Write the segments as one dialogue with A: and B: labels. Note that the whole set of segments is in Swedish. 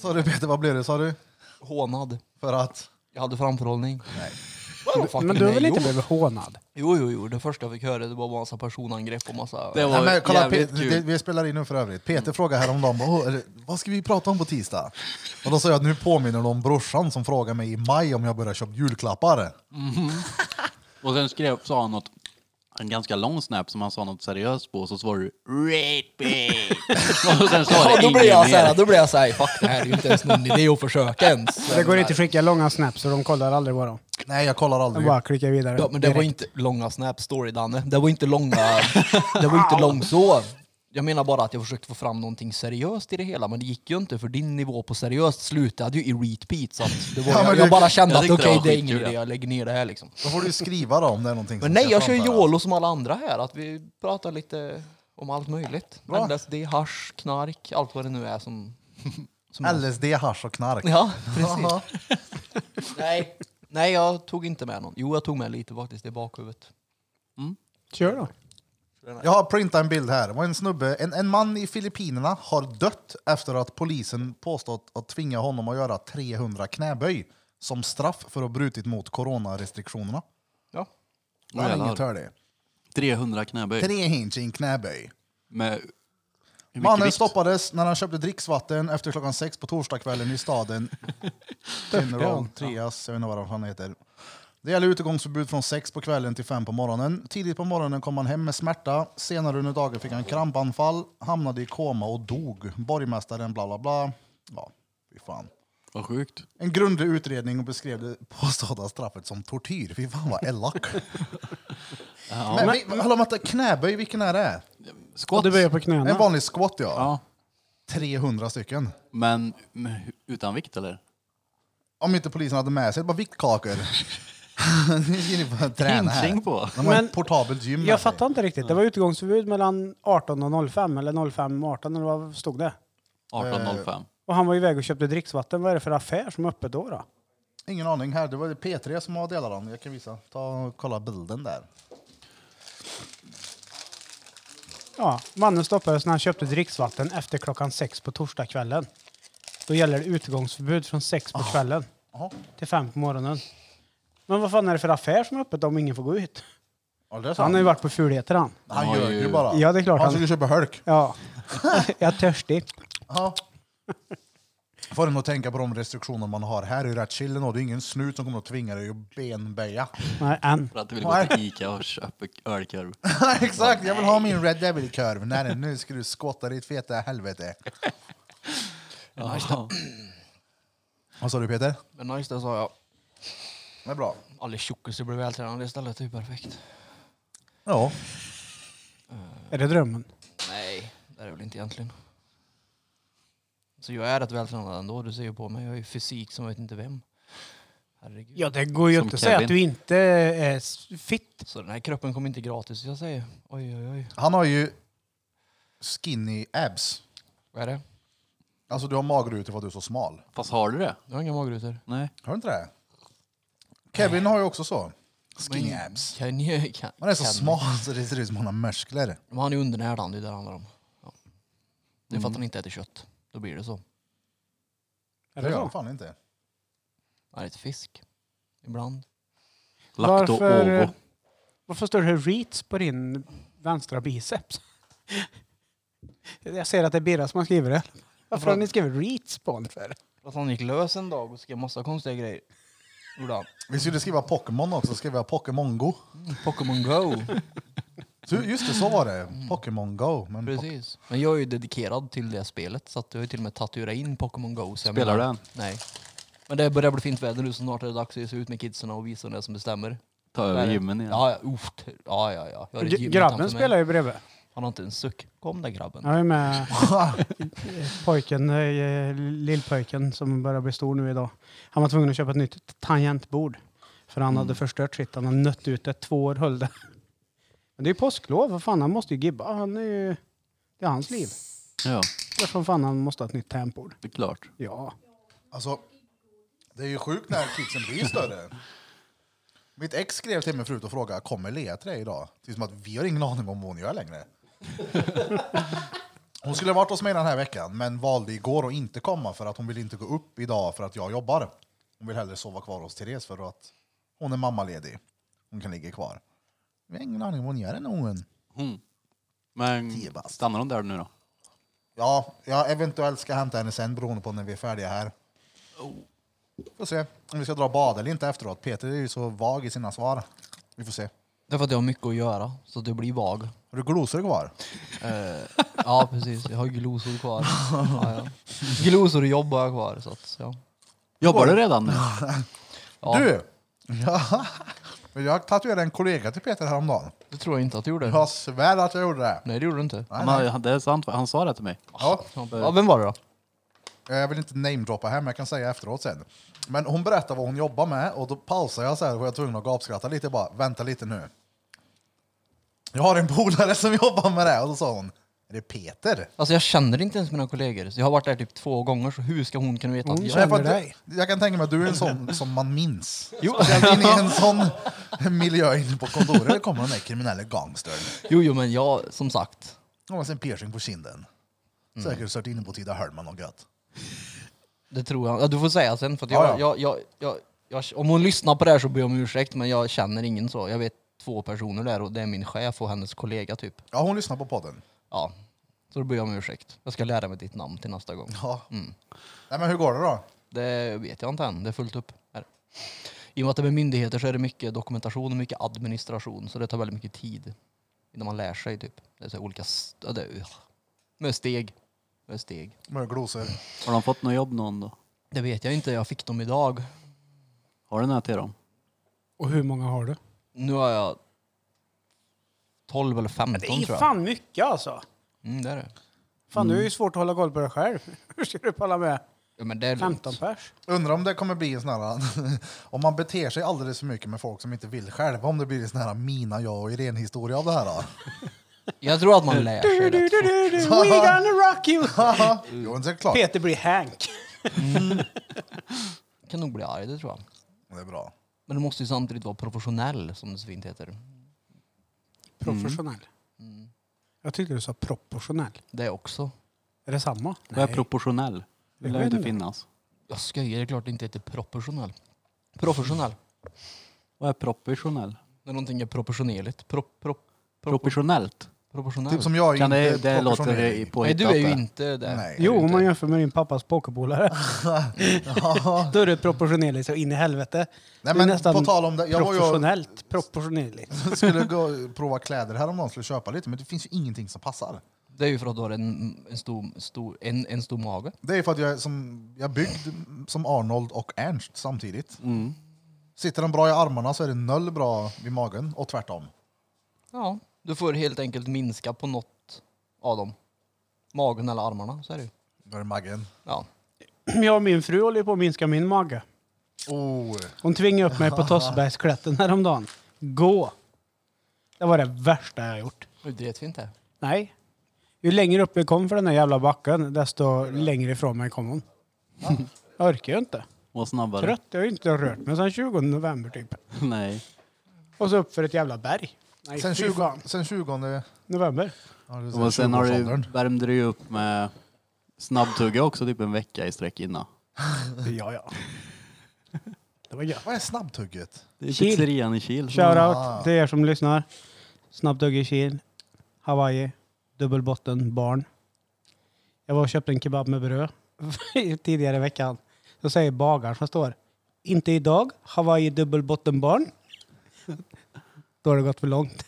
A: Sa du Peter, vad blev det sa du?
B: Hånad.
A: För att?
B: Jag hade framförhållning. Nej.
C: Men du har väl inte blivit hånad?
B: Jo, jo, jo. Det första jag fick höra det var massa personangrepp och massa...
D: Det var-
A: Nej, men, kolla,
D: jävligt
A: Peter, det,
D: kul.
A: vi spelar in nu för övrigt. Peter frågade häromdagen "Åh, är det- vad ska vi prata om på tisdag? Och då sa jag att nu påminner de om brorsan som frågade mig i maj om jag börjar köpa julklappar.
D: Och sen skrev, sa han något, en ganska lång snap som han sa något seriöst på, och så svarade du rapey. och sen sa
B: Ja,
D: det
B: då blir jag
D: ingen
B: såhär,
D: mer.
B: då blir jag såhär, fuck det här är ju inte ens någon idé att försöka ens.
C: Det går inte att skicka långa snaps så de kollar aldrig på dem.
A: Nej, jag kollar
C: De
A: aldrig.
C: bara klickar vidare.
B: Ja, men det var
C: direkt.
B: inte långa snap story Danne. Det var inte långa, det var inte lång så. Jag menar bara att jag försökte få fram någonting seriöst i det hela, men det gick ju inte för din nivå på seriöst slutade ju i repeat. Så att det var,
A: Ja, men
B: jag,
A: du-
B: jag bara kände
D: jag
B: att
D: tyckte det
B: okej,
D: var
B: det är
D: skitkul,
B: ingen idé,
D: ja.
B: jag lägger ner det här liksom.
A: Då får du skriva då om det är någonting
B: Men
A: som
B: nej,
A: ska
B: jag kör
A: framföras.
B: YOLO som alla andra här, att vi pratar lite om allt möjligt. LSD, hasch, knark, allt vad det nu är som... som
A: LSD, hasch och knark.
B: Ja, precis.
A: Jaha.
B: Nej. Nej, jag tog inte med någon. Jo, jag tog med lite faktiskt i bakhuvudet.
C: Kör då.
A: Jag har printat en bild här. Det var en snubbe, en, en man i Filippinerna har dött efter att polisen påstått att tvinga honom att göra 300 knäböj som straff för att ha brutit mot coronarestriktionerna.
B: Ja.
A: Det är
D: Jävlar.
A: inget hör det.
D: 300 knäböj.
A: Tre hinch i en knäböj.
D: Med hur mycket
A: Mannen
D: vikt?
A: stoppades när han köpte dricksvatten efter klockan sex på torsdagskvällen i staden General Trias, jag vet inte vad han heter. Det gäller utegångsförbud från sex på kvällen till fem på morgonen. Tidigt på morgonen kom han hem med smärta. Senare under dagen fick han krampanfall, hamnade i koma och dog. Borgmästaren bla bla bla. Ja, fy fan.
D: Vad sjukt.
A: En grundlig utredning och beskrev det påstådda straffet som tortyr. Fy fan vad elak. Men, vi, hallå vänta, knäböj, vilken är det?
C: Och
D: Skott.
C: du böjer på
A: En
C: knäna.
A: vanlig squat ja.
D: Ja,
A: 300 stycken.
D: men men hu- utan vikt eller?
A: Om inte polisen hade med sig ett par viktkakor. Nu ska ni få träna här.
D: Inching på.
A: De har
C: Men-
A: ett portabelt gym med
C: Jag
A: sig.
C: fattar inte riktigt. Det var utgångsförbud mellan 18 och 05 eller 05 och 18 eller vad stod det?
A: Eh,
D: 18.05.
C: Och han var iväg och köpte dricksvatten. Vad är det för affär som är öppet då? då?
A: Ingen aning här. Det var P3 som har delat den. Jag kan visa. Ta och kolla bilden där.
C: Ja, mannen stoppades när han köpte dricksvatten efter klockan sex på torsdagskvällen. Då gäller det utegångsförbud från sex
B: Ah.
C: på kvällen
A: Jaha.
C: till fem på morgonen. Men vad fan är det för affär som är öppet om ingen får gå ut?
A: Ja, det är sant.
C: Han har ju varit på fulheter han.
A: Han
D: Han har
A: ljög ju
D: ju-
A: bara.
C: Ja, det är klart
A: Han
C: han-
A: skulle köpa hölk.
C: Ja, jag är törstig.
A: Ja. Får en att tänka på de restriktioner man har här i rätt chill ändå. Det är ingen snut som kommer att tvinga dig att benböja.
C: Nej, än.
D: För att du vill gå till Ica och köpa ölkorv.
A: Exakt, jag vill ha min Red Devil-kurv. Nej, nu ska du skotta ditt feta helvete.
D: Ja.
A: Vad sa du Peter?
B: Men nice det sa jag.
A: Det är bra.
B: Alla tjockisar blir vältränade istället, det är ju perfekt.
A: Ja.
C: Är det drömmen?
B: Nej, det är det väl inte egentligen. Så jag är rätt vältränad ändå, du ser ju på mig. Jag har ju fysik som jag vet inte vem. Herregud.
C: Ja, det går ju
D: Som
C: inte att säga
D: Kevin.
C: att du inte är s- fit.
B: Så den här kroppen kommer inte gratis, jag säger. Oj, oj, oj.
A: Han har ju skinny abs.
B: Vad är det?
A: Alltså du har magrutor för att du är så smal.
D: Fast har du det?
B: Jag har inga magrutor.
D: Nej.
A: Har du inte det? Kevin har ju också så. Skinny abs.
B: Kan, ni- kan,
A: Man är så
B: kan-
A: smal så det ser ut som han har muskler.
B: Men han är undernärd han, det är det det handlar om. Ja. Det är för att han inte äter kött. Då blir det så.
C: Är
A: det
C: det
A: gör han
C: så?
A: fan inte.
B: Han äter fisk. Ibland.
D: Lacto
C: Varför, eh,
D: ovo.
C: varför står det reats på din vänstra biceps? Jag ser att det är Birra som har skrivit det. Varför har ni skrivit reats på den för?
B: För att han gick lös en dag och skrev massa konstiga grejer. Gjorde han.
A: Vi skulle skriva Pokémon också, skrev jag Pokémon Go.
B: Pokémon Go.
A: Så Just det, så var det. Pokémon Go. Men po-
B: Precis. Men jag är ju dedikerad till det spelet så att jag har ju till och med tatuerat in Pokémon Go. Så jag
D: Spelar du
B: menar-
D: den?
B: Nej. Men det börjar bli fint väder nu så snart är det dags att se ut med kidsen och visa det som bestämmer.
D: Ta
B: Där är
D: över
B: det.
D: gymmen igen.
B: Ja, ja, uff, ja, ja, ja. Jag har ett gym utanför
C: Grabben
B: mig.
C: spelar ju bredvid.
B: Han har inte en suck. Kom där grabben.
C: Jag är med pojken, eh, lillpojken som börjar bli stor nu idag. Han var tvungen att köpa ett nytt tangentbord. För han hade förstört sitt. Han hade nött ut det. Två år höll det. Men det är ju påsklov. Vad fan, han måste ju gibba. Han är ju, det är hans liv.
D: Ja,
C: Därför fan han måste ha ett nytt tangentbord.
D: det är klart.
C: Ja.
A: alltså, det är ju sjukt när kidsen blir större. Mitt ex skrev till mig förut och frågade kommer Lea till dig idag? Det är som att vi har ingen aning om vad hon gör längre. Hon skulle ha varit hos mig den här veckan, men valde igår att inte komma för att hon vill inte gå upp idag för att jag jobbar. Hon vill hellre sova kvar hos Therese för att hon är mammaledig. Hon kan ligga kvar. Jag har ingen aning om vad hon gör än hon.
D: Men
A: Tio bast.
D: stannar hon där nu då?
A: Ja, jag eventuellt ska hämta henne sen beroende på när vi är färdiga här. Får se om vi ska dra bad eller inte efteråt. Peter är ju så vag i sina svar. Vi får se.
B: Därför att jag har mycket att göra, så det blir vag.
A: Har du glosor kvar?
B: Eh, ja, precis. Jag har glosor kvar. Ja, ja. Glosor och jobb har jag kvar. Så att, ja.
D: Jobbar du redan nu?
B: Ja,
A: Du! Ja. Men jag tatuerade en kollega till Peter häromdagen.
B: Det tror jag inte att du gjorde.
A: Jag svär att jag gjorde det.
B: Nej, det gjorde du inte.
A: Nej,
D: Han, har- det är sant, va? han sa det till mig.
A: Ja.
B: Ja, vem var det då?
A: Jag vill inte namedroppa här, men jag kan säga efteråt sen. Men hon berättar vad hon jobbar med och då pausar jag så här och jag var tvungen att gapskratta lite. Jag bara, vänta lite nu. Jag har en polare som jobbar med det och då sa hon, är det Peter?
B: Alltså jag känner inte ens mina kollegor. Så jag har varit där typ två gånger, så hur ska hon kunna veta att
C: Hon
B: jag...
C: känner-
A: Nej, för att
C: dig.
A: Jag, jag kan tänka mig att du är en sån som man minns. Speciellt in i en sån miljö inne på kontoret. Där kommer den där kriminella gangstern.
B: Jo, jo, men jag, som sagt.
A: Hon har sin piercing på kinden. Säkert stört inne på Tida Hellman och gött.
B: Det tror jag. Ja, du får säga sen, för att
A: Ja,
B: jag,
A: ja.
B: jag, jag, jag, jag, Om hon lyssnar på det här så ber jag om ursäkt, men jag känner ingen så. Jag vet två personer där och det är min chef och hennes kollega typ.
A: Ja, hon lyssnar på podden.
B: Ja. Så då ber jag om ursäkt. Jag ska lära mig ditt namn till nästa gång.
A: Ja. Mm. Nej, men hur går det då?
B: Det vet jag inte än. Det är fullt upp. Här. I och med att det är myndigheter så är det mycket dokumentation och mycket administration. Så det tar väldigt mycket tid innan man lär sig. Typ. Det är så här olika... s- ja, det är, ugh. med steg. Med steg.
A: Med glosor.
D: Har de fått något jobb någon då?
B: Det vet jag inte. Jag fick dem idag.
D: Har du något till dem?
C: Och hur många har du?
B: Nu har jag 12 eller 15
C: Det är
B: tror jag.
C: fan mycket alltså.
B: Mm, det är det.
C: Fan, du är ju svårt att hålla koll på dig själv. Hur ska du palla med?
B: Ja, men det är lugnt.
C: 15 pers?
A: Undrar om det kommer bli en sån här, om man beter sig alldeles för mycket med folk som inte vill själva, om det blir en sån här mina, jag och Irene historia av det här då.
B: Jag tror att man lär sig rätt fort.
C: Du-du-du-du-du, We gonna rock you!
A: jo, men det är klart.
C: Peter blir Hank.
B: kan nog bli arg, det tror jag.
A: Det är bra.
B: Men du måste ju samtidigt vara professionell, som det så fint heter.
C: Professionell. Mm. Jag tyckte du sa proportionell.
B: Det också.
C: Är det samma?
D: Vad är proportionell? Det lär ju inte finnas.
B: Jag skojar, det är klart det inte heter proportionell. Professionell.
D: Vad är proportionell?
B: När någonting är proportionerligt. Pro, pro, pro,
D: Proportionellt?
B: proportionell.
A: Typ som jag är
D: Kan
A: inte
D: det, det
A: proportionerlig.
D: låter
B: Nej,
D: påhittat.
B: du är ju
D: det.
B: inte det.
A: Nej.
C: Jo, om man jämför med din pappas pokerpolare. Då är det proportionerligt så in i helvete.
A: Nej,
C: det är
A: men
C: nästan liksom.
A: på tal om det, jag var ju-
C: proportionellt. Proportionerligt.
A: Jag skulle gå och prova kläder häromdagen, skulle köpa lite, men det finns ju ingenting som passar.
B: Det är ju för att du har en, en, stor, stor, en, en stor mage.
A: Det är för att jag är, som, jag är byggd som Arnold och Ernst samtidigt.
D: Mm.
A: Sitter de bra i armarna så är det noll bra vid magen och tvärtom.
B: Ja. Du får helt enkelt minska på något av dem. Magen eller armarna, så är det ju.
A: Då är det magen.
B: Ja.
C: Jag och min fru håller ju på att minska min mage.
A: Oh.
C: Hon tvingade upp mig på Tossbergsklätten häromdagen. Gå! Det var det värsta jag gjort.
B: Det vet vi inte.
C: Nej. Ju längre upp vi kom för den där jävla backen, desto längre ifrån mig kom hon. Jag orkar ju inte.
D: Och snabbare.
C: Trött. Jag har ju inte rört mig sedan 20 november typ.
D: Nej.
C: Och så upp för ett jävla berg. Nej,
A: Sen,
C: fy
A: 20,
C: fan.
A: sen 20...
C: November.
A: Ja, det är
D: Och sen har du,
A: 20-årsåldern.
D: värmde du ju upp med snabbtugga också typ en vecka i sträck innan.
C: Ja, ja. Det var gött.
A: Vad är snabbtugget?
D: Det är
C: Kil.
D: pizzerian i Kil.
A: Ah.
C: Shoutout till er som lyssnar. Snabbtugg i Kil, Hawaii, dubbelbotten, barn. Jag var och köpte en kebab med bröd tidigare i veckan. Då säger bagaren som står, inte idag, Hawaii dubbelbotten barn. Då har det gått för långt.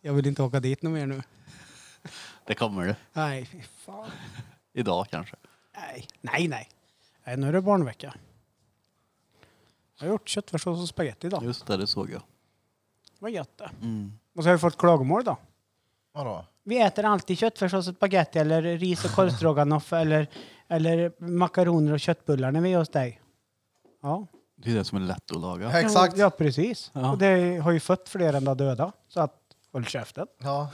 C: Jag vill inte åka dit något mer nu.
D: Det kommer det.
C: Nej, fy fan.
D: Idag kanske.
C: Nej, nej, nej. nej nu är det barnvecka. Jag har gjort köttfärssås och spagetti idag.
D: Just det, det såg jag.
C: Vad gött det.
D: Mm.
C: Och så har vi fått klagomål då.
A: Vadå?
C: Vi äter alltid köttfärssås och spagetti eller ris och korvstroganoff eller, eller makaroner och köttbullar när vi är hos dig. Ja,
D: Det är det som är lätt att laga.
A: Exakt.
C: ja precis.
D: Ja.
C: Och det har ju fött fler än det döda. Så att håll käften.
A: Ja.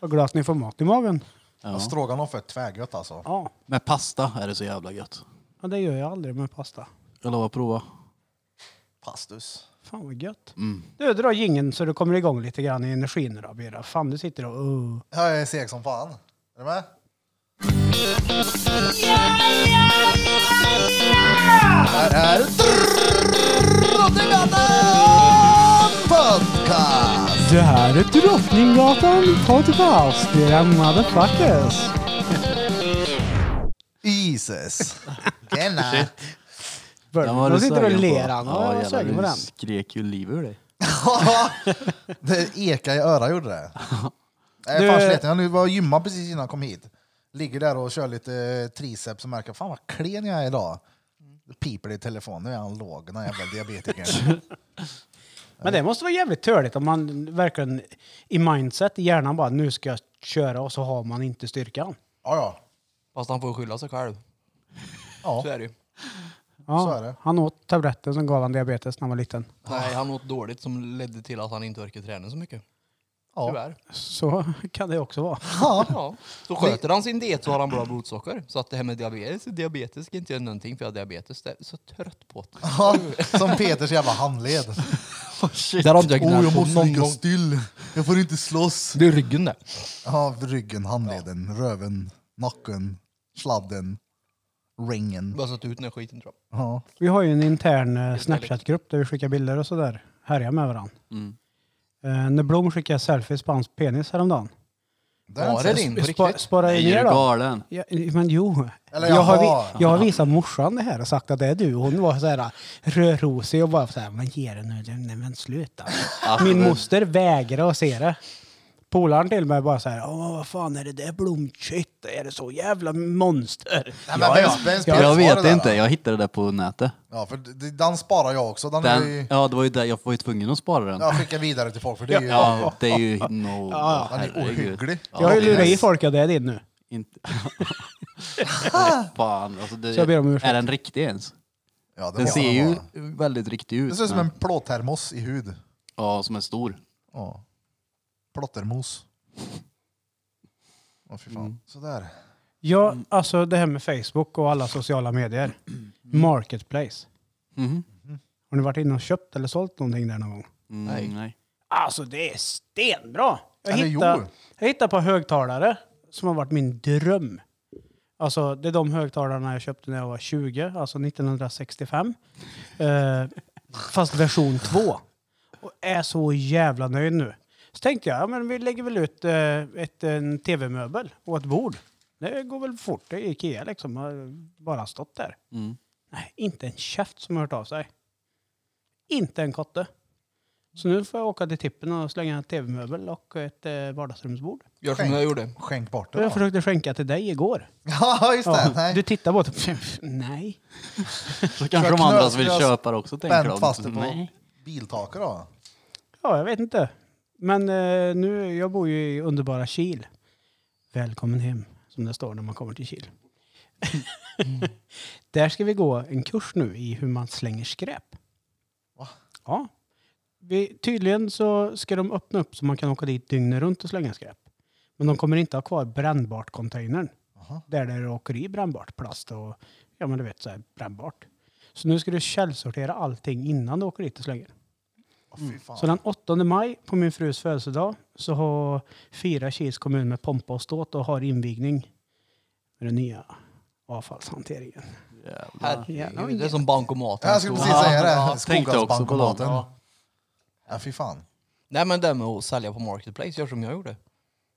C: Vad glad att ni får mat i magen.
A: Ja.
D: Ja.
A: Stroganoff är tvärgött alltså.
C: Ja.
D: Med pasta är det så jävla gött.
C: ja, det gör jag aldrig med pasta.
D: Jag lovar att prova.
A: Pastus.
C: Fan vad gött.
D: Mm.
C: Du, dra jingeln så du kommer igång lite grann i energin då, Bera. Fan, du sitter och... Uh.
A: Jag är seg som fan. Är du med? Här är Drottninggatan podcast!
C: Det här är Drottninggatan Podcast. Det är motherfuckers.
A: Jesus. Tjena!
D: Den var du
C: De sitter och
D: sugen på.
C: ler han och är
D: jävlar,
C: sugen på
D: du
C: den.
D: skrek ju liv ur dig.
A: det ekade i örat gjorde det. Jag
C: Du-
A: är fan sliten. Jag var och gymmade precis innan jag kom hit. Ligger där och kör lite triceps och märker fan vad klen jag är idag. Det piper i telefonen. Nu är han låg, den här jävla diabetikern.
C: Men det måste vara jävligt törligt om man verkligen i mindset i hjärnan bara nu ska jag köra och så har man inte styrkan.
A: ja, ja.
B: Fast han får ju skylla sig själv. Så
A: ja.
B: är det ju.
C: Ja,
A: Så är det.
C: Han åt tabletter som gav han diabetes när han var liten.
B: Nej, han åt dåligt som ledde till att han inte orkade träna så mycket.
A: ja.
B: Tyvärr.
C: Så kan det också vara.
B: Ja. Så sköter han sin diet så har han bra blodsocker. Så att det här med diabetes, diabetes kan inte göra någonting för jag har diabetes. Det är så trött på det.
A: ja. Som Peters jävla handled.
B: Där har inte jag
A: Åh,
B: gnällt på någon gång.
A: still. Jag får inte slåss.
B: Det är ryggen där.
A: Ja, ryggen, handleden, röven, nacken, sladden, ringen.
B: Bara satt ut den här skiten tror jag.
A: Ja.
C: Vi har ju en intern eh, Snapchat-grupp där vi skickar bilder och sådär. Härjar med varandra.
D: Mm.
C: Eh, när Blom skickade selfies på hans penis häromdagen.
A: har
B: Var
A: jag
B: det
A: inte
B: din
A: sett.
B: på
C: Spa,
B: riktigt?
C: sparar
D: Nej,
C: jag
D: är
C: ner
D: du
C: då?
D: galen?
C: Ja, men jo.
A: Eller
C: jag, har
A: jaha.
C: vi, jag har visat morsan det här och sagt att det är du. Hon var så här rödrosig och bara så här, men ge det nu, det- nej men sluta.
D: Alltså,
C: Min
D: det-
C: moster vägrade att se det. Polaren till mig bara så här, Åh, vad fan är det där blomkött? Är det så jävla monster?
A: Nej, men vems- vems
C: Ja,
A: Peters
D: Jag
A: var det
D: vet
A: där,
D: inte,
A: då?
D: jag hittade det på nätet.
A: Ja, för d- den sparar jag också. Den, är ju...
D: Den, ja, det var ju där jag var ju tvungen att spara den.
A: Jag skickar vidare till folk för det är ju...
D: Ja, det är ju... No,
C: Ja,
A: Den är ohygglig.
C: Jag har ju lurat i
A: yes.
C: folk att det är din nu.
D: Inte... Åh, Fan, alltså det,
C: Så jag ber om ursäkt.
D: Är den riktig ens?
A: Ja,
D: Den
A: var-
D: ser ju
A: var-
D: väldigt riktig ut.
A: Den ser ut som
D: men-
A: en plåttermos i hud.
D: Ja, som är stor.
A: Ja. Plåttermos. Åh fy fan.
B: Mm.
A: Sådär.
C: Ja,
A: Mm.
C: alltså det här med Facebook och alla sociala medier. Marketplace.
A: Mm-hmm.
D: Mhm.
C: Har ni varit inne och köpt eller sålt någonting där någon gång?
D: Mm,
B: Nej.
D: nej.
C: Alltså det är stenbra! Jag
A: Eller
C: hittade,
A: jo.
C: jag hittade på högtalare som har varit min dröm. Alltså det är de högtalarna jag köpte när jag var 20, alltså 1965. Eh, fast version 2. Och är så jävla nöjd nu. Så tänkte jag, ja, men vi lägger väl ut eh, ett, en tv-möbel och ett bord. Det går väl fort, det är Ikea liksom. Har bara stått där.
D: Mm.
C: Nej, inte en käft som har hört av sig. Inte en kotte. Så nu får jag åka till tippen och slänga en tv-möbel och ett eh, vardagsrumsbord.
B: Gör som jag gjorde.
A: Skänk bort det
C: Jag
A: då.
C: försökte skänka till dig igår.
A: Ja, just det.
C: Du
A: Nej.
C: tittar på det. Nej.
D: Så kanske
A: jag
D: de andra
A: knö-
D: som vill
A: jag
D: köpa det också tänker
A: Spänt
D: de.
A: fast det på
D: Nej.
A: biltaket då.
C: Ja, jag vet inte. Men eh, nu, jag bor ju i underbara Kil. Välkommen hem, som det står när man kommer till Kil. Där ska vi gå en kurs nu i hur man slänger skräp.
A: Va?
C: Ja. Vi, tydligen så ska de öppna upp så man kan åka dit dygnet runt och slänga skräp. Men de kommer inte ha kvar brännbart-containern.
A: Jaha.
C: Där det åker i brännbart plast och ja, men du vet så här brännbart. Så nu ska du källsortera allting innan du åker dit och slänger.
A: Åh, fy fan.
C: Mm. Så den 8 maj på min frus födelsedag så har fyra Kils kommun med pompa och ståt och har invigning med den nya avfallshanteringen.
B: Herregud, det är som bankomaten.
A: Jag skulle precis säga det.
D: tänkte jag också på dem.
A: Skogansbankomaten. Ja, fy fan.
B: Nej men det med att sälja på Marketplace, gör som jag gjorde.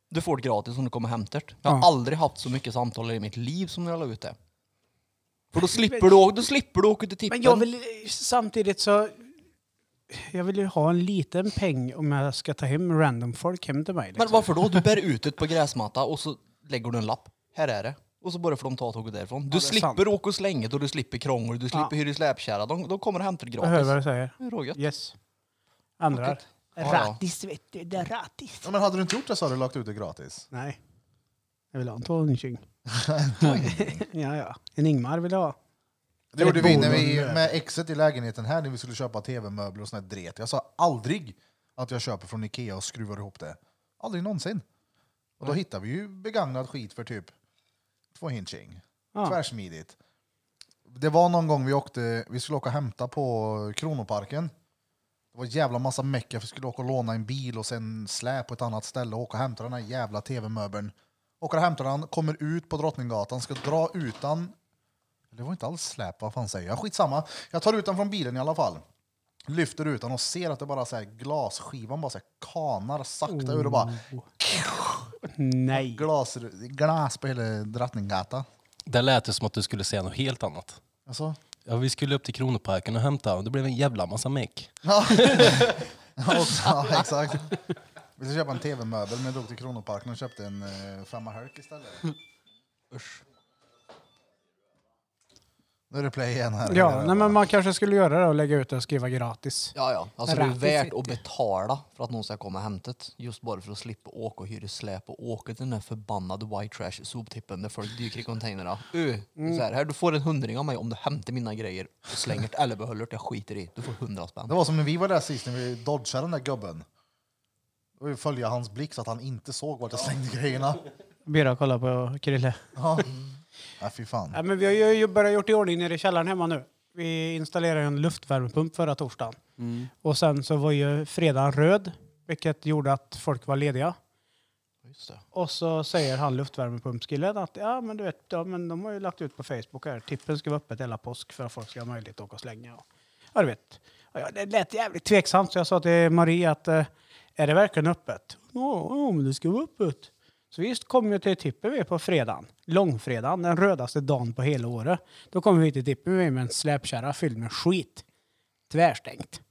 B: Du får det gratis om du kommer och hämtar det. Jag har
C: Ja.
B: aldrig haft så mycket samtal i mitt liv som när jag la ut det. För då slipper du, å- då slipper du åka till tippen.
C: Men jag vill samtidigt så... Jag vill ju ha en liten peng om jag ska ta hem random folk hem till mig.
B: Men
C: Liksom.
B: varför då? Du bär ut det på gräsmatta och så lägger du en lapp. Här är det. Och så börjar får de ta tåget därifrån. Du
C: det är
B: slipper
C: sant.
B: åka och slänga och du slipper krångel, du slipper
C: Ja.
B: hyra släpkärra. De, de kommer och hämtar det
C: Jag hör vad
B: gratis.
C: du säger.
B: Det är rågött.
C: Yes. Ändrar.
B: Okej. Ja, ja.
C: Rattis vet du, det är rattis.
A: Ja, men hade du inte gjort det så hade du lagt ut det gratis.
C: Nej. Jag vill ha en Tonjing. ja, ja. En Ingmar vill jag ha.
A: Det gjorde vi när vi,
C: Bonden.
A: med exet i lägenheten här när vi skulle köpa tv-möbler och sånt där dret. Jag sa aldrig att jag köper från Ikea och skruvar ihop det. Aldrig någonsin. Och då hittade vi ju begagnad skit för typ två hinching.
C: Ja.
A: Tvärsmidigt. Det var någon gång vi åkte, vi skulle åka och hämta på Kronoparken. Det var en jävla massa mecka för vi skulle åka och låna en bil och sen slä på ett annat ställe och åka och hämta den här jävla tv-möbeln. Åker och hämtar han, kommer ut på Drottninggatan, ska dra utan... Det var inte alls släp, vad fan säger jag? Skitsamma. Jag tar ut den från bilen i alla fall. Lyfter ut den och ser att det bara så här glasskivan bara så här kanar sakta ur och bara
C: Nej.
A: glas, glas på hela Drottninggatan.
E: Det lät det som att du skulle säga något helt annat.
A: Alltså,
E: Ja, vi skulle upp till Kronoparken och hämta och det blev en jävla massa meck.
A: Ja, ja, också, ja exakt. Vi ska köpa en tv-möbel men jag drog till Kronoparken och köpte en eh, femma Herc istället. Usch. Nu är det play igen här.
C: Ja, nej, men man kanske skulle göra det och lägga ut det och skriva gratis.
B: Ja, ja. Alltså det är
C: Rattis
B: värt
C: city.
B: att betala för att någon ska komma och hämta det. Just bara för att slippa åka och hyra släp och åka till den där förbannade white trash soptippen där folk dyker i containrarna. Uh, så här, här, du får en hundring av mig om du hämtar mina grejer och slänger det eller behåller det. Jag skiter i. Du får hundra spänn.
A: Det var som när vi var där sist när vi dodgade den där gubben. Och vi följde hans blick så att han inte såg vart jag slängde grejerna.
C: Bira kolla på Krille.
A: Ja. Nej, fy fan.
C: Ja, men vi har ju- ju börjat gjort i ordning nere i källaren hemma nu. Vi installerade ju en luftvärmepump förra torsdagen. Och sen så var ju fredagen röd, vilket gjorde att folk var lediga.
B: Just det.
C: Och så säger han luftvärmepumpskillen att ja men du vet, ja, men de har ju lagt ut på Facebook här, tippen ska vara öppet hela påsk för att folk ska ha möjlighet att åka och slänga. Och, ja du vet. Ja, ja, det lät jävligt tveksamt så jag sa till Marie att eh, är det verkligen öppet? Ja, ja men det ska vara öppet. Så vi kom ju till tippen vi på fredagen, långfredagen, den rödaste dagen på hela året. Då kom vi till tippen vi med en släpkärra fylld med skit. Tvärstängt.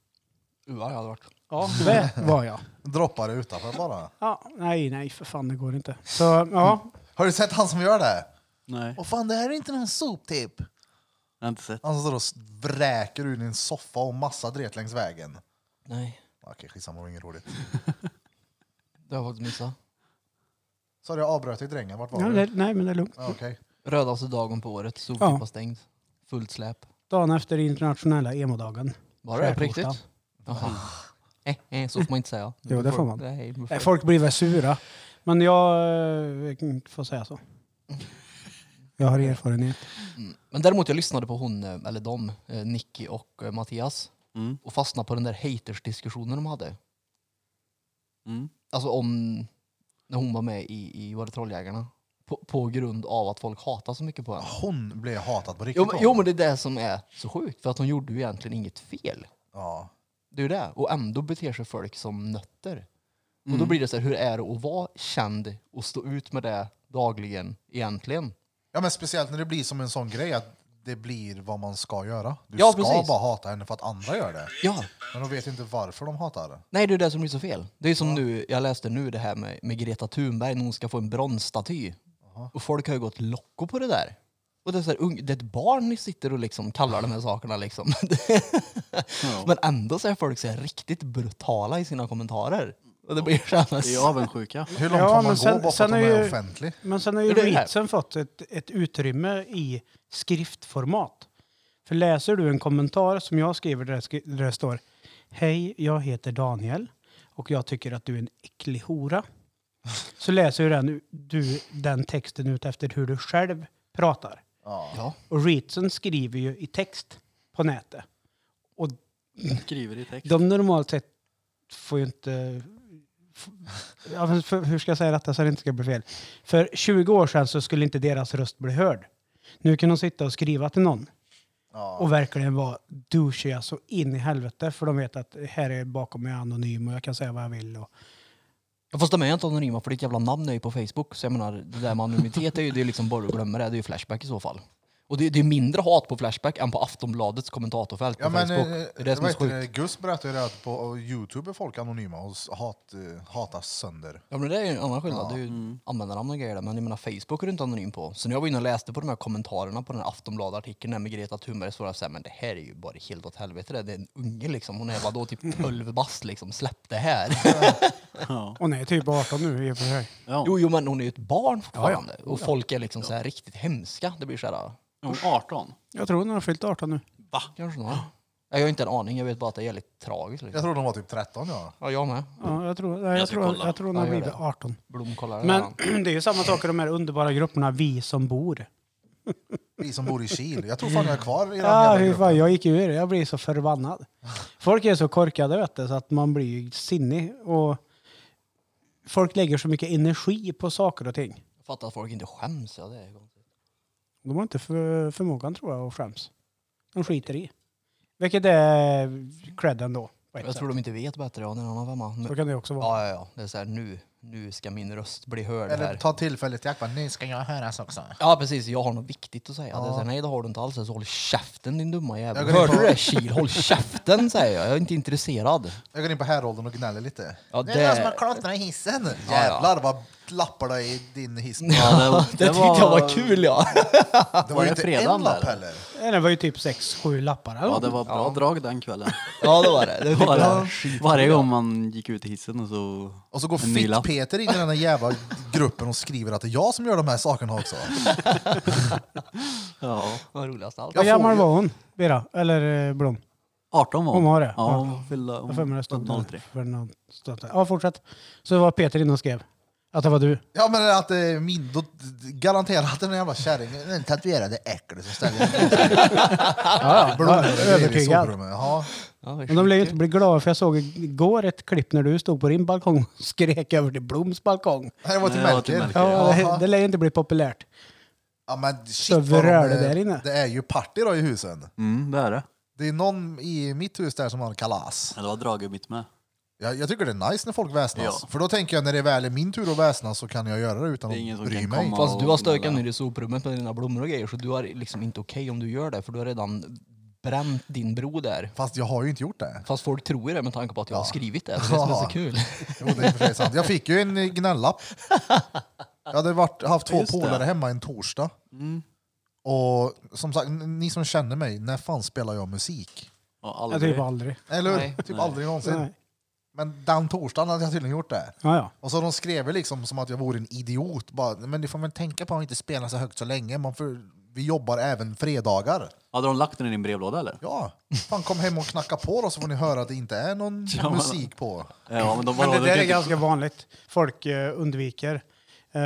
B: Uh, ja, det hade varit.
C: Ja, det var jag.
A: Droppar det utanför bara.
C: Ja, nej, nej, för fan det går inte. Så ja,
A: Har du sett han som gör det?
D: Nej,
A: Åh fan, det här är inte någon soptipp.
D: jag har inte sett.
A: Han står och s- vräker ur din soffa och massa dret längs vägen.
B: Nej,
A: Okej, skitsamma, det var inget roligt.
B: det har jag faktiskt missat.
A: Så jag avbröt dig drängen, vart var
C: Ja,
A: du?
C: det, nej, men det är lugnt.
A: Mm. Ja, okej.
B: Rödaste dagen på året. Soptipp
C: Ja.
B: var stängd. Fullt släp.
C: Dagen efter internationella emodagen.
B: Var det på
C: Skärtorsdag.
B: riktigt? Jaha. Eh, eh, så får man inte säga.
C: Jo, det får man.
B: Nej, du får-
C: Nej, folk blir väl sura. Men jag eh, kan- får säga så. Jag har erfarenhet.
B: Men däremot jag lyssnade på hon, eh, eller dem, eh, Nicky och eh, Mattias
D: Mm.
B: och fastnade på den där haters-diskussionen de hade.
D: Mm.
B: Alltså om, när hon var med i, i var det Trolljägarna? På, på grund av att folk hatar så mycket på henne.
A: Hon blev hatad på riktigt.
B: Jo, men-
A: hon.
B: jo men det är det som är så sjukt, för att hon gjorde ju egentligen inget fel.
A: Ja.
B: Det är ju det. Och ändå beter sig folk som nötter. Och då blir det så här, hur är det att vara känd och stå ut med det dagligen egentligen?
A: ja, men speciellt när det blir som en sån grej att det blir vad man ska göra. Du
B: Ja,
A: ska
B: precis.
A: bara hata henne för att andra gör det.
B: Ja,
A: Men de vet inte varför de hatar det.
B: Nej, det är det som blir så fel. Det är som nu, jag läste nu det här med, med Greta Thunberg när hon ska få en bronsstaty. Och folk har ju gått locko på det där. Och det är, så här, ung, det är ett barn ni sitter och liksom kallar de här sakerna liksom.
D: Ja.
B: Men ändå så är folk så här riktigt brutala i sina kommentarer. Och det blir kännas...
D: Det är avundsjuka.
A: Hur långt
C: Ja,
A: får
C: men
A: man
C: sen-
A: gå bara för
C: sen
A: att de
C: är
A: är
C: ju-
A: offentlig?
C: Men sen har ju
B: Det är det här.
C: readsen fått ett, ett utrymme i skriftformat. För läser du en kommentar som jag skriver där det, skri- där det står Hej, jag heter Daniel och jag tycker att du är en äcklig hora. Så läser ju den, du den texten ut efter hur du själv pratar.
B: Ja.
C: Och Reetson skriver ju i text på nätet. Och
D: Skriver i text.
C: de normalt sett får ju inte... f- Ja, men för, hur ska jag säga detta så det inte ska bli fel? För 20 år sedan så skulle inte deras röst bli hörd. Nu kan de sitta och skriva till någon
A: Ja.
C: och verkligen vara douchiga så in i helvete för de vet att här är bakom mig anonym och jag kan säga vad jag vill. Och,
B: Fast de är inte anonyma för ditt jävla namn är ju på Facebook. Så jag menar, det där med anonymitet är ju det är liksom bara att glömma det. Det är ju Flashback i så fall. Och det, det är mindre hat på Flashback än på Aftonbladets kommentatorfält på
A: Ja, men,
B: Facebook.
A: eh,
B: det är det som är
A: vad
B: så sjukt.
A: heter det? Gus berättade ju det att på Youtube är folk anonyma och s- hat, eh, hatas sönder.
B: Ja men det är ju en annan skillnad, det är ju användarnamn och grejer där. Men jag menar Facebook är du inte anonym på. Så när jag var inne och läste på de här kommentarerna på den här Aftonbladet-artikeln där med Greta Thunberg så var jag såhär, men det här är ju bara helt åt helvete det. Det är en unge liksom, hon är vadå typ 12 bast liksom, släpp det här.
D: Ja.
C: och nej, typ 18 nu i och för sig.
D: Ja.
B: jo, jo men hon är ju ett barn fortfarande. Och folk är liksom så här riktigt hemska. Det blir såhär,
D: Hon är 18.
C: Jag tror hon har fyllt 18 nu.
D: Va?
B: kanske några. Jag har inte en aning, jag vet bara att det är jävligt tragiskt liksom.
A: Jag tror de var typ 13 ja.
B: Ja, jag med.
C: Ja, jag, tror, nej, jag,
D: Jag ska
C: tror,
D: kolla.
C: jag tror hon har
B: Ja, gör
C: blivit
B: det.
C: 18.
B: Blom kollar det
C: Men
B: redan.
C: det är ju samma sak i de här underbara grupperna, vi som bor.
A: Vi som bor i Kil. Jag tror fan jag är kvar i den
C: Ja,
A: jävla
C: hur
A: gruppen.
C: fan, jag gick ur. Jag blir så förbannad. Folk är så korkade vet du, så att man blir ju sinnig. Och folk lägger så mycket energi på saker och ting.
B: Fattar att folk inte skäms. Ja, det är konstigt.
C: De har inte för, förmågan tror jag att skäms. De skiter i. Vilket är cred ändå. på ett
B: Jag
C: sätt.
B: tror de inte vet bättre. Ja, det är en annan femma. Men,
C: Så kan det också vara.
B: ja, ja, ja. Det är så här, nu, nu ska min röst bli hörd
A: Eller
B: här.
A: ta tillfället i akt. bara, Nu ska jag höras också.
B: Ja precis, jag har något viktigt att säga. Det är så här, nej det har du inte alls. Så håll käften din dumma jävel. Hörde du det Kil? Håll käften säger jag. Jag är inte intresserad.
A: Jag går in på häråldern och gnäller lite.
B: Ja,
A: Det är jag
B: det-
A: som har klottrat i hissen. Jävlar vad klappar det i din hiss.
D: Ja,
B: Det, tyckte jag var kul ja.
A: Det
D: Var
A: var ju
D: det
A: inte
D: fredagen
A: en lapp
D: där?
A: heller.
C: Nej, Det var ju typ sex, sju lappar. eller
D: Ja,
C: något.
D: det var bra drag den kvällen.
B: Ja det var det. det, var det.
D: Varje gång man gick ut i hissen och så...
A: Och så går
D: En ny lapp.
A: Fitt-Peter in i den här jävla gruppen och skriver att det är jag som gör de här sakerna också.
D: Ja.
B: Vad roligast allt.
A: jag
C: Vad
A: får
C: gammal
A: ju-
C: var hon, Bera? Eller eh, Blom?
D: 18 var
C: Hon var det?
D: Ja,
C: Ja.
D: hon fyllde...
C: Jag har för mig det stod där
D: Hon, 03.
C: för någon stund sedan. Ja, fortsätt. Så var Peter inne och skrev att det var du.
A: Ja men att det är min, då garanterat den jävla kärringen, den tatuerade äcklet som ställer
C: Ja, övertygad.
A: Ja,
C: Men de blev ju inte bli glada för jag såg igår ett klipp när du stod på din balkong och skrek över till Bloms balkong.
A: det var till
D: Nej, det var till
A: Melker.
D: Melker.
C: Ja, det,
A: Jaha.
C: det lär ju inte bli populärt.
A: Ja men shit
C: Så
A: vad
C: vrör
A: de, eh,
C: det där inne.
A: Det är ju party då i husen.
D: Mm, det är det.
A: Det är någon i mitt hus där som har kalas.
D: Ja, Det var draget mitt med.
A: Jag, jag tycker det är nice när folk väsnas.
D: Ja.
A: För då tänker jag när det väl är min tur att väsnas så kan jag göra det utan
D: Det är ingen
A: att
D: som
A: bry
D: kan
A: mig.
D: komma.
B: Fast du har stökat ner i soprummet med dina blommor och grejer så du är liksom inte okej om du gör det för du har redan bränt din bro där.
A: Fast jag har ju inte gjort det.
B: Fast folk tror ju det med tanke på att jag har skrivit det. Det är det som är så
A: Ja.
B: kul.
A: Jo, det är i och för sig sant. Jag fick ju en gnällapp. Jag hade varit, haft två
D: Just det. Mm.
A: polare hemma en torsdag. Och som sagt, ni som känner mig, när fan spelar jag musik?
D: Och
C: Jag
D: aldrig...
C: typ aldrig.
A: Eller hur?
B: Nej.
A: Typ aldrig någonsin.
C: Nej.
A: Men den torsdagen hade jag tydligen gjort det.
C: Ja, ja.
A: Och så de skrev ju liksom som att jag vore en idiot. Bara, men du får väl tänka på att inte spela så högt så länge. Man får, vi jobbar även fredagar.
D: Hade de lagt den i din brevlåda eller?
A: Ja, fan kom hem och knacka på då så får ni höra att det inte är någon
D: Ja, men-
A: musik på.
D: Ja, men de
C: Men det
D: bara... de
C: där
D: kan
C: är
D: inte-
C: ganska vanligt. Folk eh, undviker. Eh,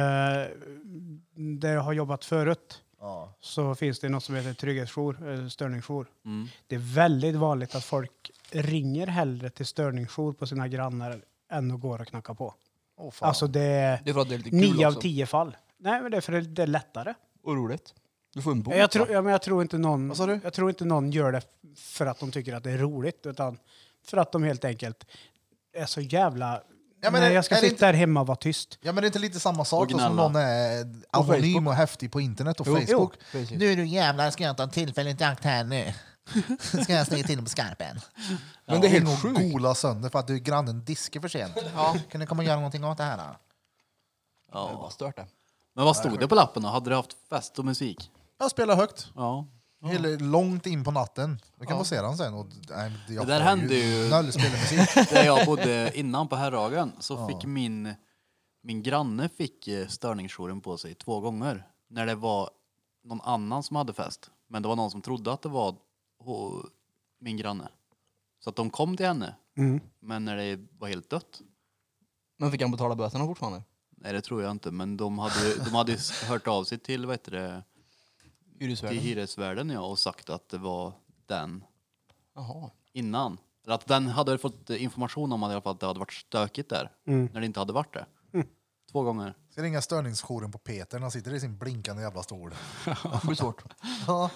C: där jag har jobbat förut
A: Ja.
C: så finns det något som heter trygghetsjour, eh, störningsjour. Det är väldigt vanligt att folk ringer hellre till störningsjour på sina grannar än att gå och knacka på.
A: Åh, fan.
C: Alltså det är
B: Det är för att det är lite kul
C: nio av
B: också.
C: tio fall. Nej, men det är för att det är lättare.
B: Och roligt. Du får en bok.
C: Jag tror, ja, men jag, tror inte någon,
A: Vad sa du?
C: jag tror inte någon gör det för att de tycker att det är roligt, utan för att de helt enkelt är så jävla...
A: Ja, men
C: Nej,
A: är-
C: jag ska
A: är det
C: sitta
A: inte-
C: här hemma och vara tyst.
A: Ja men det är inte lite samma sak då, som
D: Originella.
A: någon är anonym
B: Facebook.
A: och häftig på internet och
B: Jo, jo,
A: Facebook.
B: precis.
A: nu är du jävlar, ska jag ta en tillfällig akt här nu? ska jag snygga till på skarpen?
B: Men det är helt
A: Ring och
B: sjukt.
A: gola sönder för att du grannen diskar för sent. Ja. Kan du komma och göra någonting åt det här? Då?
B: Ja. Vad stört det.
D: Men vad stod det på lappen då? Hade du haft fest och musik?
A: Jag spelar högt.
D: Ja.
A: Hela, långt in på natten. Du kan få se den sen. Och, nej, jag
D: Det där
A: har
D: händer ju-
A: Noll spelmusik.
D: Där jag bodde innan på Herragen så fick min, min granne fick eh, störningsjouren på sig två gånger. När det var någon annan som hade fest. Men det var någon som trodde att det var ho- min granne. Så att de kom till henne. Men när det var helt dött.
B: Men fick han betala böterna fortfarande?
D: Nej det tror jag inte. Men de hade, ju- de hade ju s- hört av sig till, vad heter det, till
B: Hyresvärden?
D: hyresvärden ja, och sagt att det var den
B: Jaha.
D: innan. Eller att den hade fått information om att i alla fall att det hade varit stökigt där.
A: Mm.
D: När det inte hade varit det. Två gånger.
A: Ska ringa störningsjouren på Peter när han sitter i sin blinkande jävla stol.
B: Det blir svårt.
A: Ja.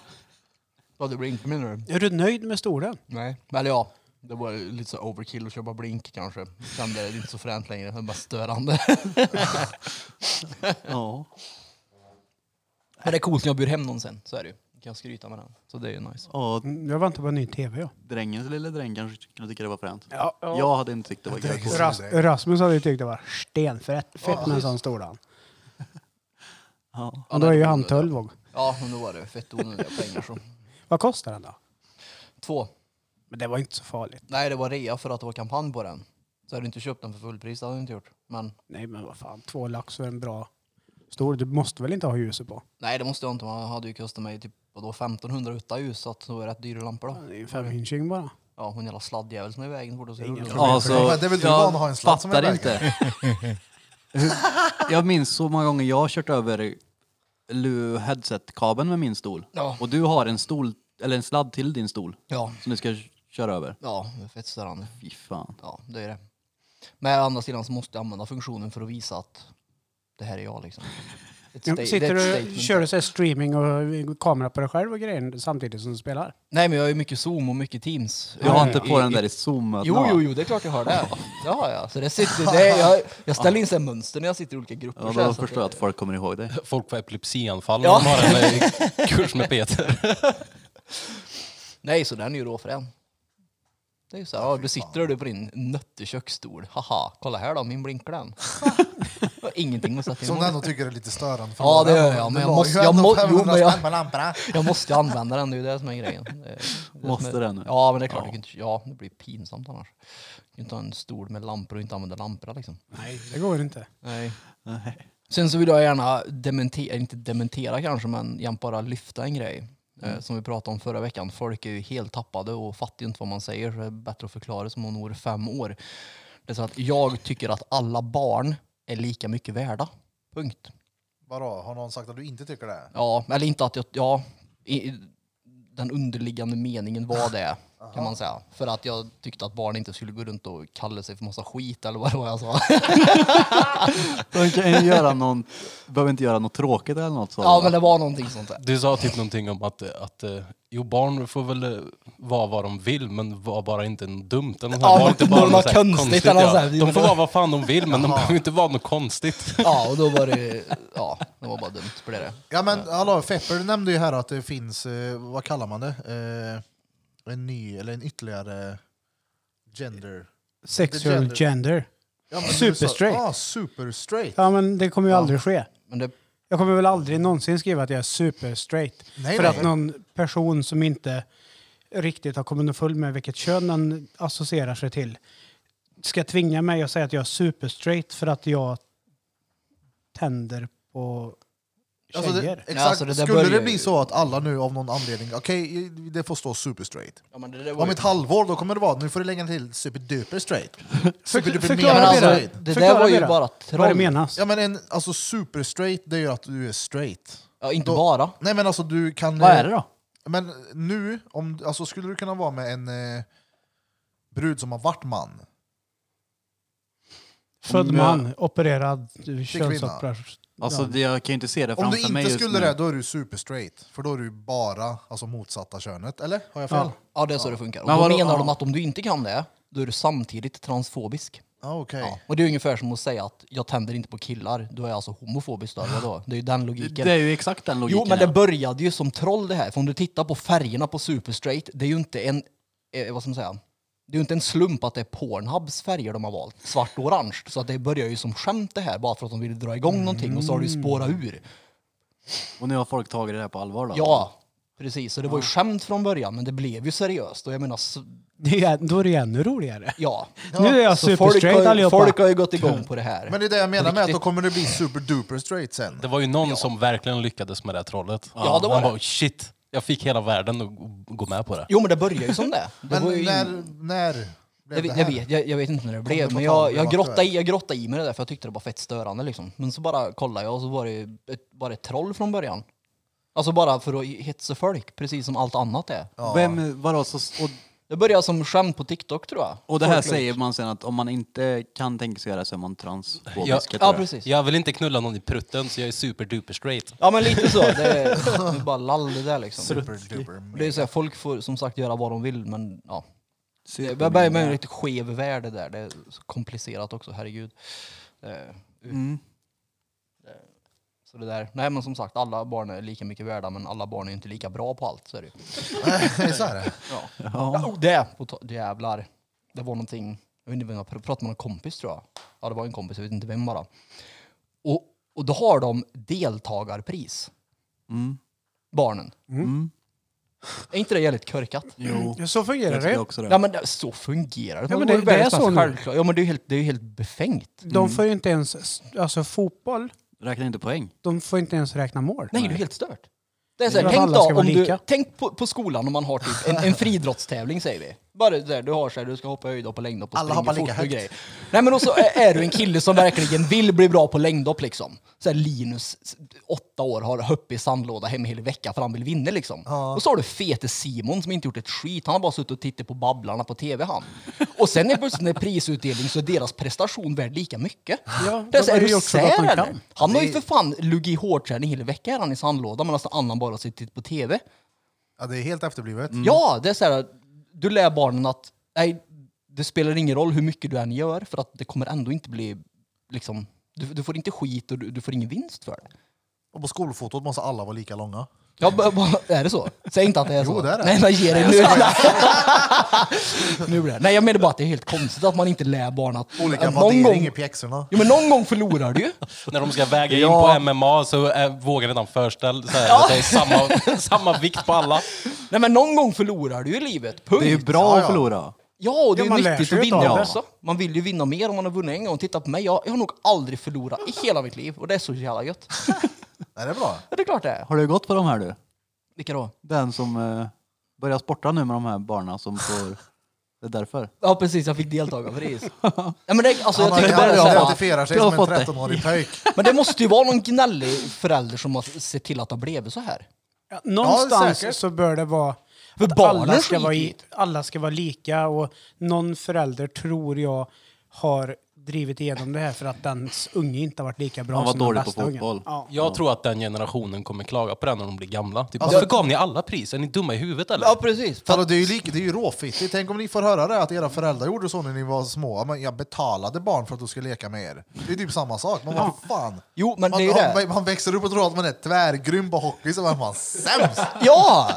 B: Ja, det blir inte menar du?
C: Är du nöjd med stolen?
B: Nej. Eller ja, det var lite så overkill att köpa blink kanske. Sen blev det inte så fränt längre. Det var bara störande.
D: Ja.
B: Men det är coolt när jag bjuder hem någon sen. Så är det ju. Då Kan jag skryta med den. Så det är ju nice.
D: Och
C: Mm, Jag väntar på en ny tv. Ja.
D: drängens lilla dräng kanske kunde tycka det var fränt.
C: Ja, ja.
D: Jag hade inte tyckt det var grejt.
C: Ras, Rasmus hade ju tyckt det var stenfett fett med en sån stol. han.
D: Ja.
C: Och då är ju han 12 och-
B: Ja, men då var det fett onödiga pengar så.
C: Vad kostar den då?
B: Två.
C: Men det var inte så farligt.
B: Nej, det var rea för att det var kampanj på den. Så hade du inte köpt den för fullpris, det hade du inte gjort. Men
C: Nej men vad fan, två lax för en bra stol. Du måste väl inte ha ljuset på?
B: nej, det måste jag inte. Man hade ju kostat mig typ vadå, 1500 utan ljus, så att det var rätt dyra lampor då.
C: Det är ju fem inching bara.
B: Ja, hon jävla sladdjävel som är i vägen fort och så rullar den.
D: Alltså,
A: Men det är väl du van att ha en sladd som är i
D: fattar
A: vägen?
D: inte. jag minns så många gånger jag har kört över lu- headset-kabeln med min stol.
B: Ja.
D: Och du har en stol, eller en sladd till din stol.
B: Ja.
D: Som du ska köra över.
B: Ja, det är fett störande.
D: Fy fan.
B: Ja, det är det. Men å andra sidan så måste jag använda funktionen för att visa att det här är jag liksom. Ett
C: Ja,
B: sta- det är
C: Sitter
B: ett
C: du,
B: statement.
C: kör du så här streaming och kamera på dig själv och grejer samtidigt som du spelar?
B: Nej men jag har ju mycket zoom och mycket teams.
D: Jag har
B: Eh,
D: inte på
B: i-
D: den
B: i-
D: där i zoom
B: Jo, jo, jo, det är klart jag har det. Ja, ja. Så det sitter, det är, jag, jag ställer in så här mönster när jag sitter i olika grupper.
D: Ja,
B: så här,
D: då
B: så att
D: förstår jag att folk kommer ihåg dig.
E: Folk får epilepsianfall när
B: Ja.
E: de har en eh, kurs med Peter.
B: Nej, så den är ju råfrän. Det är ju så här, ja, du sitter du på din nötte köksstol. Haha, kolla här då, min blinkar den. Jag har Ingenting att sätta
A: Som du ändå
B: emot.
A: tycker är lite störande. för
B: Ja,
A: några.
B: det gör jag, men
A: Du
B: jag
A: la
B: måste-
A: ju
B: jag
A: ändå
B: må- jo,
A: 500
B: men jag-
A: spänn på lamporna.
B: Jag måste ju använda den, det är ju det som är grejen. Det är- det är som är-
D: Måste den nu?
B: Ja, men det är klart. du kan inte- Ja, det blir pinsamt annars. Du kan inte ha en stol med lampor och inte använda lamporna liksom.
C: Nej, det går inte.
B: Nej. Sen så vill jag gärna dementera, inte dementera kanske, men jämt bara lyfta en grej.
D: Mm.
B: Eh, som vi pratade om förra veckan. Folk är ju helt tappade och fattar ju inte vad man säger. Så det är bättre att förklara som om hon vore fem år. Det är så att jag tycker att alla barn är lika mycket värda. Punkt.
A: Vadå, har någon sagt att du inte tycker det?
B: Ja, eller inte att jag... Ja, i, i- den underliggande meningen var det, kan man säga. För att jag tyckte att barn inte skulle gå runt och kalla sig för massa skit eller vad det var jag sa.
D: De kan ju göra någon, behöver inte göra något tråkigt eller något sånt.
B: Ja, men det var någonting sånt där.
E: Du sa typ någonting om att, eh, att eh, jo, barn får väl eh, vara vad de vill, men var bara inte en dumt. Eller något
B: Ja,
E: sånt.
B: men inte
E: Var
B: något
E: något så här
B: konstigt eller något
E: ja.
B: sånt.
E: De får vara vad fan de vill, men de behöver inte vara något konstigt.
B: Ja, och då var det... Ja, det var bara dumt. Blev det.
A: Ja men hallå, Fepper nämnde ju här att det finns, eh, vad kallar man det? Eh, en ny, eller en ytterligare gender...
C: Sexual
A: Gender.
C: gender.
A: Ja, men du
C: Super
A: sa-
C: straight.
A: Ja, super straight.
C: Ja, men det kommer ju
A: Ja.
C: aldrig ske.
B: Men det...
C: Jag kommer väl aldrig någonsin skriva att jag är super straight.
A: Nej,
C: för
A: nej.
C: att någon person som inte riktigt har kommit underfull med vilket kön den associerar sig till ska tvinga mig att säga att jag är super straight för att jag tänder på
A: Alltså,
C: tjejer.
A: det, exakt.
B: Ja, alltså, det där
A: Skulle
B: börjar
A: det
B: ju-
A: bli så att alla nu av någon anledning, okej det får stå super straight.
B: Ja, men det där var
A: Om
B: ju...
A: ett halvår då kommer det vara, nu får du lägga till superduper straight. Superduper
C: förklara
B: Ja, men
A: mega
B: alltså,
C: mera.
A: straight.
B: det där
C: Förklara
B: var ju
C: mera.
B: bara
C: Vad det
B: troll.
C: menas?
A: Ja men en, alltså super straight det är ju att du är straight.
B: Ja, inte
A: Då-
B: bara.
A: Nej men alltså du kan...
D: Vad är det då?
A: Men nu, om, alltså, skulle du kunna vara med en eh, brud som har varit man?
C: Född
D: Om jag-
C: man, opererad, könsopererad.
D: Alltså det- jag kan ju inte se det
A: Om du
D: framför mig
A: inte
D: just
A: skulle
D: nu.
A: det, då är du super straight. För då är du bara alltså, motsatta könet, eller? Har jag fel?
B: Ja, det är så det funkar. Och
D: Men
B: då
D: vadå-
B: menar
D: ja.
B: de att om du inte kan det, då är du samtidigt transfobisk.
A: Ja, Ah, okej.
B: Ja. Och det är ungefär som att säsäga att jag tänder inte på killar, då är jag alltså homofobisk då, då. Det är ju den logiken.
D: Det är ju exakt den logiken.
B: jo, men det
D: ja.
B: började ju som troll det här. För om du tittar på färgerna på Superstraight, det är ju inte en, eh, vad ska man säga, det är ju inte en slump att det är Pornhubs färger de har valt, svart och orange. Så att det börjar ju som skämt det här, bara för att de ville dra igång någonting och så har det ju spårat ur.
D: Och nu har folk tagit det här på allvar då?
B: Ja, precis. Så det var ju skämt från början, men det blev ju seriöst. Och jag menar, s-
C: Det är, då är det ännu roligare.
B: ja.
C: Nu är jag
B: Så folk
C: superstraight
B: har, ju,
C: allihopa.
B: folk har ju gått igång på det här.
A: Men det är det jag menar med att då
B: Riktigt.
A: kommer det bli super duper straight sen.
E: Det var ju någon som verkligen lyckades med det här trollet.
B: Ja, det var
E: Han
B: det.
E: bara, shit, jag fick hela världen att g- gå med på det.
B: Jo, men det börjar ju som det. det
A: Men
B: var ju
A: när,
B: in-
A: när blev
B: Jag
A: det
B: vet,
A: här?
B: jag, vet, jag, jag vet inte när det
A: det
B: blev,
A: på tal,
B: men jag,
A: det
B: jag,
A: var
B: grottade
A: aktuellt.
B: i, jag grottade i mig det där för jag tyckte det var fett störande. Liksom. Men så bara kollade jag och så var det ju ett, bara ett troll från början. Alltså bara för att hetsa folk, precis som allt annat är.
D: Vem, vadå, så, och,
B: Det började som skämt på TikTok tror jag.
D: och det här
B: Folk la ut-
D: säger man sen att om man inte kan tänka sig göra så är man transfobisk.
E: Ja.
D: jag tror
B: Ja,
D: det.
B: precis.
E: Jag vill inte knulla någon i prutten, så jag är super duper straight.
B: Ja, men lite så. Det är, det är bara lall det där liksom.
A: Super duper.
B: Det är ju så här, folk får som sagt göra vad de vill, men ja. Det börjar bli en riktigt skev värld det där. Det är så komplicerat också, herregud. Eh,
D: Mm.
B: Så det där. Nej men som sagt, alla barn är lika mycket värda men alla barn är inte lika bra på allt. Så är det ju.
A: så är det.
B: Ja, och det! På ta- jävlar. Det var någonting, jag vet inte vem jag pr- pratade med någon kompis tror jag. Ja det var en kompis, jag vet inte vem bara. Och, och då har de deltagarpris,
D: Mm.
B: barnen.
D: Mm.
B: Är inte det jävligt körkat?
D: Jo,
C: Ja, Så fungerar
D: jag tycker
C: det.
D: också det.
B: Ja men det- så fungerar det.
C: Ja, men
B: var
C: det-
B: ju
C: det är
B: världens
C: så
B: mest
C: nu.
B: självklara- Ja men det är ju helt, det är ju helt befängt.
C: De får ju inte ens, alltså fotboll,
D: Räkna inte poäng.
C: de får inte ens räkna mål.
B: Nej, det är helt stört. Det är
C: Det
B: så
C: är
B: här,
C: att
B: tänk
C: alla ska
B: då,
C: vara
B: om du,
C: lika.
B: tänk på, på skolan om man har typ en, en friidrottstävling säger vi. Bara där, du har så här, du ska hoppa höjdhopp och längdhopp och
A: Alla
B: springa
A: hoppar
B: fort
A: lika
B: och
A: högt.
B: grejer. Nej men också är du en kille som verkligen vill bli bra på längdhopp liksom. Så här, Linus, s- åtta år, har hopp i sandlåda hemma hela veckan för han vill vinna liksom. Och så har du fete Simon som inte gjort ett skit, han har bara suttit och tittat på Babblarna på tv han. Och sen är plötsligt när det är prisutdelning så är deras prestation värd lika mycket.
C: Ja,
B: det är, så, här, Alltså,
C: de
B: är
C: har ju
B: du
C: gjort så gott
B: sär
C: de
B: eller?
C: kan.
B: Han har ju för fan luggit i hårdträning hela veckan är han i sandlådan medan annan bara sitter och tittar på tv.
A: Ja, det är helt efterblivet.
B: Ja, det är så här. Du lär barnen att nej, det spelar ingen roll hur mycket du än gör för att det kommer ändå inte bli liksom. Du, du får inte skit och du, du får ingen vinst för det.
A: Och på skolfotot måste alla vara lika långa.
B: Ja, b- b- är det så? Säg inte att det är
A: Jo,
B: så.
A: det är det.
B: Nej, men ge dig nu. nu blir det. Nej, jag menar bara att det är helt konstigt att man inte lär barn att...
A: Olika
B: att någon
A: vaddering
B: gång,
A: i pjäxorna.
B: jo, men någon gång förlorar du ju.
E: När de ska väga in
A: Ja.
E: på MMA så är, vågar redan förställd. Så här, det är samma, samma vikt på alla.
B: Nej, men någon gång förlorar du ju i livet. Punkt.
D: Det är ju bra
A: Ja, ja.
D: att förlora.
B: Ja, och det
C: Ja, man
B: är ju
C: lär
B: nyttigt
C: sig
B: att
C: ju
B: vinna
C: utav det.
B: också. Man vill ju vinna mer om man har vunnit en gång. Titta på mig, jag, jag har nog aldrig förlorat i hela mitt liv och det är så jävla gött.
A: Är det bra?
B: Ja, det är klart det är.
D: Har du gått på de här du?
B: Vilka då?
D: Den som eh, börjar sporta nu med de här barnen som får... Det är därför.
B: Ja precis, jag fick deltagarpris. ja, men, det, alltså,
A: Han
B: jag
A: har-
B: tycker bara det är
A: han
B: så här,
A: identifierar sig
D: jag har
A: som en
D: fått det.
A: 13-årig pöjk.
B: men det måste ju vara någon gnällig förälder som har sett till att det blev så här.
C: Ja, någonstans
A: säkert.
C: så bör det vara
B: För
C: att
B: barnen
C: alla ska, vara i,
B: skiter
C: alla ska vara lika och någon förälder tror jag har drivit igenom det här för att dens unge inte har varit lika bra
D: Han var
C: som den
D: dålig på
C: bästa ungen.
D: fotboll.
C: Ja.
E: Jag tror att den generationen kommer klaga på det när de blir gamla. Typ,
A: Alltså-
E: Varför gav ni alla pris? Är ni dumma i huvudet eller?
B: Ja precis. För,
A: Hallå, det är ju, lik, det är ju råfittigt. Tänk om ni får höra det att era föräldrar gjorde så när ni var små. Ja, Men jag betalade barn för att du skulle leka med er. Det är typ samma sak. Man bara, fan.
B: jo men
A: Man,
B: det är ju det.
A: man, man växer upp och tror att man är tvärgrym på hockey, så är man sämst.
B: Ja!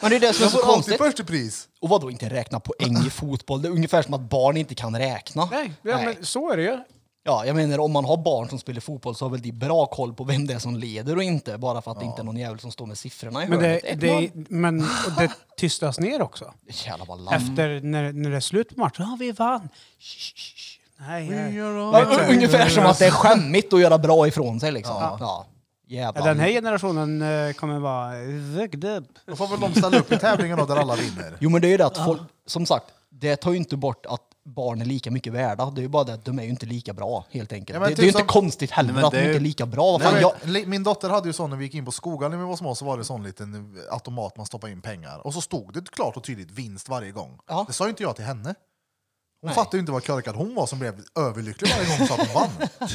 B: Men det är det som är
A: Jag
B: så
A: får alltid
B: Alltså, konstigt.
A: första pris.
B: Och vadå inte räkna poäng i fotboll? Det är ungefär som att barn inte kan räkna.
C: Nej, ja,
B: Nej.
C: men så är det ju.
B: Ja, jag menar om man har barn som spelar fotboll så har väl de bra koll på vem det är som leder och inte, bara för att det inte är någon jävel som står med siffrorna i
C: Men
B: hörnet.
C: det,
B: Ett
C: det,
B: noll.
C: är- men, och det tystas ner också.
B: Jävla
D: Mm.
B: balans.
C: Efter när, när det är slut på matchen. Ja, vi vann. Shh, shh, shh. Nej, nej.
B: Ja, u- ungefär som att det är skämmigt att göra bra ifrån sig liksom. Ja.
C: Ja,
B: Jävlar.
C: den här generationen eh, kommer vara vägd upp.
A: Då får väl de ställa upp i tävlingen då, där alla vinner.
B: Jo men det är ju det att folk, som sagt, det tar ju inte bort att barn är lika mycket värda. Det är ju bara det att de är ju inte lika bra helt enkelt.
A: Ja,
B: det,
A: men
B: det är ju
A: typ
B: inte
A: som-
B: konstigt heller
D: Nej, men
B: att
D: det
B: de
D: är ju-
B: inte är lika bra. Vad
A: Nej,
B: fan,
A: men,
B: jag,
A: li- Min dotter hade ju sån när vi gick in på skolan när vi var små så var det sån liten automat man stoppade in pengar. Och så stod det klart och tydligt vinst varje gång.
B: Ja.
A: Det sa ju inte jag till henne. Hon
B: Nej.
A: fattade ju inte vad korkad hon var som blev överlycklig varje gång hon sa att hon vann.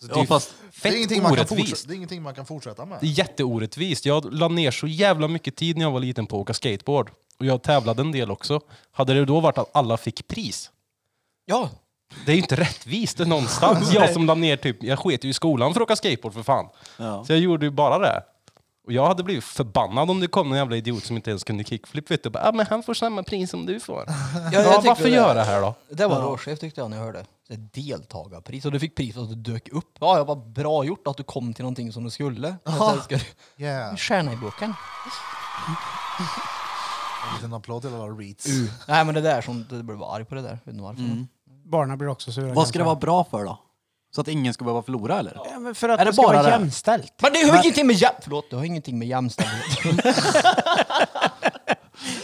E: Så det är ju
D: fast
A: Det
E: fett
A: är, ingenting man kan
E: orättvist.
A: fortsätta, det är ingenting man kan fortsätta med.
E: Det är jätteorättvist. Jag la ner så jävla mycket tid när jag var liten på att åka skateboard. Och jag tävlade en del också. Hade det då varit att alla fick pris?
B: ja.
E: Det är ju inte rättvist någonstans. Jag som la ner typ, jag sket ju i skolan för att åka skateboard för fan.
D: Ja.
E: Så jag gjorde ju bara det. Och jag hade blivit förbannad om det kom någon jävla idiot som inte ens kunde kickflip. Vet du. Bara, ah, men han får samma pris som du får. Ja,
B: jag tycker
E: varför
B: det.
E: gör det här då?
B: Det var råchef tyckte jag när jag hörde. Så här, Deltagarpris. Och du fick pris för att du dök upp. Ja, jag var bra gjort att du kom till någonting som du skulle. Men sen ska du-
A: Yeah.
B: En Stjärna i boken.
A: En liten applåd till alla reads.
B: Nej men det där som, du blev arg på det där. Vet inte varför.
D: Mm.
C: Barnen blir också sura.
D: Vad ska det
C: kanske.
D: vara bra för då? Så att ingen ska behöva förlora eller?
C: Ja, men för att
D: Är
C: det
D: det
C: ska
D: bara
C: vara
D: det?
C: jämställt.
B: Men det har ingenting med jäm... Förlåt, det har ingenting med jämställdhet.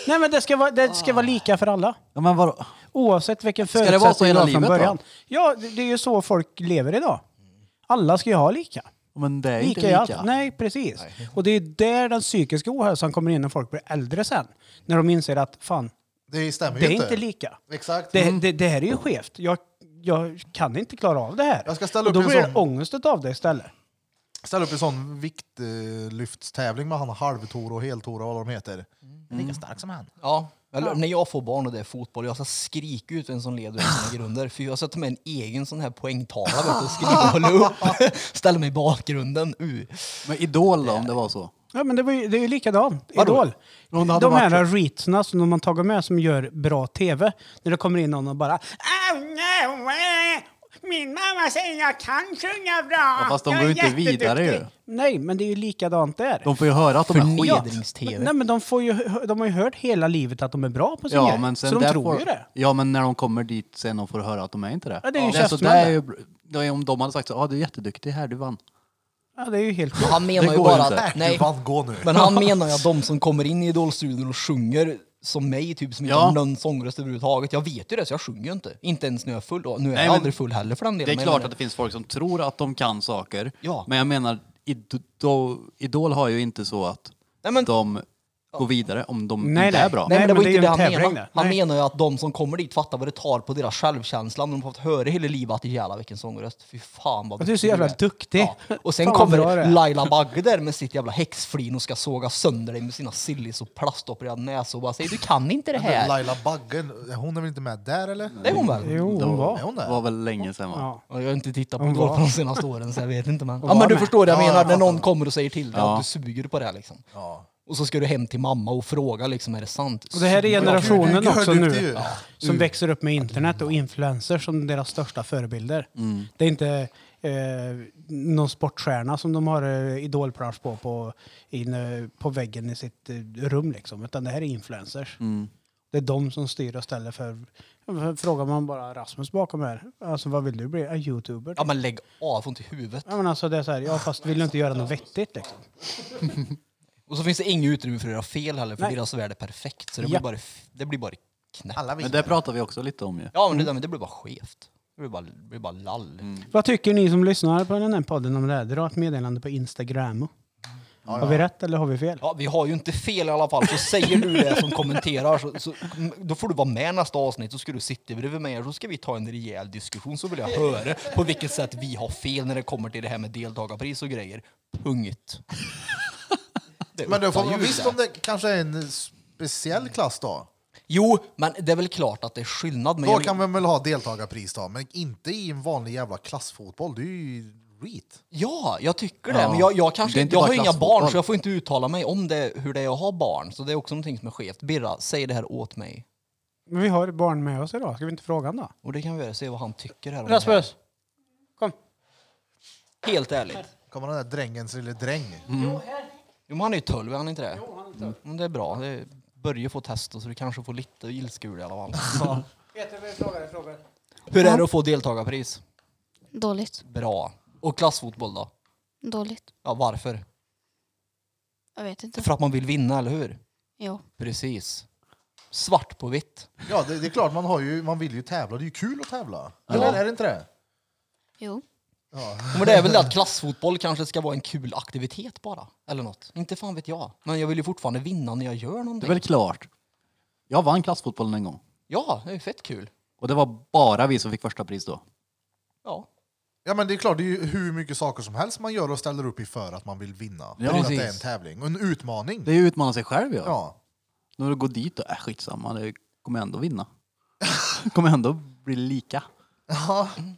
C: Nej, men det ska vara, det ska vara lika för alla.
D: Ja, men vadå?
C: Oavsett vilken
D: Ah. det vara så
C: förutsättning
D: hela
C: du har från
D: livet då?
C: början. Ja, det det är ju så folk lever idag. Alla ska ju ha lika.
D: Men det är
C: Lika,
D: inte
C: i
D: lika.
C: allt. Nej, precis. Och det är där den psykiska ohälsan kommer in när folk blir äldre sen. När de inser att fan,
A: Det stämmer
C: det
A: ju
C: är
A: inte.
C: inte lika.
A: Exakt. Mm.
D: Mm.
C: Det, det, det här är ju skevt. Jag, jag kan inte klara av det här.
A: Jag ska ställa
C: Och
A: upp
C: då
A: en
C: blir det
A: sån.
C: ångest av det istället.
A: Ställ upp en sån viktlyftstävling med han halvtor och heltor och vad de heter. Men Lika stark som han.
B: ja. Eller, När jag får barn och det är fotboll, jag ska skrika ut vem som leder och sina grunder. För jag ska ta med en egen sån här poängtavla vet du, och skriva och hålla upp. Ställa mig i bakgrunden. Uh.
D: Men Idol då, om det var så?
C: Ja, men det, var ju, det är ju likadant.
B: Vadå?
C: Idol.
D: Om det hade
C: De här
D: varit-
C: reatsna som de har tagit med som gör bra tv. När det kommer in någon och bara... "Ah, no, eh, Min mamma säger jag kan sjunga bra.
D: Ja, fast de
C: Jag
D: går
C: är
D: ju inte vidare
C: jätteduktig." Nej, men det är ju likadant där.
D: De får ju höra att de är skit.
B: Förnedrings-tv.
C: Nej, men de, får ju, de har ju hört hela livet att de är bra på sin
D: Ja,
C: grej.
D: men sen
C: så de
D: där
C: tror
D: får,
C: ju det.
D: Ja, men när de kommer dit sen och får höra att de är inte det.
C: Ja, det är ju
D: så
C: käftsmäll
D: det är ju, det är ju om de hade sagt så, ja ah, du är jätteduktig här, du vann.
C: Ja, det är ju helt
B: Han menar
D: Det
B: ju
D: går
B: bara
D: inte.
B: att... Nej.
A: Du Äh, vann, gå nu.
B: Men han menar ju att de som kommer in i Idolstudion och sjunger som mig, typ, som inte
D: Ja.
B: har någon sångröst överhuvudtaget. Jag vet ju det, så jag sjunger ju inte. Inte ens när jag är full. Och nu är
D: Nej,
B: jag
D: men
B: aldrig full heller för den delen.
D: Det är
B: men
D: klart
B: jag
D: att det finns folk som tror att de kan saker.
B: Ja.
D: Men jag menar, idol, idol har ju inte så att
B: Nej, men-
D: de går vidare om de
C: Nej,
D: inte
C: nej.
D: är bra.
B: Nej, men det var
C: men det är
B: inte
C: ju
B: det
C: en
B: han
C: tävling
B: menade.
C: det.
B: Han
C: Nej.
B: menar ju att de som kommer dit fattar vad det tar på deras självkänsla. Men de har fått höra hela livet att det är jävla vilken sångröst. Fy fan vad
C: Och du är så jävla duktig.
B: Ja. Och sen
C: Fan, vad bra det
B: kommer
C: är.
B: Laila Bagge där med sitt jävla häxflin och ska såga sönder dig med sina sillis och plastopererad näsa och bara säger du kan inte det
A: Men
B: här.
A: Laila Bagge, hon är väl inte med där eller?
B: Det är hon väl?
C: Jo, hon var.
A: Är hon
D: Det
A: där?
D: var väl länge sedan va?
C: Ja.
B: Ja, Jag har inte tittat på
C: Hon
B: Idol
C: var.
B: på de senaste åren så jag vet inte. Men, ja,
C: var
B: men du
C: med.
B: förstår det jag
A: Ja,
B: menar.
A: jag
B: När någon
A: fattar.
B: kommer och säger till dig
D: Ja.
B: att du suger på det här liksom.
A: Ja.
B: Och så ska du hem till mamma och fråga liksom, är det sant?
C: Och det här är generationen
A: Du är Mm.
C: också
A: duktig ju.
C: nu. Som växer upp med internet och influencers som deras största förebilder.
A: Mm.
C: Det är inte eh, någon sportstjärna som de har eh, idolplansch på, på, inne på väggen i sitt eh, rum liksom. Utan det här är influencers.
A: Mm.
C: Det är de som styr och ställer för... för Frågar man bara Rasmus bakom här, alltså vad vill du bli? En youtuber?
B: Ja men lägg av, från till huvudet.
C: Ja men alltså det är så här, ja fast vill du inte göra något vettigt liksom?
B: Och så finns det inget utrymme för att göra fel heller, för
C: Nej.
B: deras värld är perfekt. Så det,
C: Ja.
B: blir, bara, det blir bara knäppt.
A: Alla
D: Men
A: vet.
D: det pratar vi också lite om ju.
B: Ja, men det,
C: Mm.
B: där, men det blir bara skevt. Det blir bara, det blir bara lall.
C: Vad tycker ni som lyssnar på den här podden om det här? Dra ett meddelande på Instagram. Har vi rätt eller har vi fel?
B: Ja, vi har ju inte fel i alla fall, så säger du det som kommenterar så, så, då får du vara med nästa avsnitt, så ska du sitta bredvid mig och så ska vi ta en rejäl diskussion så vill jag höra på vilket sätt vi har fel när det kommer till det här med deltagarpris och grejer. Punkt. Det är
A: Men du får
B: åtta
A: man
B: ljud
A: visst
B: där.
A: om det kanske är en speciell klass då?
B: Jo, men det är väl klart att det är skillnad. Men
A: Då
B: jag,
A: kan man väl ha deltagarpris då, men inte i en vanlig jävla klassfotboll. Det är ju reet.
B: Ja, jag tycker det.
D: Ja.
B: Men jag, jag,
D: Det
B: kanske,
D: är
B: inte
D: inte
B: jag
D: bara
B: har ju inga
D: klassfotboll.
B: barn så jag får inte uttala mig om det, hur det är att ha barn. Så det är också någonting som är skevt. Birra, säg det här åt mig.
C: Men vi har ett barn med oss idag, ska vi inte fråga honom då?
B: Och det kan vi göra, se vad han tycker här. om det här.
C: Rasmus! Kom.
B: Helt ärligt.
A: Kommer den där drängens lille dräng.
B: Jo, men han är ju 12, är han inte det? Jo, han är 12. Men det är bra. Det börjar få testa så du kanske får lite ilska ur det i alla fall.
C: Peter, vi frågar dig frågor.
B: hur är det att få deltagarpris?
F: Dåligt.
B: Bra. Och klassfotboll då?
F: Dåligt.
B: Ja, varför?
F: Jag vet inte.
B: För att man vill vinna, eller hur?
F: Jo.
B: Precis. Svart på vitt.
A: Ja, det, det är klart, man, har ju, man vill ju tävla. Det är ju kul att tävla. Eller är det inte det?
F: Jo.
B: Men det är väl det att klassfotboll kanske ska vara en kul aktivitet bara. Eller något. Inte fan vet jag. Men jag vill ju fortfarande vinna när jag gör
D: Det
B: någonting.
D: är väl klart. Jag vann klassfotbollen en gång.
B: Ja, det är ju fett kul.
D: Och det var bara vi som fick första pris då.
B: Ja.
A: Ja, men det är klart, det är ju hur mycket saker som helst man gör och ställer upp i för att man vill vinna.
D: Ja,
A: för att
B: precis.
A: det är en tävling och en utmaning.
D: Det är ju utmana sig själv ja.
A: Ja.
D: När du går dit och äh, skitsamma, det kommer jag ändå vinna. kommer jag ändå bli lika.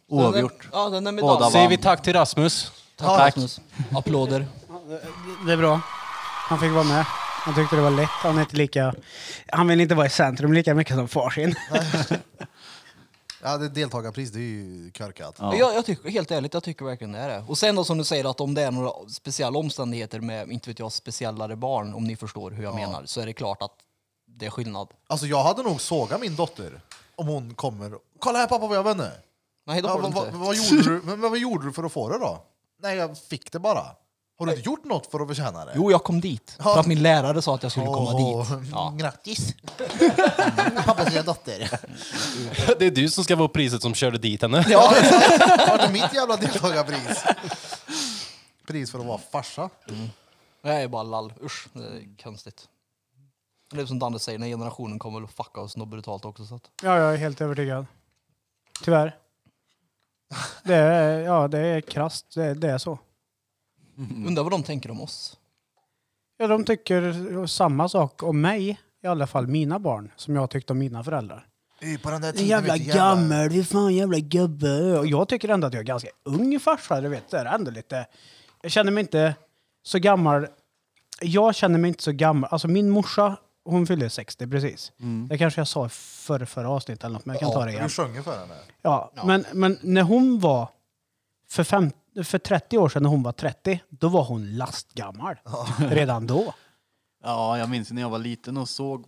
D: Oavgjort.
B: Ja, den där medaljen.
D: Båda
E: Säger
D: vann.
E: vi tack till Rasmus.
B: Tack, Rasmus. Applåder.
C: Det är bra. Han fick vara med. Han tyckte det var lätt. Han är inte lika... Han vill inte vara i centrum lika mycket som far sin.
A: Ja, det är deltagarpris, det är ju korkat.
D: Ja.
B: Jag, jag tycker, helt ärligt, jag tycker verkligen det är det. Och sen då som du säger att om det är några speciella omständigheter med, inte vet jag, speciellare barn, om ni förstår hur jag menar, så är det klart att det är skillnad.
A: Alltså, jag hade nog sågat min dotter om hon kommer. Kolla här pappa vad jag vann
B: Nej, då
A: Ja,
B: får du
A: vad, vad,
B: inte.
A: vad, gjorde du, men, men vad gjorde du för att få det då? Nej, jag fick det bara. Har du inte gjort något för att förtjäna det?
B: Jo, jag kom dit. För att min lärare sa att jag skulle komma
A: Åh,
B: dit. Ja.
A: Grattis! Pappas lilla dotter.
E: Det är du som ska vara priset som körde dit henne.
A: Var det mitt jävla deltagarpris? Pris för att vara farsa.
B: Det är bara lall. Usch, det är konstigt. Det är som Danne säger, den här generationen kommer väl att fucka oss något brutalt också. Så att.
C: Ja, jag är helt övertygad. Tyvärr. Det är, ja, det är krasst. Det, det är så.
B: Undrar vad de tänker om oss.
C: Ja, de tycker samma sak om mig. I alla fall mina barn, som jag tyckte om mina föräldrar.
A: Ey, På den där
C: Din
A: tiden,
C: jävla
A: vet du, jävla-
C: gammal, du fan jävla gubbe. Och jag tycker ändå att jag är ganska ung farsa, du vet. Det är ändå lite... Jag känner mig inte så gammal. Jag känner mig inte så gammal. Alltså min morsa, hon fyllde 60 precis. Det kanske jag sa i förra, förra avsnittet eller något, men jag kan ta det igen.
A: Du sjunger för henne.
C: Ja, Men, men när hon var för, fem, för 30 år sedan, när hon var 30, då var hon lastgammal. Redan då.
D: Ja, jag minns när jag var liten och såg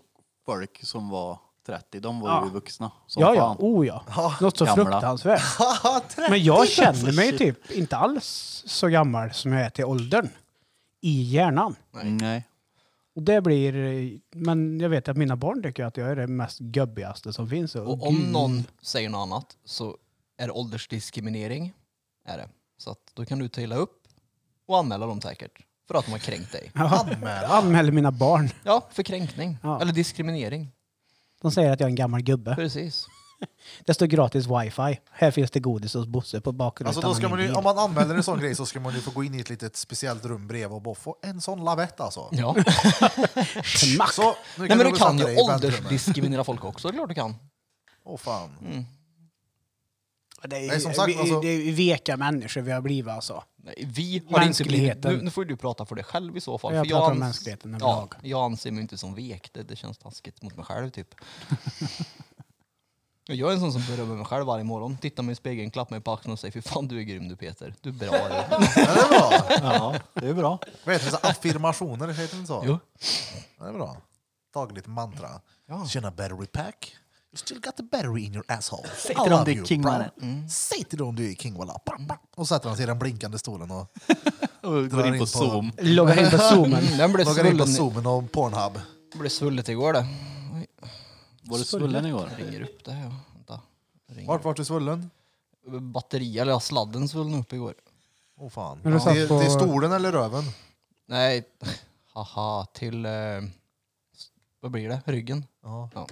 D: folk som var 30. De var ju
C: Ja.
D: vuxna som
C: Ja, ja.
D: fan.
C: Oh ja. Något så
D: gamla.
C: fruktansvärt.
A: Haha, trä-
C: Men jag känner mig typ inte alls så gammal som jag är till åldern. I hjärnan.
D: Mm, Nej.
C: Och det blir, eh, men jag vet att mina barn tycker att jag är det mest gubbigaste som finns.
B: Och om
C: gud.
B: någon säger något annat så är det åldersdiskriminering. Är det. Så att då kan du ta illa upp och anmäla dem säkert. För att de har kränkt dig.
C: Anmäla. Anmäler mina barn.
B: Ja, för kränkning.
C: Ja.
B: Eller diskriminering.
C: De säger att jag är en gammal gubbe.
B: Precis.
C: Det står gratis wifi. Här finns det godis hos Bosse på bakgrunden.
A: Alltså, då ska man ju, om man använder en sån grej så ska man ju få gå in i ett litet speciellt rum bredvid och bara få en sån lavett alltså.
B: Ja.
C: Smack!
A: Så, nu
B: Nej men du
A: gå
B: kan
A: och sätta
B: ju
A: dig i väntrummet.
B: åldersdiskriminera folk också, det är klart du kan.
A: Åh fan.
C: Det
A: Nej, som sagt,
C: vi,
A: alltså-
C: det är ju veka människor vi har blivit alltså.
B: Nej, vi har inte blivit...
C: Mänskligheten.
B: Nu, nu får ju du prata för dig själv i så fall.
C: Jag
B: för
C: pratar om
B: ans-
C: mänskligheten
B: ja,
C: överlag.
B: Jag anser mig inte som vek, det, det känns taskigt mot mig själv typ. Jag är en sån som berömmer mig själv varje morgon, tittar mig i spegeln, klappar mig på axeln och säger fy fan du är grym du Peter, du är bra du.
A: Ja, det är bra.
D: Ja, det är bra.
A: Vad heter det? Så affirmationer, heter det inte så?
B: Jo.
A: Ja, Det är bra. Dagligt mantra.
B: Ja.
A: Tjena battery pack. You still got the battery in your asshole. Säg
D: till dem du är king, mannen.
A: Säg till dem du är king walla. Bam, bam. Och sätter han sig i den blinkande stolen och
D: Och
A: Drar
D: går in
A: in på-
D: på Zoom.
C: Loggar in på zoomen.
B: Mm, Den blev
A: loggar in på
B: svullen,
A: zoomen och pornhub.
B: blev svullet igår det. Oj,
D: Var du svullen igår?
B: ringer upp det här. Vänta. Ringer.
A: Vart vart du svullen?
B: Batteri, eller ja, sladden svullnade upp igår.
A: Åh fan.
C: Men du satt
A: Det är,
C: på-
A: det är stolen eller röven?
B: Nej, haha, till... Eh, vad blir det? Ryggen?
A: Ja.
B: Ja.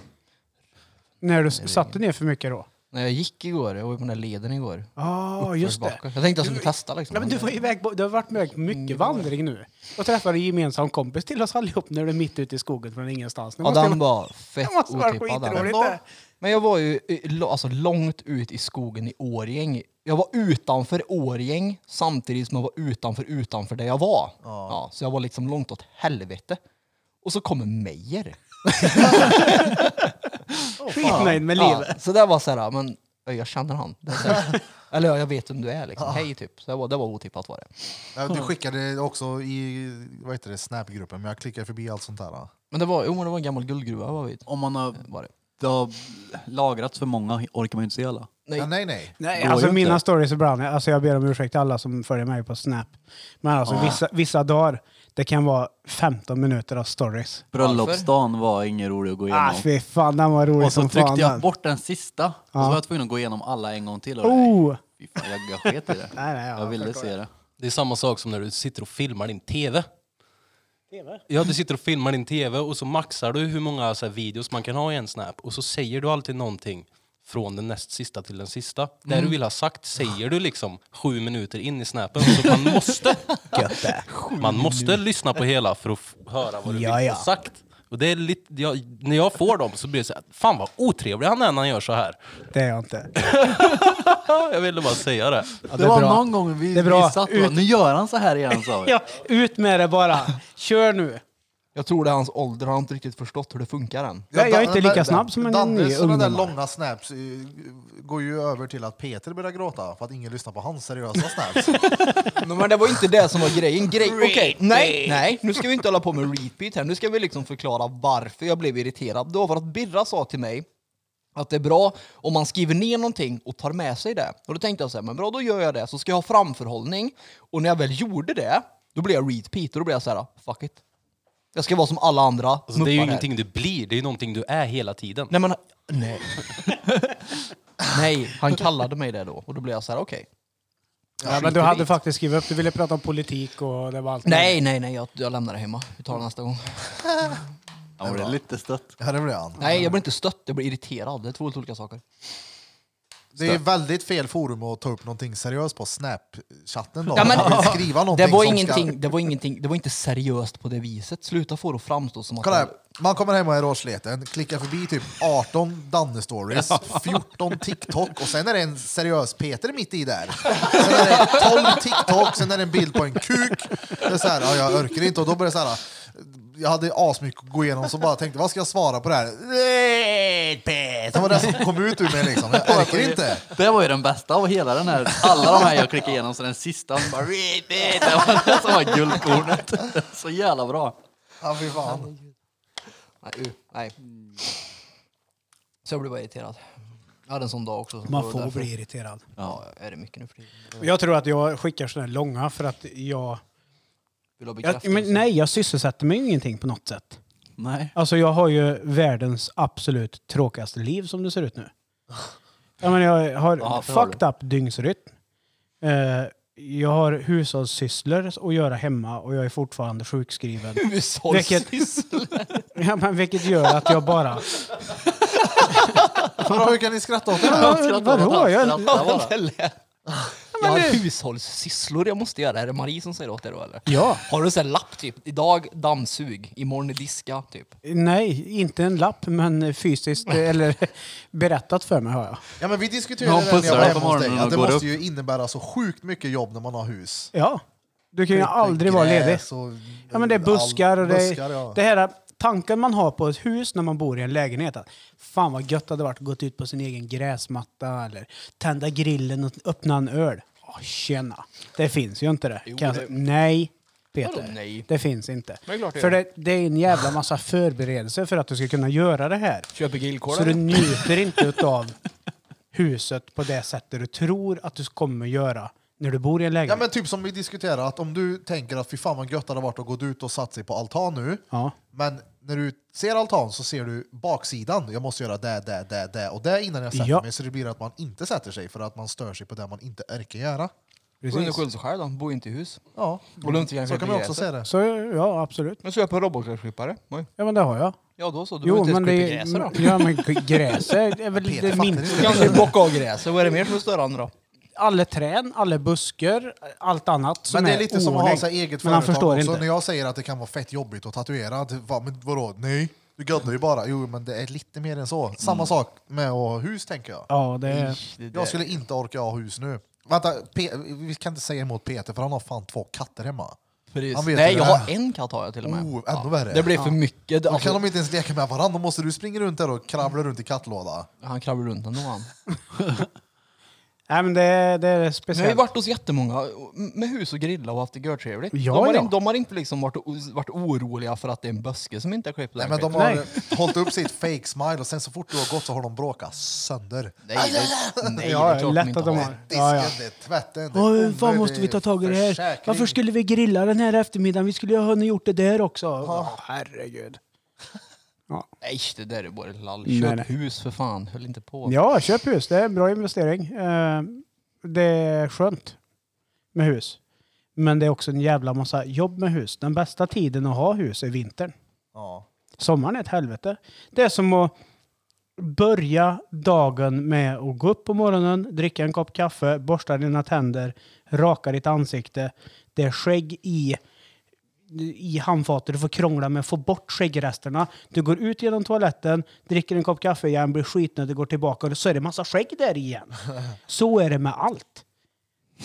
C: När du s- satte ner för mycket då?
B: När jag gick igår, jag var ju på den där leden igår.
C: Ja,
A: Ah,
C: just det.
B: Bakåt. Jag tänkte jag skulle testa liksom.
C: Nej, men du, var iväg, på- du har varit iväg på mycket vandring nu. Och träffade en gemensam kompis till oss allihop när du är mitt ute i skogen från ingenstans. Nu
B: Ja,
C: måste jag-
B: den var fett
C: det måste vara
B: otippad. den.
C: skitroligt.
A: Ändå.
C: det.
B: Men jag var ju i- lo- alltså, långt ut i skogen i Årgäng. Jag var utanför Årgäng samtidigt som jag var utanför utanför där jag var. Ja, så jag var liksom långt åt helvete. Och så kommer Meyer.
C: Skitnöjd med
B: Ja,
C: livet.
B: så det var så här, men ja, jag känner han. Det är så här, Eller ja, jag vet vem du är liksom. Hej typ. Så det var, det var otippat var det.
A: Ja, Du skickade också i vad heter det, snapgruppen, men jag klickar förbi allt sånt där.
B: Men det var, jo, men det var en gammal guldgruva var vi
D: Om man har,
B: var det.
D: det har lagrats för många orkar man ju inte se alla.
B: Nej.
A: Ja, nej, nej.
C: Nej,
D: går
C: alltså
D: ju inte.
C: mina stories ibland, alltså jag ber om ursäkt till alla som följer mig på Snap. Men
D: Ah.
C: alltså vissa, vissa dagar, det kan vara 15 minuter av stories.
D: Bröllopsdagen var ingen rolig att gå igenom.
C: Ah fy fan, den var rolig
D: och så
C: som fan.
D: tryckte jag
C: den.
D: bort den sista. Och så
C: liksom Ja.
D: var jag tvungen att gå igenom alla en gång till. Och nej,
C: Oh!
D: fy fan, jag, jag sket i det.
C: Nej, nej, ja,
D: jag ville
C: förstår
D: se det.
E: Det är samma sak som när du sitter och filmar din TV. Ja, du sitter och filmar din TV och så maxar du hur många så här, videos man kan ha i en Snap och så säger du alltid någonting från den näst sista till den sista. Det
C: Mm.
E: du vill ha sagt säger du liksom sju minuter in i Snapen. Så man måste, man måste lyssna på hela för att f- höra vad du
C: Ja,
E: vill
C: ja.
E: ha sagt. Och det är lite, jag, när jag får dem så blir det så här, fan vad otrevlig han är när han gör så här.
C: Det är jag inte.
E: Jag ville bara säga det.
C: Ja,
D: det, var
C: bra.
D: någon gång vi,
C: Det är bra.
D: vi satt och bara, nu gör han så här igen sa vi.
C: Ja, ut med det bara. Kör nu.
B: Jag tror det är hans ålder, han har inte riktigt förstått hur det funkar än.
C: Nej, jag är inte
A: Dan-
C: lika snabb som en
A: Danne,
C: ny
A: Sådana där
C: ungdomar.
A: långa snaps eh, går ju över till att Peter börjar gråta för att ingen lyssnar på hans seriösa snaps.
B: Men, men det var inte det som var grejen. Grej, okej, nej, nej, nu ska vi inte hålla på med repeat här. Nu ska vi liksom förklara varför jag blev irriterad. Det var för att Birra sa till mig att det är bra om man skriver ner någonting och tar med sig det. Och då tänkte jag så här, men bra då gör jag det, så ska jag ha framförhållning. Och när jag väl gjorde det, då blev jag repeat och då blev jag så här, fuck it. Jag ska vara som alla andra.
E: Alltså, det är ju
B: muppar här.
E: ingenting du blir, det är ju någonting du är hela tiden.
B: Nej, men... Nej. nej, han kallade mig det då och då blev jag så här, okej.
C: Ja, men du hade faktiskt skrivit upp, du ville prata om politik och det var allt.
B: Nej, nej, nej, jag, jag lämnar det hemma. Vi tar det nästa gång.
D: Ja, det är lite stött.
A: Ja, det blir han.
B: Nej, jag blir inte stött, jag blir irriterad. Det är två helt olika saker.
A: Det är väldigt fel forum att ta upp någonting seriöst på Snapchatten. Då.
B: Ja, men-
A: Man vill skriva någonting
B: Det var,
A: som
B: ingenting, det, var ingenting, det var inte seriöst på det viset. Sluta få det att framstå som att...
A: Kolla här. Man kommer hem och är råsleten, klickar förbi typ 18 Danne-stories, 14 TikTok och sen är det en seriös Peter mitt i där. Sen är det 12 TikTok, sen är det en bild på en kuk. Det är så här, ja, jag orkar inte och då börjar det så här. Jag hade asmycket att gå igenom så bara tänkte vad ska jag svara på det här? Nej, Peter. Det var det som kom ut ur mig liksom. Jag orkar inte.
D: Det var ju den bästa av hela den här, alla de här jag klickade igenom så den sista han bara repeat. Det var det som var guldkornet. Så jävla bra.
A: Ja, fy fan.
B: Nej, uh, nej. Så jag blev bara irriterad. Jag hade en sån dag också. så det
C: Man
B: var
C: får
B: därför-
C: bli irriterad.
B: Ja, är det mycket nu för tiden?
C: Jag tror att jag skickar sådana här långa för att jag...
B: Vill ha
C: Jag,
B: bekräftelse.
A: liksom.
C: men nej, jag sysselsätter mig ju ingenting på något sätt.
D: Nej.
C: Alltså jag har ju världens absolut tråkigaste liv som det ser ut nu. Jag, menar, jag har
D: Ja, för
C: fucked up dygnsrytm. Eh, jag har hushållssysslor att göra hemma och jag är fortfarande sjukskriven. Vilket-
B: Hushållssyssla.
C: ja, men vilket gör att jag bara...
A: Vadå, hur kan ni skratta åt det här?
C: Ja, Vadå? Jag,
B: Ja, det lät. Jag har hushållssysslor jag måste göra. Är det Marie som säger åt dig då eller?
C: ja.
B: Har du en sån här lapp typ? Idag dammsug, imorgon diska typ.
C: Nej, inte en lapp, men fysiskt eh, eller berättat för mig har jag.
A: Ja, men vi diskuterade
D: Någon
A: det när jag
D: pussar
A: var
D: dig
A: hemma
D: på
A: hos dig,
D: morgonen och
A: att det
D: går
A: måste
D: upp.
A: ju innebära så sjukt mycket jobb när man har hus.
C: Ja. Du kan ju aldrig vara ledig.
A: Gräs och-
C: Ja, men det är buskar och det, är-
A: Buskar, ja.
C: det här tanken man har på ett hus när man bor i en lägenhet. Att, fan vad gött det hade varit att gått ut på sin egen gräsmatta eller tända grillen och öppna en öl. Åh, tjena, det finns ju inte det. kan
B: det-
C: jag, säga. Nej,
B: Vadå
C: Peter.
B: nej?
C: Det finns inte.
B: Men det är klart det
C: för
B: gör.
C: det, det är en jävla massa förberedelser för att du ska kunna göra det här.
B: Köper
C: Så du
B: grillkorv?
C: njuter inte av huset på det sättet du tror att du kommer göra när du bor i en
A: Ja
C: lägenhet.
A: men typ som vi diskuterade, att om du tänker att fy fan vad gött det hade varit att gå ut och satt sig på altan nu.
C: Ja.
A: Men när du ser altan så ser du baksidan. Jag måste göra det, det, det, det och det innan jag sätter
C: Ja.
A: mig. Så det blir att man inte sätter sig för att man stör sig på det man inte orkar göra.
B: Går in
C: Precis.
B: och skyll sig själv då, bor inte i hus.
A: Ja,
B: Och Lundtvigan
A: så kan man också se det.
C: Så ja, absolut.
B: Men så är jag på robotklippare.
C: Ja, men det har jag.
B: Ja då så, du
C: Jo,
B: behöver
A: typ
C: men
B: inte ens
C: det
B: klippa gräset då.
C: Ja, men g- gräs är är väl
A: Peter
C: det
A: fattar
C: minsta.
A: inte.
B: Kan du bocka av gräset? Vad är det mer som är störande då?
C: Alla träd, alla buskar, allt annat som
A: Men det är lite som att ha så här eget
C: Men han
A: företag
C: förstår
A: också.
C: inte.
A: När jag säger att det kan vara fett jobbigt att tatuera, det- va, men vadå? Nej, du gaddar ju bara. Jo, men det är lite mer än så. Samma
C: Mm.
A: sak med att ha hus, tänker jag.
C: Ja, det är...
A: Jag skulle inte orka ha hus nu. Vänta, Pe- vi kan inte säga emot Peter för han har fan två katter hemma.
B: Precis.
A: Han vet
B: Nej,
A: hur det
B: jag
A: är.
B: har en katt har jag till och med.
A: Oh, ännu värre.
B: Det blir för mycket.
A: Då
B: Alltså,
A: kan de inte ens leka med varandra. Då måste du springa runt där och kravla runt i kattlåda.
B: Han kravlar runt ändå han.
C: Nej, men det är, det är
B: Nu har vi
C: speciellt.
B: varit hos jättemånga med hus och grilla och haft det görtrevligt.
C: Ja,
B: de, har
C: ja.
B: inte- de har inte liksom varit, o- varit oroliga för att det är en buske som inte är klippt.
A: Nej,
B: där
A: men de
B: skiten.
A: har
C: Nej.
A: hållit upp sitt fake smile och sen så fort du har gått så har de bråkat sönder.
B: nej, det, nej,
C: Ja,
B: det är klart
C: lätt
B: de inte
C: att de
B: har.
C: har.
A: Disken,
C: Ja, ja.
A: det är tvätten, det är
C: Åh, hur
A: onödig
C: fan måste vi ta tag i det här?
A: försäkring.
C: Varför skulle vi grilla den här eftermiddagen? Vi skulle ju ha hunnit gjort det där också. Åh, herregud.
B: Nej, det där är bara lall.
C: Nej,
B: Köp
C: nej.
B: hus för fan. Höll inte på.
C: Ja, köp hus. Det är en bra investering. Eh, Det är skönt med hus. Men det är också en jävla massa jobb med hus. Den bästa tiden att ha hus är vintern.
A: Ja.
C: Sommaren är ett helvete. Det är som att börja dagen med att gå upp på morgonen, dricka en kopp kaffe, borsta dina tänder, raka ditt ansikte. Det är skägg i, i handfatet. Du får krångla med att få bort skäggresterna. Du går ut genom toaletten, dricker en kopp kaffe igen, blir skitnödig, går tillbaka och så är det massa skägg där igen. Så är det med allt.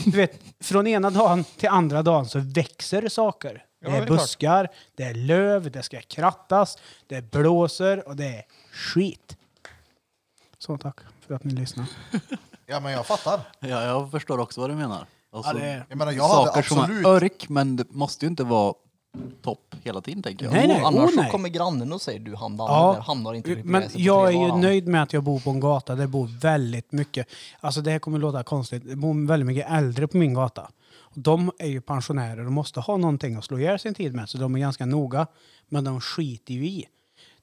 C: Du vet, från ena dagen till andra dagen så växer saker. Det
B: Ja, det är
C: är
B: klart.
C: buskar, det är löv, det ska krattas, det blåser och det är skit. Så tack för att ni lyssnar.
A: ja, men jag fattar.
D: Ja, jag förstår också vad du menar. Alltså,
C: Ja, det är-
A: Jag menar, jag hade
D: saker
A: absolut...
D: som är örk, men det måste ju inte vara topp hela tiden tänker jag.
C: Nej, nej.
B: Och annars
C: oh, nej.
B: så kommer grannen och säger du hamnar
C: Ja.
B: där, hamnar inte riktigt på
C: Men
B: gräset på
C: jag är
B: tre
C: ju
B: dagar."
C: nöjd med att jag bor på en gata där det bor väldigt mycket. Alltså det här kommer låta konstigt. Det bor väldigt mycket äldre på min gata. Och De är ju pensionärer och måste ha någonting att slå ihjäl sin tid med. Så de är ganska noga. Men de skiter ju i.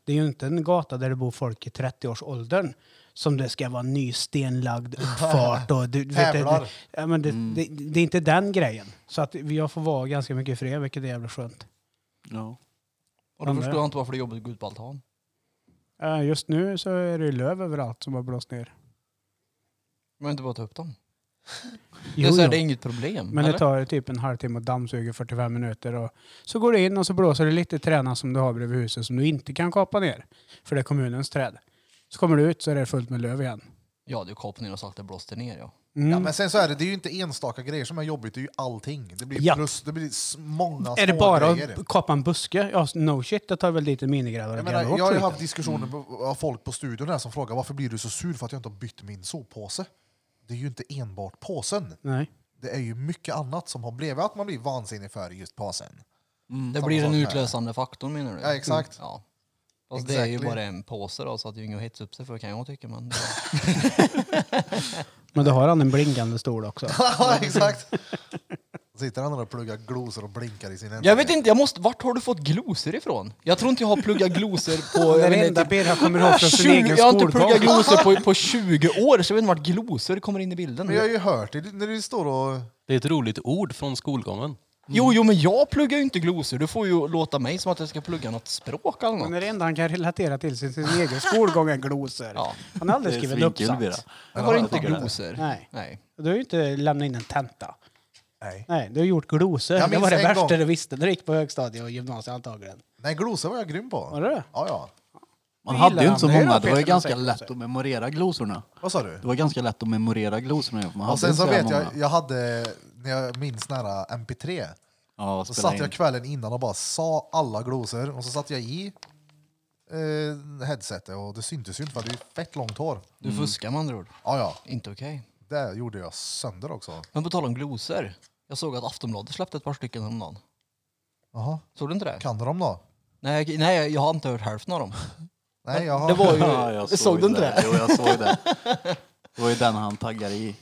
C: Det är ju inte en gata där det bor folk i 30-årsåldern. Som det ska vara ny stenlagd uppfart och... Du, du vet, det,
A: Tävlar.
C: ja, men det,
B: Mm.
C: det, det är inte den grejen. Så att jag får vara ganska mycket fred, vilket är jävligt skönt.
D: Ja.
B: Och då
C: Ja,
B: förstår
C: men-
B: jag inte varför det är jobbigt att gå ut på altan.
C: Eh, Just nu så är det ju löv överallt som har blåst ner.
B: Men inte bara ta upp dem. det,
C: Jo,
B: är så här,
C: jo.
B: det är inget problem.
C: Men det
B: eller?
C: tar typ en halvtimme och dammsuger 45 minuter. Och så går du in och så blåser det lite träna som du har bredvid huset som du inte kan kapa ner. För det är kommunens träd. Så kommer du ut så är det fullt med löv igen.
B: Ja, du kapar ner och sagt att det blåste ner ja.
C: Mm.
A: Ja, men sen så är det, det är ju inte enstaka grejer som är jobbigt, det är ju allting. Det blir,
C: Ja.
A: plus, det blir s- många
C: är det
A: små
C: bara
A: grejer.
C: att kapa en buske? Ja, no shit, det tar väl dit en minigrävare
A: Jag,
C: och
A: menar, jag
C: gräva upp
A: har ju
C: skiten.
A: haft diskussioner med av folk på studion här som frågar varför blir du så sur för att jag inte har bytt min soppåse? Det är ju inte enbart påsen.
C: Nej.
A: Det är ju mycket annat som har blivit att man blir vansinnig för just påsen.
B: Det
A: Samma
B: blir den
A: sak här.
B: utlösande faktorn menar du?
A: Ja, exakt.
B: Ja. Fast det är ju
A: Exactly.
B: bara en påse då, så att det är ju inget att hetsa upp sig för kan jag tycka. Men
C: Men då har han en blinkande stol också.
A: Ja, exakt. Sitter han där och pluggar glosor och blinkar i sin
B: Jag vet inte, jag måste, vart har du fått glosor ifrån? Jag tror inte jag har pluggat glosor på... jag
C: Det
B: vet
C: är det
B: inte,
C: enda Birra kommer ihåg från sin
B: 20,
C: egen
B: jag har inte pluggat
C: skolgång.
B: glosor på, på 20 år, så jag vet inte vart glosor kommer in i bilden.
A: Men jag har ju hört det när du står och...
E: Det är ett roligt ord från skolgången.
B: Mm. Jo, jo, men jag pluggar ju inte glosor. Du får ju låta mig som att jag ska plugga något språk eller
C: Men
B: något.
C: det är det enda han kan relatera till sin, sin egen skolgång är glosor.
B: Ja.
C: Han har aldrig
D: Det är
C: skrivit en
D: svinkul, Birra.
C: uppsats.
B: Jag har inte
D: tycker det.
B: glosor.
C: Nej.
B: Nej.
C: Du har ju inte lämnat in en tenta.
A: Nej.
C: Nej, du har gjort glosor.
A: Jag
C: Det var
A: minns
C: det
A: en
C: värsta
A: gång.
C: du visste när du gick på högstadiet och gymnasiet antagligen.
A: Nej, glosor var jag grym på.
C: Var det?
A: Ja, ja.
D: Man
C: Vad
D: hade ju
C: gillar
D: inte så
C: han? Det är
D: många.
C: då
D: Det var ju
C: Peter
D: ganska
C: säkert.
D: lätt att memorera glosorna.
A: Vad sa du?
D: Det var ganska lätt att memorera glosorna. för Man
A: Och
D: hade
A: sen
D: inte
A: så
D: här
A: vet jag,
D: många.
A: jag hade, när jag minns nära MP3,
D: Ja,
A: så
D: spela
A: satt
D: in.
A: jag kvällen innan och bara sa alla glosor och så satt jag i eh, headsetet och det syntes ju inte för det är ju fett långt hår.
B: Du fuskar med andra ord.
A: Ja, ja.
B: Inte okej.
A: Det gjorde jag sönder också.
B: Men på tal om glosor. Jag såg att Aftonbladet släppte ett par stycken häromdagen.
A: Jaha.
B: Såg du inte det?
A: Kan du dem då?
B: Nej, nej, jag har inte hört hälften av dem.
A: Nej, jag har...
B: Det var ju...
D: Ja, jag
B: såg, du inte det?
D: Jo, jag såg det. Det var ju den han taggade i.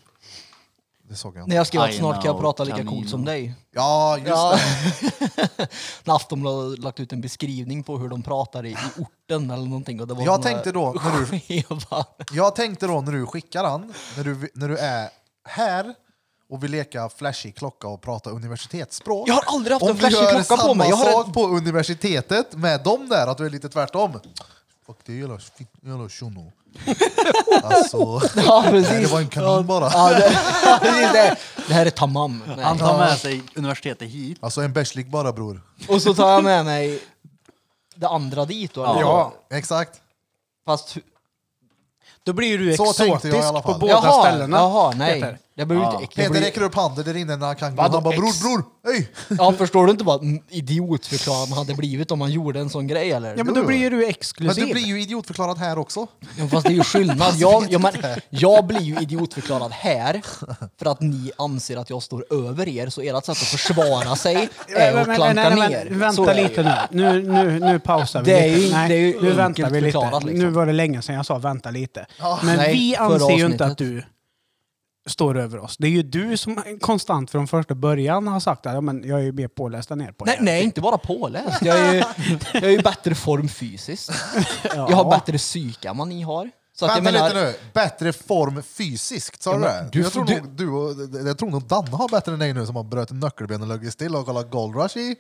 A: Det såg jag inte.
B: När jag skrev att
D: Aina
B: snart kan jag
D: och
B: prata lika
D: kanin
B: coolt som
D: och-
B: dig.
A: Ja, just
B: Ja.
A: det.
B: När Aftonbladet hade lagt ut en beskrivning på hur de pratar i, i orten eller någonting. Och det var
A: Jag
B: såna-
A: tänkte då, när du,
B: Eva.
A: jag tänkte då när du skickar han, när du, när du är här och vill leka flashig klocka och prata universitetsspråk.
B: Jag har aldrig haft
A: Om
B: en flashig
A: du gör
B: klocka på mig. Jag
A: samma
B: har
A: sak
B: en-
A: på universitetet med dem där, att du är lite tvärtom. Fuck, det är jävla, fit- jävla tjono. Alltså,
B: Ja,
A: nej, det
B: precis.
A: var en kanin bara.
B: Ja, det, ja, precis det. det här är tamam. Nej.
D: Han tar med sig universitetet hit.
A: Alltså en bärslik bara bror.
B: Och så tar jag med mig det andra dit då. eller?
A: Ja, exakt.
B: Fast,
C: Då blir du
A: Så tänkte jag i
C: exotisk
A: alla
C: på
A: fall.
C: båda
B: jaha,
C: ställena.
B: jaha, nej.
C: Peter.
B: Jag behöver
D: Ja.
B: inte äckla.
A: Peter
B: blir-
A: räcker upp handen där inne när han kan gå.
B: Vadå,
A: Han bara
B: ex?
A: bror, bror, hej!
B: Ja, förstår du inte vad mm, idiotförklarad man hade blivit om man gjorde en sån grej eller?
C: Ja, men
A: Jo,
C: då
A: jo.
C: blir ju du
A: Men
C: exklusiv.
A: du blir ju idiotförklarad här också.
B: Ja, fast det är ju skillnad. Jag, jag, men, jag blir ju idiotförklarad här för att ni anser att jag står över er så ert sätt att försvara sig är att klanka ner. Så
C: Vänta
B: är det ju.
C: lite nu. Nu, nu, nu pausar vi
B: Det är ju-
C: lite.
B: det är ju
C: nu väntar
B: enkelt
C: vi lite.
B: förklarat, liksom.
C: Nu var det länge sedan jag sa vänta lite. Men
B: nej,
C: vi
B: förra
C: anser ju inte
B: avsnittet.
C: att du står över oss. Det är ju du som konstant från första början har sagt att ja, men jag är ju mer påläst än er på
B: Nej,
C: er.
B: nej, inte bara påläst. Jag är ju, jag är ju bättre form fysiskt.
C: Ja.
B: Jag har bättre psyke än vad ni har. Så att jag
A: Vänta
B: menar,
A: lite nu, bättre form fysiskt, sa du det?
B: du-
A: jag, tror
B: du-
A: nog, du och, jag tror nog Danne har bättre än dig nu som har bröt nyckelben och legat still och kollat Gold Rush i.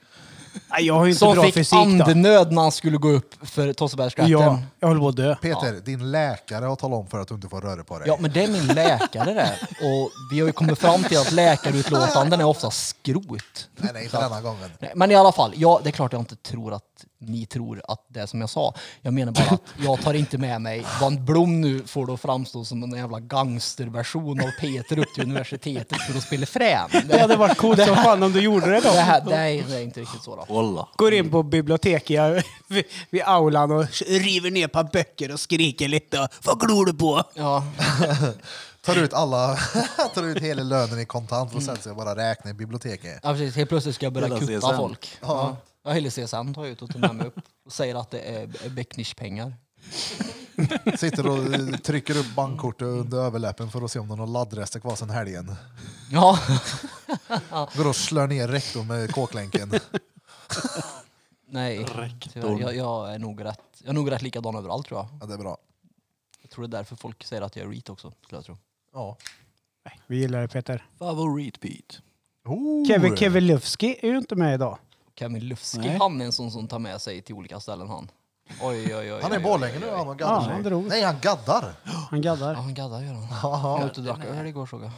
C: Nej, jag har ju inte
B: som
C: bra
B: fick
C: fysik då.
B: andenöd när han skulle gå upp för Tossebergsskatten.
C: Ja,
B: Ja.
C: jag håller på att dö.
A: Peter, din läkare har talat om för att du inte får röra på dig.
B: ja, men det är min läkare det. Och vi har ju kommit fram till att läkarutlåtanden är ofta skrot.
A: Nej, nej, inte denna gången.
B: Nej, Men i alla fall, ja, det är klart jag inte tror att ni tror att det är som jag sa. Jag menar bara att jag tar inte med mig vad Blom nu får då framstå som en jävla gangsterversion av Peter upp till universitetet för att spela frän.
C: Det hade varit coolt som fan om du gjorde det då.
B: Det, här, det, är, det är inte riktigt så. Då.
D: Kolla.
C: Går in på biblioteket ja, vid- vid aulan och river ner ett par böcker och skriker lite. och, Vad glor du på?
B: Ja,
A: Tar ut alla, tar ut hela lönen i kontant och
B: Mm.
A: sen så jag bara räkna i biblioteket.
B: ja precis. Helt plötsligt ska jag börja
D: Hela
B: kuppa
D: CSN.
B: folk. Ja. Ja, hela CSN tar jag ut och tar med mig upp och säger att det är Becknisch-pengar.
A: Sitter och eh, trycker upp bankkortet under överläppen för att se om det är några laddrester kvar sen helgen.
B: Ja,
A: Går och slår ner rektorn med kåklänken.
B: nej. Tyvärr, Jag, jag, är nog rätt, jag är nog rätt likadan överallt tror jag.
A: Ja, det är bra.
B: Jag tror det är därför folk säger att jag är reet också. Skulle jag tro.
A: Ja.
C: Nej, vi gillar det Peter.
D: Favoritbeat.
A: Oh.
C: Kevin Kevilowski är ju inte med idag.
B: Kevin Lufski,
D: Nej.
B: han är en sån som tar med sig till olika ställen han. Oj, oj, oj. oj
A: Han är i
B: oj,
A: Borlänge
B: oj,
A: nu,
B: oj.
A: han gaddar
C: Ja,
A: sig.
C: han drog.
A: Nej, han gaddar.
C: Han
B: Ja,
C: gaddar.
B: han gaddar gör han. Jag var ute och drack öl igår såg jag.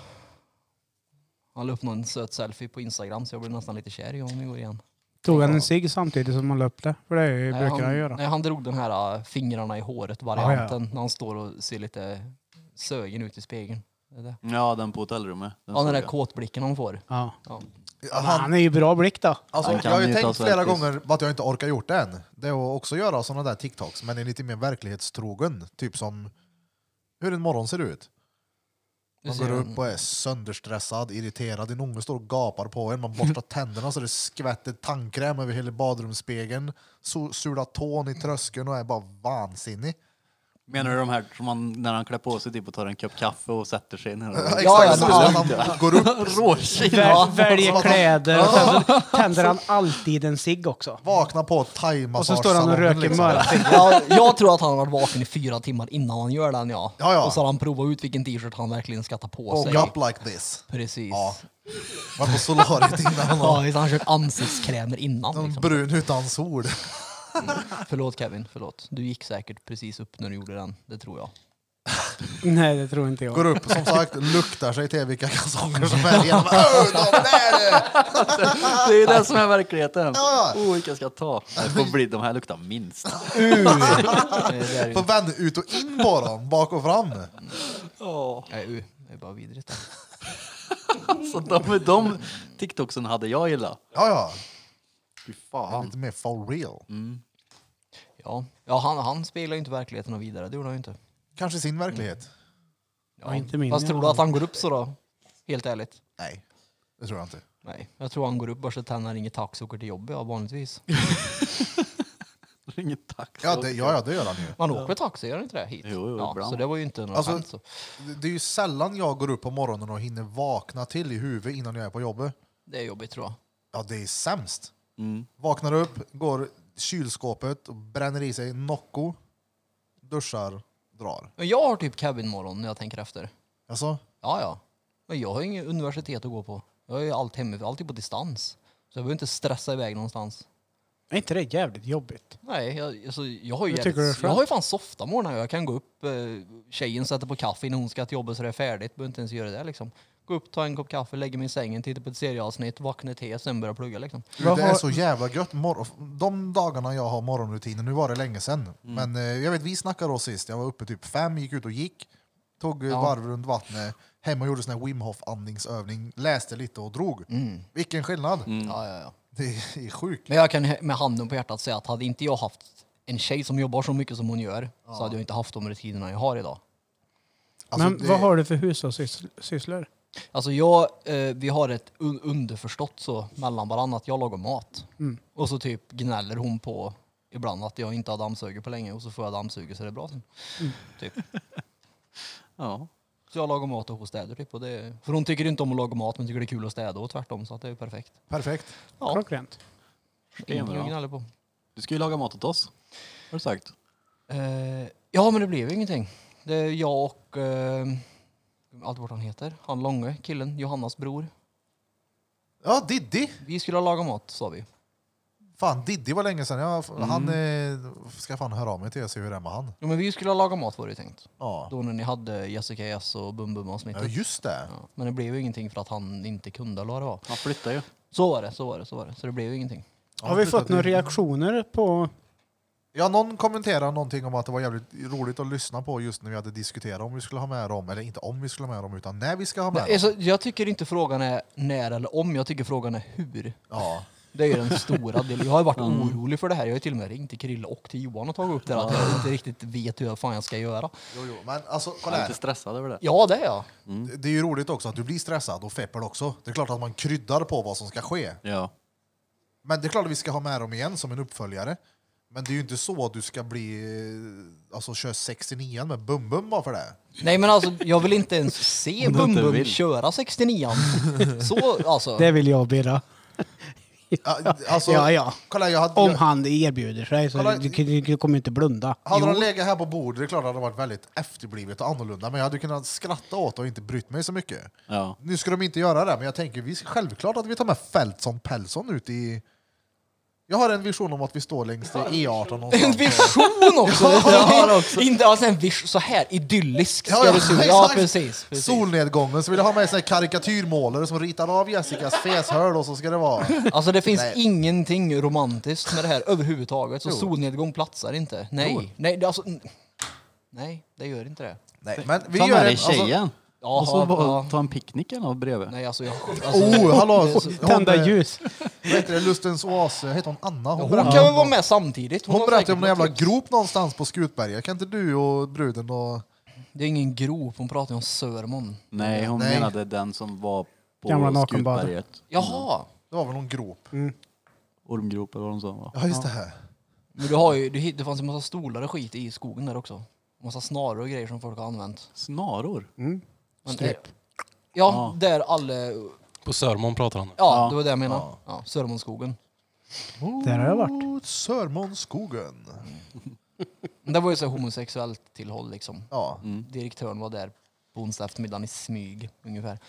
B: Han la upp någon söt selfie på Instagram så jag blev nästan lite kär i honom igår igen.
C: Tog han en cigg samtidigt som han la upp det? För det
B: Nej,
C: är- brukar
B: han,
C: han göra.
B: Nej, han drog den här äh, fingrarna i håret-varianten när han står och ser lite sögen ut i spegeln. Det är det.
D: Ja, den på hotellrummet. Den
B: Ja, den
D: såg
B: där
D: jag.
B: kåtblicken han får.
C: Ja.
B: Ja.
A: Han,
C: Han är ju bra blick då.
A: Alltså,
D: Han
A: jag
D: kan
A: har ju
D: ju ta
A: tänkt flera
D: selfies.
A: gånger att jag inte orkar gjort det än. Det är att också göra sådana där TikToks, men är lite mer verklighetstrogen. Typ som hur en morgon ser ut.
B: Du
A: Man
B: ser
A: går
B: den.
A: upp och är sönderstressad, irriterad. Din unge står och gapar på en. Man borstar tänderna så det skvätter tandkräm över hela badrumsspegeln. So- Sular tån i tröskeln och är bara vansinnig.
D: Menar du de här som man, när han klär på sig typ och tar en kopp kaffe och sätter sig ner?
A: Exakt,
B: Ja, ja,
A: så
B: men-
A: att han går upp,
C: Väl, väljer kläder och sen så tänder han alltid en cigg också.
A: vaknar på thaimassagesalongen.
C: Och så står han och röker
A: liksom.
C: möra.
B: Jag, jag tror att han har varit vaken i fyra timmar innan han gör den ja.
A: Ja, ja.
B: Och så har han provat ut vilken t-shirt han verkligen ska ta på sig.
A: Och up like this.
B: Precis.
A: Ja. Var
B: Ja.
A: på solariet innan och
B: visst, han har kört ansiktskrämer innan.
A: någon
B: Liksom.
A: brun utan sol.
B: Förlåt Kevin, förlåt. Du gick säkert precis upp när du gjorde den, det tror jag.
C: Nej, det tror inte
A: Går
C: jag.
A: upp, som sagt, luktar sig till vilka kalsonger som är igenom. Öh, de där! är-
D: Det är ju det som är verkligheten.
A: Ja,
D: Oh, vilka ska jag ta? Det får bli, de här luktar minst.
B: Det där är ju-
A: Får vända ut och in på dem, bak och fram.
B: Nej, u, det är bara vidrigt.
D: Så de, de TikToksen hade jag gillat.
A: Ja, ja.
D: Fy
A: Det är
D: fan.
A: Lite mer for real.
B: Ja, ja han, han speglar ju inte verkligheten och vidare, det gjorde han ju inte.
A: Kanske sin verklighet.
B: Ja.
C: inte min
B: Fast
C: i
B: tror
C: alla
B: du att
C: fall.
B: han går upp så då? Helt ärligt.
A: Nej, det tror jag inte.
B: Nej, jag tror han går upp, borstar tänderna, ringer taxi och åker till jobbet ja, vanligtvis.
D: Ringer taxi.
A: Ja, det, ja, ja, det gör han ju.
B: Man åker taxi, gör han inte det? Hit.
D: Jo, jo,
B: ja,
D: ibland.
B: så det var ju inte något
A: Alltså-
B: skämt. Så.
A: Det- Det är ju sällan jag går upp på morgonen och hinner vakna till i huvudet innan jag är på jobbet.
B: Det är jobbigt tror jag.
A: Ja, det är sämst.
D: Mm.
A: Vaknar upp, går i kylskåpet och bränner i sig Nocco, duschar, drar.
B: Men jag har typ cabinmorgon när jag tänker efter.
A: Alltså,
B: Ja, ja. Men jag har ju inget universitet att gå på. Jag är ju allt hemifrån, alltid på distans. Så jag behöver inte stressa iväg någonstans.
C: Är inte det jävligt jobbigt?
B: Nej, jag, alltså, jag har ju
C: Jag tycker det är
B: jävligt,
C: skönt.
B: jag har ju fan softa morgnar. Jag kan gå upp, eh, tjejen sätter på kaffe innan hon ska till jobbet så det är färdigt. Behöver inte ens göra det liksom. Gå upp, ta en kopp kaffe, lägga mig i sängen, titta på ett serieavsnitt, vakna till, sen börja plugga liksom.
A: du,
C: Vad
A: det
C: har-
A: är så jävla gött. Mor- de dagarna jag har morgonrutiner, nu var det länge sedan,
C: Mm.
A: men eh, jag vet vi snackade då sist, jag var uppe typ fem, gick ut och gick, tog eh,
B: Ja.
A: varv runt vattnet, hemma och gjorde sån här Wim Hof andningsövning, läste lite och drog.
C: Mm.
A: Vilken skillnad!
B: Ja, ja, ja.
A: Det är sjukt.
B: Men jag kan he- med handen på hjärtat säga att hade inte jag haft en tjej som jobbar så mycket som hon gör så hade jag inte haft de rutinerna jag har idag.
A: Alltså,
C: Men
A: det-
C: vad har du för hushållssysslor?
B: Alltså jag, eh, vi har ett un- underförstått så mellan varandra att jag lagar mat. Och så typ gnäller hon på ibland att jag inte har dammsugit på länge och så får jag dammsuga så det är bra sen. Typ.
D: Ja.
B: Så jag lagar mat och hon städar typ. Och det, för hon tycker inte om att laga mat men tycker det är kul att städa och tvärtom så att det är ju perfekt.
A: Perfekt.
B: Ja.
C: Klockrent.
B: Ingenting
D: bra.
B: att gnälla på.
D: Du ska ju laga mat åt oss. Har du sagt?
B: Eh, ja men det blev ju ingenting. Det är jag och, eh, allt vad han heter, han långe killen, Johannas bror.
A: Ja, Diddy!
B: Vi skulle ha lagat mat sa vi.
A: Fan, Diddy var länge sedan. Jag,
C: Mm.
A: Han eh, ska fan höra av mig till och se hur det är med han.
B: Jo men vi skulle ha lagat mat var det ju tänkt.
A: Ja,
B: Då när ni hade Jessica S och Bum Bum
A: ja
B: avsnittet.
A: just det.
B: Ja, men det blev ju ingenting för att han inte kunde eller vad det var.
D: Han flyttar ju.
B: Så var det, så var det, så var det. Så det blev ju ingenting.
A: Ja,
C: Har vi
A: det-
C: fått
A: det-
C: några reaktioner på...
A: Ja, någon kommenterade någonting om att det var jävligt roligt att lyssna på just när vi hade diskuterat om vi skulle ha med dem, eller inte om vi skulle ha med dem, utan när vi ska ha med
B: Nej,
A: dem.
B: alltså, jag tycker inte frågan är när eller om, jag tycker frågan är hur.
A: Ja.
B: Det är ju den stora delen. Jag har ju varit orolig för det här. Jag har ju till och med ringt till Krille och till Johan och tagit upp det här, att jag inte riktigt vet hur fan jag ska göra.
A: Jo, jo, men alltså,
D: Jag
A: kolla
D: är lite
A: här.
D: stressad över det.
B: Ja, det är jag.
A: Det är ju roligt också att du blir stressad och feppar också. Det är klart att man kryddar på vad som ska ske.
D: Ja.
A: Men det är klart att vi ska ha med dem igen som en uppföljare. Men det är ju inte så att du ska bli, eh, alltså köra 69 med bum-bum bara för det.
B: Nej men alltså, jag vill inte ens se
D: Om du
B: Bum
D: inte
B: Bum
D: vill.
B: köra 69 Så, alltså.
C: Det vill jag Birra.
A: Ja, Alltså,
C: Ja, ja.
A: Kolla, här, jag hade,
C: Om
A: jag-
C: han erbjuder sig så
A: Kolla-
C: du, du, du kommer ju inte blunda.
A: Hade de legat här på bordet, det är klart att det hade varit väldigt efterblivet och annorlunda, men jag hade kunnat skratta åt det och inte brytt mig så mycket.
D: Ja.
A: Nu ska de inte göra det, men jag tänker vi självklart att vi tar med Feltson Pellson ut i... Jag har en vision om att vi står längs i E18
B: En
A: någonstans.
B: vision också!
A: Ja,
B: Inte alltså en vision, så här idyllisk ska
A: Ja, ja,
B: det se ut. Ja,
A: exakt.
B: precis. precis.
A: Solnedgången, så vill jag ha med en sån här karikatyrmålare som ritar av Jessicas feshörd och så ska det vara.
B: Alltså det finns
A: Nej.
B: ingenting romantiskt med det här överhuvudtaget. Så solnedgång platsar inte. Nej, nej, det, alltså, n- nej, det gör inte det.
A: Nej, men vi
D: Ta
A: gör
D: med dig
A: en- alltså-
D: tjejen.
B: Ja,
D: och så bara
B: ja.
D: ta en picknick eller något bredvid.
B: Nej, alltså jag... Alltså,
A: Oh, hallå! eh,
C: Tända ljus.
A: Vad heter det? Lustens oas? Heter hon Anna?
B: hon
A: berättade
B: kan väl vara med samtidigt?
A: Hon,
B: har
A: berättade
B: säkert
A: om en jävla
B: något tips.
A: grop någonstans på Skutberget. Kan inte du och bruden och...
B: Det är ingen grop, hon pratar ju om Sörmon.
D: Nej, hon
A: Nej.
D: menade den som var på
C: Gamla nakenbad.
D: Skutberget.
B: Jaha!
A: Det var väl någon grop?
D: Ormgrop eller vad de sa. va?
A: Ja, just det. Här.
B: Men du har ju, du, hitt- det fanns ju massa stolar och skit i skogen där också. Massa snaror och grejer som folk har använt.
D: Snaror?
C: Mm.
B: Men- eh,
C: Snip.
B: Ja,
D: Ja.
B: där alla... Ja,
E: På Sörmån pratar han.
D: Ja.
B: det var det jag menade. Ja. Sörmånsskogen.
C: Där har jag varit.
A: Mot Sörmånsskogen.
B: Men Det var ju så här homosexuellt tillhåll liksom.
A: Ja.
B: Direktören var där på onsdag eftermiddagen i smyg ungefär.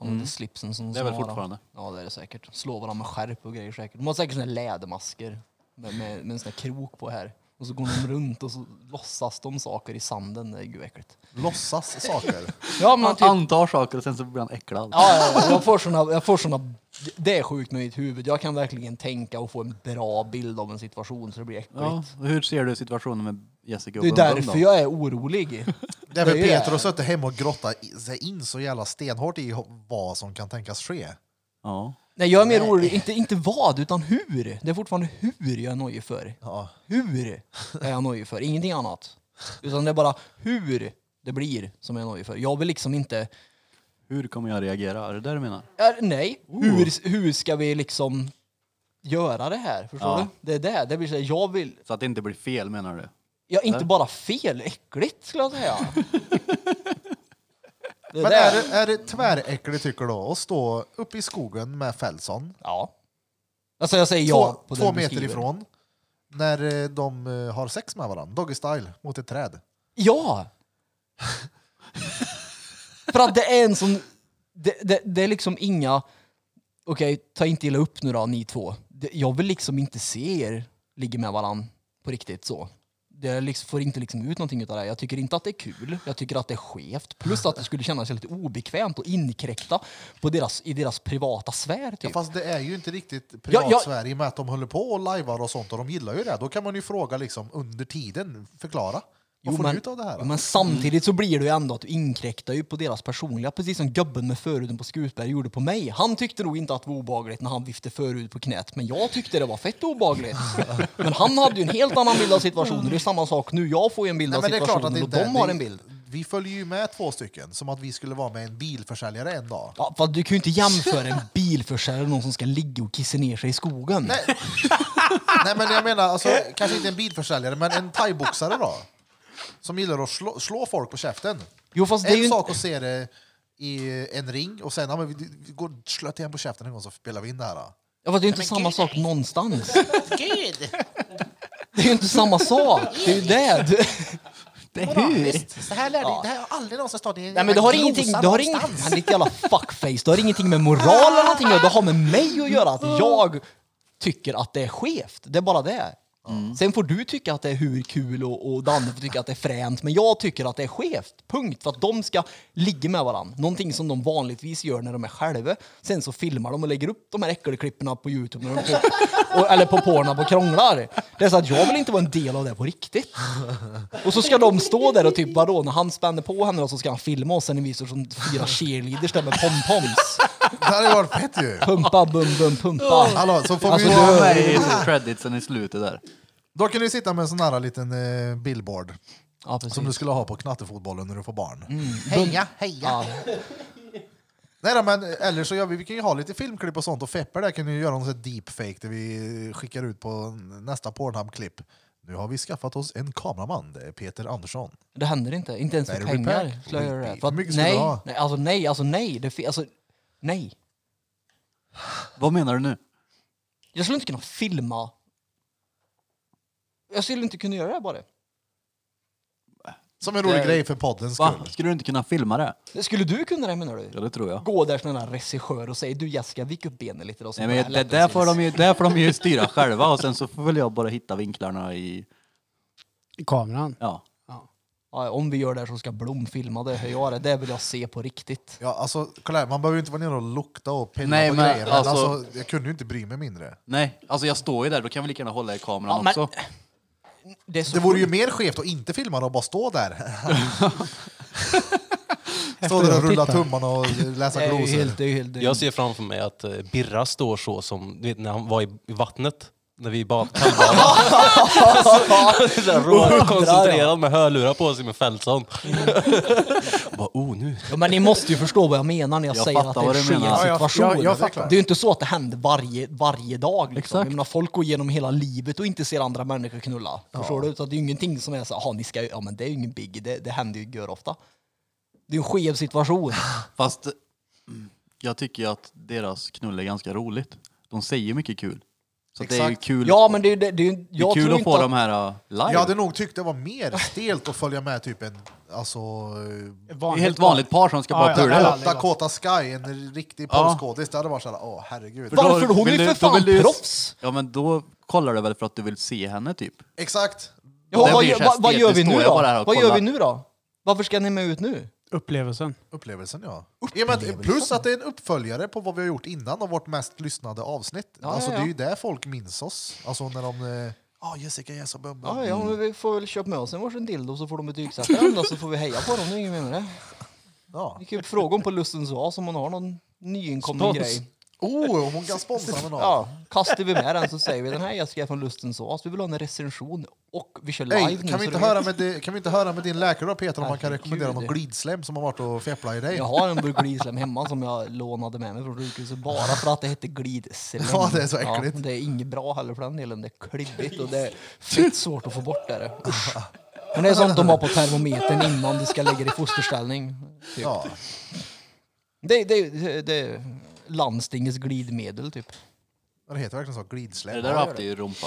B: Man hade slipsen som
D: Mm. Det är väl
B: snara.
D: fortfarande.
B: Ja det är det säkert. Slår varandra med skärp och grejer säkert. De har säkert såna här lädermasker med, med, med en sån här krok på här. Och så går de runt och så låtsas de saker i sanden. Det är gud vad äckligt.
A: Låtsas saker.
B: Ja men
D: Man
B: typ. Ja,
D: antar saker och sen så blir han äcklad.
B: ja, ja, jag får såna, jag får såna, det är sjukt med mitt huvud. Jag kan verkligen tänka och få en bra bild av en situation så det blir äckligt.
D: Ja, och hur ser du situationen med Jessica och
B: Det är
D: Bumbum
B: därför
D: då?
B: jag är orolig.
A: Det är väl
B: Det är-
A: Peter och suttit hemma och grottat i- sig in så jävla stenhårt i ho- vad som kan tänkas ske.
D: Ja.
B: Nej, jag är mer orolig, inte, inte vad, utan hur. Det är fortfarande hur jag är nojig för.
A: Ja.
B: Hur är jag nojig för, ingenting annat. Utan det är bara hur det blir som jag är nojig för. Jag vill liksom inte...
D: Hur kommer jag reagera? Är det där du menar?
B: Är, nej,
A: Oh.
B: hur, hur ska vi liksom göra det här? Förstår
D: Ja.
B: du? Det är det. det blir så här, jag vill...
D: Så att det inte blir fel menar du?
B: Jag, inte bara fel, äckligt skulle jag säga. det
A: Men
B: där-
A: är det, är det tväräckligt tycker du då, att stå uppe i skogen med Fällson,
B: Ja. Alltså jag säger ja
A: två,
B: på
A: två
B: den
A: meter
B: beskriver.
A: ifrån, när eh, de eh, har sex med varandra, doggy style, mot ett träd?
B: Ja! För att det är en sån... Det, det, det är liksom inga... Okej, ta inte illa upp nu då, ni två. Det, jag vill liksom inte se er ligga med varann på riktigt så. Det liksom, får inte liksom ut någonting utav det här. Jag tycker inte att det är kul. Jag tycker att det är skevt. Plus att det skulle kännas lite obekvämt och inkräkta på deras, i deras privata sär. Typ.
A: Ja, fast det är ju inte riktigt
B: ja.
A: privat-Sverige med att de håller på och lajvar och sånt och de gillar ju det. Då kan man ju fråga liksom under tiden, förklara. Vad får du ut av det här? Mm.
B: Jo, men samtidigt så blir det ju ändå att du inkräktar ju på deras personliga, precis som gubben med förhuden på Skutberg gjorde på mig. Han tyckte nog inte att det var obagligt när han viftade förhud på knät, men jag tyckte det var fett obagligt. men han hade ju en helt annan bild av situationen. Det är samma sak nu. Jag får ju en bild
A: Nej,
B: av
A: men det är klart
B: situationen
A: att det inte
B: och
A: är-
B: de har
A: det-
B: en bild.
A: Vi följer ju med två stycken, som att vi skulle vara med en bilförsäljare en dag.
B: Ja, för du kan ju inte jämföra en bilförsäljare och någon som ska ligga och kissa ner sig i skogen.
A: Nej. Nej men jag menar, alltså, kanske inte en bilförsäljare, men en thaiboxare då. Som gillar att slå, slå folk på käften.
B: Jo, fast det är
A: en
B: ju
A: sak att se det i en ring och sen, ja men vi, vi går och slöt igen på käften en gång så spelar vi in det här. då.
B: Ja, fast det är ju inte samma sak någonstans. Det är ju inte samma sak. Det är ju det. Du... Det är
A: Så här lär det, det här har aldrig någonsin stått i en
B: Nej men det har ingenting, det har ingenting, han är ditt jävla fuckface, det har ingenting med moral eller någonting att göra. det har med mig att göra, att jag tycker att det är skevt. Det är bara det. Sen får du tycka att det är hur kul och, och Danne får tycka att det är fränt, men jag tycker att det är skevt. Punkt. För att de ska ligga med varandra, någonting som de vanligtvis gör när de är själva. Sen så filmar de och lägger upp de här äckelklipporna på Youtube, när de på, och, eller på Pornhub och krånglar. Det är så att jag vill inte vara en del av det på riktigt. Och så ska de stå där och typ vadå, när han spänner på henne då, så ska han filma oss sen i visor som fyra cheerleaders där med pompoms.
A: Det hade varit fett ju!
B: Pumpa, bum, bum, pumpa.
A: Hallå, så får
B: Alltså,
A: vi
B: du-
A: ju...
D: Nej, creditsen i slutet där.
A: Då kan du sitta med en sån här liten eh, billboard
B: Ja,
A: som du
B: precis.
A: skulle ha på knattefotbollen när du får barn. Heja, heja! Nej då, men eller så gör vi, vi kan ju ha lite filmklipp och sånt och Fepper där kan ju göra någon sån här deepfake där vi skickar ut på nästa Pornhub-klipp. Nu har vi skaffat oss en kameraman, det är Peter Andersson.
B: Det händer inte, inte ens för
A: Battery
B: pengar.
A: pack.
B: Skulle jag göra det. För
A: Hur mycket
B: att,
A: skulle du
B: nej,
A: ha?
B: nej, alltså nej, alltså nej. Det, fi- alltså, nej.
D: Vad menar du nu?
B: Jag skulle inte kunna filma. Jag skulle inte kunna göra det här bara.
A: Som en rolig grej för poddens
D: Va?
A: skull.
D: Skulle du inte kunna filma det?
B: Skulle du kunna det menar du?
D: Ja, det tror jag.
B: Gå där som en regissör och säga du Jessica, vik upp benen lite då. så
D: Nej,
B: det
D: men
B: här
D: det
B: lätt
D: där
B: syns."
D: får, de ju, där får de ju styra själva och sen så får väl jag bara hitta vinklarna i...
C: I kameran.
D: Ja.
B: ja, Om vi gör det här så ska Blom filma det, hur jag gör det. Det vill jag se på riktigt.
A: Ja, alltså, kolla här, man behöver ju inte vara nere och lukta och pilla
D: Nej,
A: på
D: men
A: grejer, men alltså,
D: alltså,
A: jag kunde ju inte bry mig mindre.
D: Nej, alltså jag står ju där, då kan vi lika gärna hålla i kameran
B: Ja, men-
D: också.
B: Det, är så
A: Det vore ju mer skevt att inte filma det och bara stå där. stå där och rulla
C: Titta.
A: tummarna och läsa
B: Det är ju
A: glosor.
B: helt, det är ju helt, det är ju-
E: Jag ser framför mig att eh, Birra står så som du vet, när han var i i vattnet. När vi bad kallbadade. Så- så här Rådigt koncentrerad med hörlurar på sig med Feltson. Jag bara, oh nu.
B: Ja, men ni måste ju förstå vad jag menar när jag,
D: Jag
B: säger att det
D: fattar
B: är
D: vad
B: en
D: du menar.
B: skev
D: Ja,
C: jag-
B: situation.
C: jag- jag fattar.
B: det är ju inte så att det händer varje, varje dag. Liksom. Jag
D: Exakt.
B: menar, folk går igenom hela livet och inte ser andra människor knulla. Förstår du? Så att det är ju ingenting som är så "Jaha, ni ska ju-" ja men det är ju ingen big, det, det händer ju gör ofta. Det är ju en skev situation.
D: Fast mm, jag tycker ju att deras knull är ganska roligt. De säger mycket kul. Så att det är ju
A: Exakt.
D: kul,
B: Ja men det är ju, det, det är ju,
D: det är
B: jag
D: kul
B: tror
D: att
B: inte
D: få
B: att,
D: de här uh, live.
A: Jag hade nog tyckt det var mer stelt att följa med typ en, alltså...
D: det är helt vanligt par som ska
C: Ja,
D: bara
C: ja.
D: pula.
C: hade
A: Dakota,
C: aldrig gått.
A: Dakota Sky, en riktig
D: Ja.
A: porrskådis. Det hade varit såhär, åh herregud.
D: då
B: Varför? Hon är
D: vill
B: ju
D: du-
B: för
D: då
B: fan
D: vill du-
B: proffs!
D: Ja men då kollar du väl för att du vill se henne typ.
A: Exakt!
B: Ja,
D: Det
B: vad,
D: blir
B: gör-
D: så
B: vad, vad gör vi
D: estetiskt,
B: nu
D: står jag
B: då?
D: bara här och
B: Vad gör
D: kollar.
B: vi nu då? Varför ska ni med ut nu?
C: Upplevelsen.
A: Upplevelsen ja. I och med att, plus att det är en uppföljare på vad vi har gjort innan av vårt mest lyssnade avsnitt.
B: Ja,
A: alltså
B: ja,
A: det är
B: ja.
A: ju där folk minns oss. Alltså när de... eh, Ja, Jessica, jag är så bumba.
B: Ja, ja, men vi får väl köpa med oss en varsin dildo så får de betygsätta den och så får vi heja på dem. Det är inget mer med det.
A: Ja.
B: Vi kan ju fråga om på Lustens Oas om hon har någon nyinkommen
D: Spons.
B: grej.
A: Oh, hon kan sponsra med någon.
B: Ja, kastar vi med den så säger vi den här Jessica är från Lustens Oas. Vi vill ha en recension och vi kör live
A: Ey,
B: nu.
A: kan,
B: så
A: vi inte
B: du vet.
A: höra med di- kan vi inte höra med din läkare då, Peter om man kan rekommendera någon
B: Herregud.
A: glidsläm som har varit och fepplat i dig?
B: Jag har en burk glislem hemma som jag lånade med mig från sjukhuset bara för att det hette glislem.
A: Ja, det är så äckligt.
B: Ja, det är inget bra heller för den delen. Det är klibbigt och det är fett svårt att få bort det. Usch. Men det är sånt de har på termometern innan du ska lägga dig i fosterställning. Typ.
A: Ja.
B: Det, det, det, det är landstingets glidmedel typ.
A: Det heter verkligen så,
D: Är
A: glidsläm.
D: det där du
A: Ja,
D: haft i rumpa?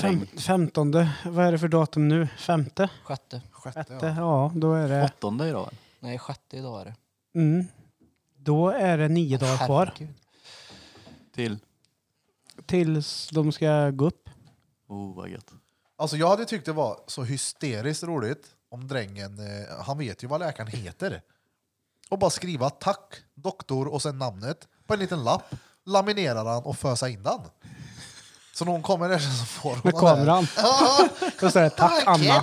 C: Fem, femtonde. Vad är det för datum nu? Femte?
B: Sjätte.
A: Sjätte,
C: Sjätte?
A: ja.
C: Ja, då är det...
D: Åttonde idag? va?
B: Nej, sjätte idag är det.
C: Mm. Då är det nio dagar kvar
B: Herregud.
D: Till?
C: tills de ska gå upp.
D: Oh vad gött.
A: Alltså jag hade tyckt det var så hysteriskt roligt om drängen, eh, han vet ju vad läkaren heter. Och bara skriva tack, doktor och sen namnet på en liten lapp. Laminerar han och fösa in den. Så när hon kommer där så får hon
C: Med
A: den här-
C: kameran. Så står det tack Anna.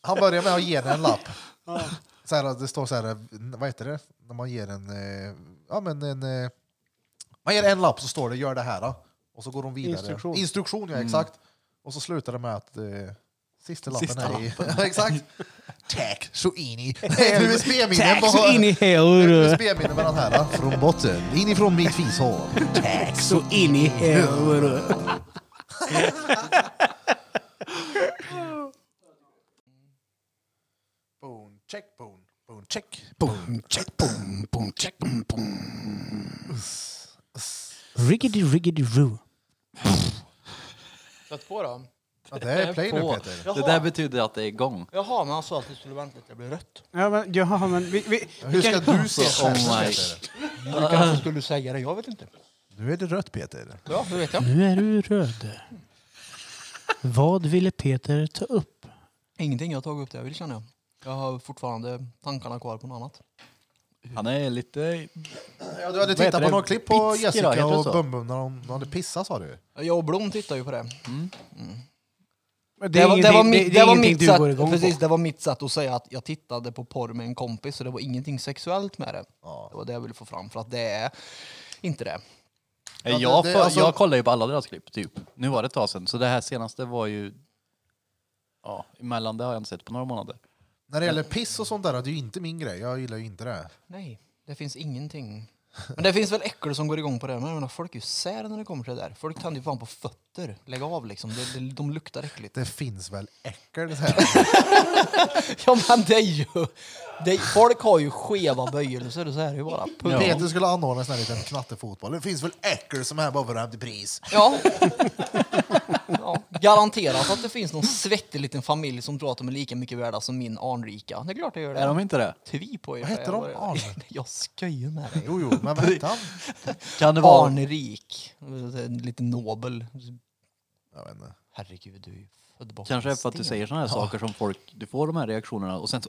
A: Han börjar med att ge henne en lapp. Så här, det står så här, vad heter det? När man ger en, eh, ja men en, eh, man ger en lapp så står det gör det här. då. Och så går de vidare.
C: Instruktion.
A: Instruktion, ja exakt. Och så slutar det med att eh, sista lappen är i. Ja, exakt. Tack så in i. USB-minnen
C: Tack så in i helvete.
A: USB-minnen med den här. då. Från botten, inifrån mitt fishål.
C: Tack så in i helvete.
A: Boom, check, boom, boom, check.
C: Riggedy riggedy roo.
B: Sätt på då.
A: Ja, det är play nu Peter.
D: Det där betyder att det är igång.
B: Jaha, men han sa att du skulle vänta tills jag blev rött.
C: Ja men, jaha, men vi, vi,
A: Hur ska du se
D: Oh
A: skärmen
D: my.
A: Peter?
B: Du kanske skulle säga det, jag vet inte.
A: Nu är det rött Peter.
B: Ja, hur vet jag?
C: Nu är du röd. Vad ville Peter ta upp?
B: Ingenting jag har tagit upp det jag vill känner jag. Jag har fortfarande tankarna kvar på något annat.
D: Han är lite...
A: Ja, du hade
D: Vad heter
A: tittat på
D: det?
A: några klipp på
D: Bitski då,
A: Jessica
D: heter det
A: och
D: så?
A: Bum-Bum när de, de hade pissat sa du.
B: Jag och Blom tittar ju på det.
C: Det,
B: Det,
C: är
B: var, det,
C: ingenting-
B: var, mitt-
C: det är
B: det var
C: ingenting
B: mitt
C: du
B: sätt,
C: går igång
B: precis,
C: på.
B: det var mitt sätt att säga att jag tittade på porr med en kompis så det var ingenting sexuellt med det. Det var det jag ville få fram för att det är inte det.
A: Ja, det-
D: jag,
A: det-
D: för,
A: alltså-
D: jag kollar ju på alla deras klipp, typ. Nu var det ett tag sedan, så det här senaste var ju... Ja, emellan det har jag inte sett på några månader.
A: När det gäller piss och sånt där, det är ju inte min grej. Jag gillar ju inte det.
B: Nej, det finns ingenting. Men det finns väl äckel som går igång på det. Men jag menar, folk är ju sär när det kommer till det där. Folk tänder ju fan på fötter. Lägg av liksom. Det, det, de luktar äckligt.
A: Det finns väl äckel? så här.
B: Ja men det är ju... Det är, folk har ju skeva böjelser, så är det ju bara. Punkt.
A: Peter skulle anordna en sån här liten knattefotboll. Det finns väl äckel som är här bara för att hämta pris?
B: Ja. ja. Garanterat att det finns någon svettig liten familj som tror att de är lika mycket värda som min anrika. Det är klart det gör det.
D: Är de inte det?
B: Tvi på er.
A: Vad heter de?
B: Jag-
A: Arn?
B: Jag skojar med dig.
A: Jo, jo, men vad hette han?
D: Kan det vara...
B: Arnrik. Lite nobel.
A: Jag vet inte.
B: Herregud, du är ju född bakom
D: Kanske är
B: en
D: för att du
B: sten.
D: säger såna här saker som folk... Du får de här reaktionerna och sen så...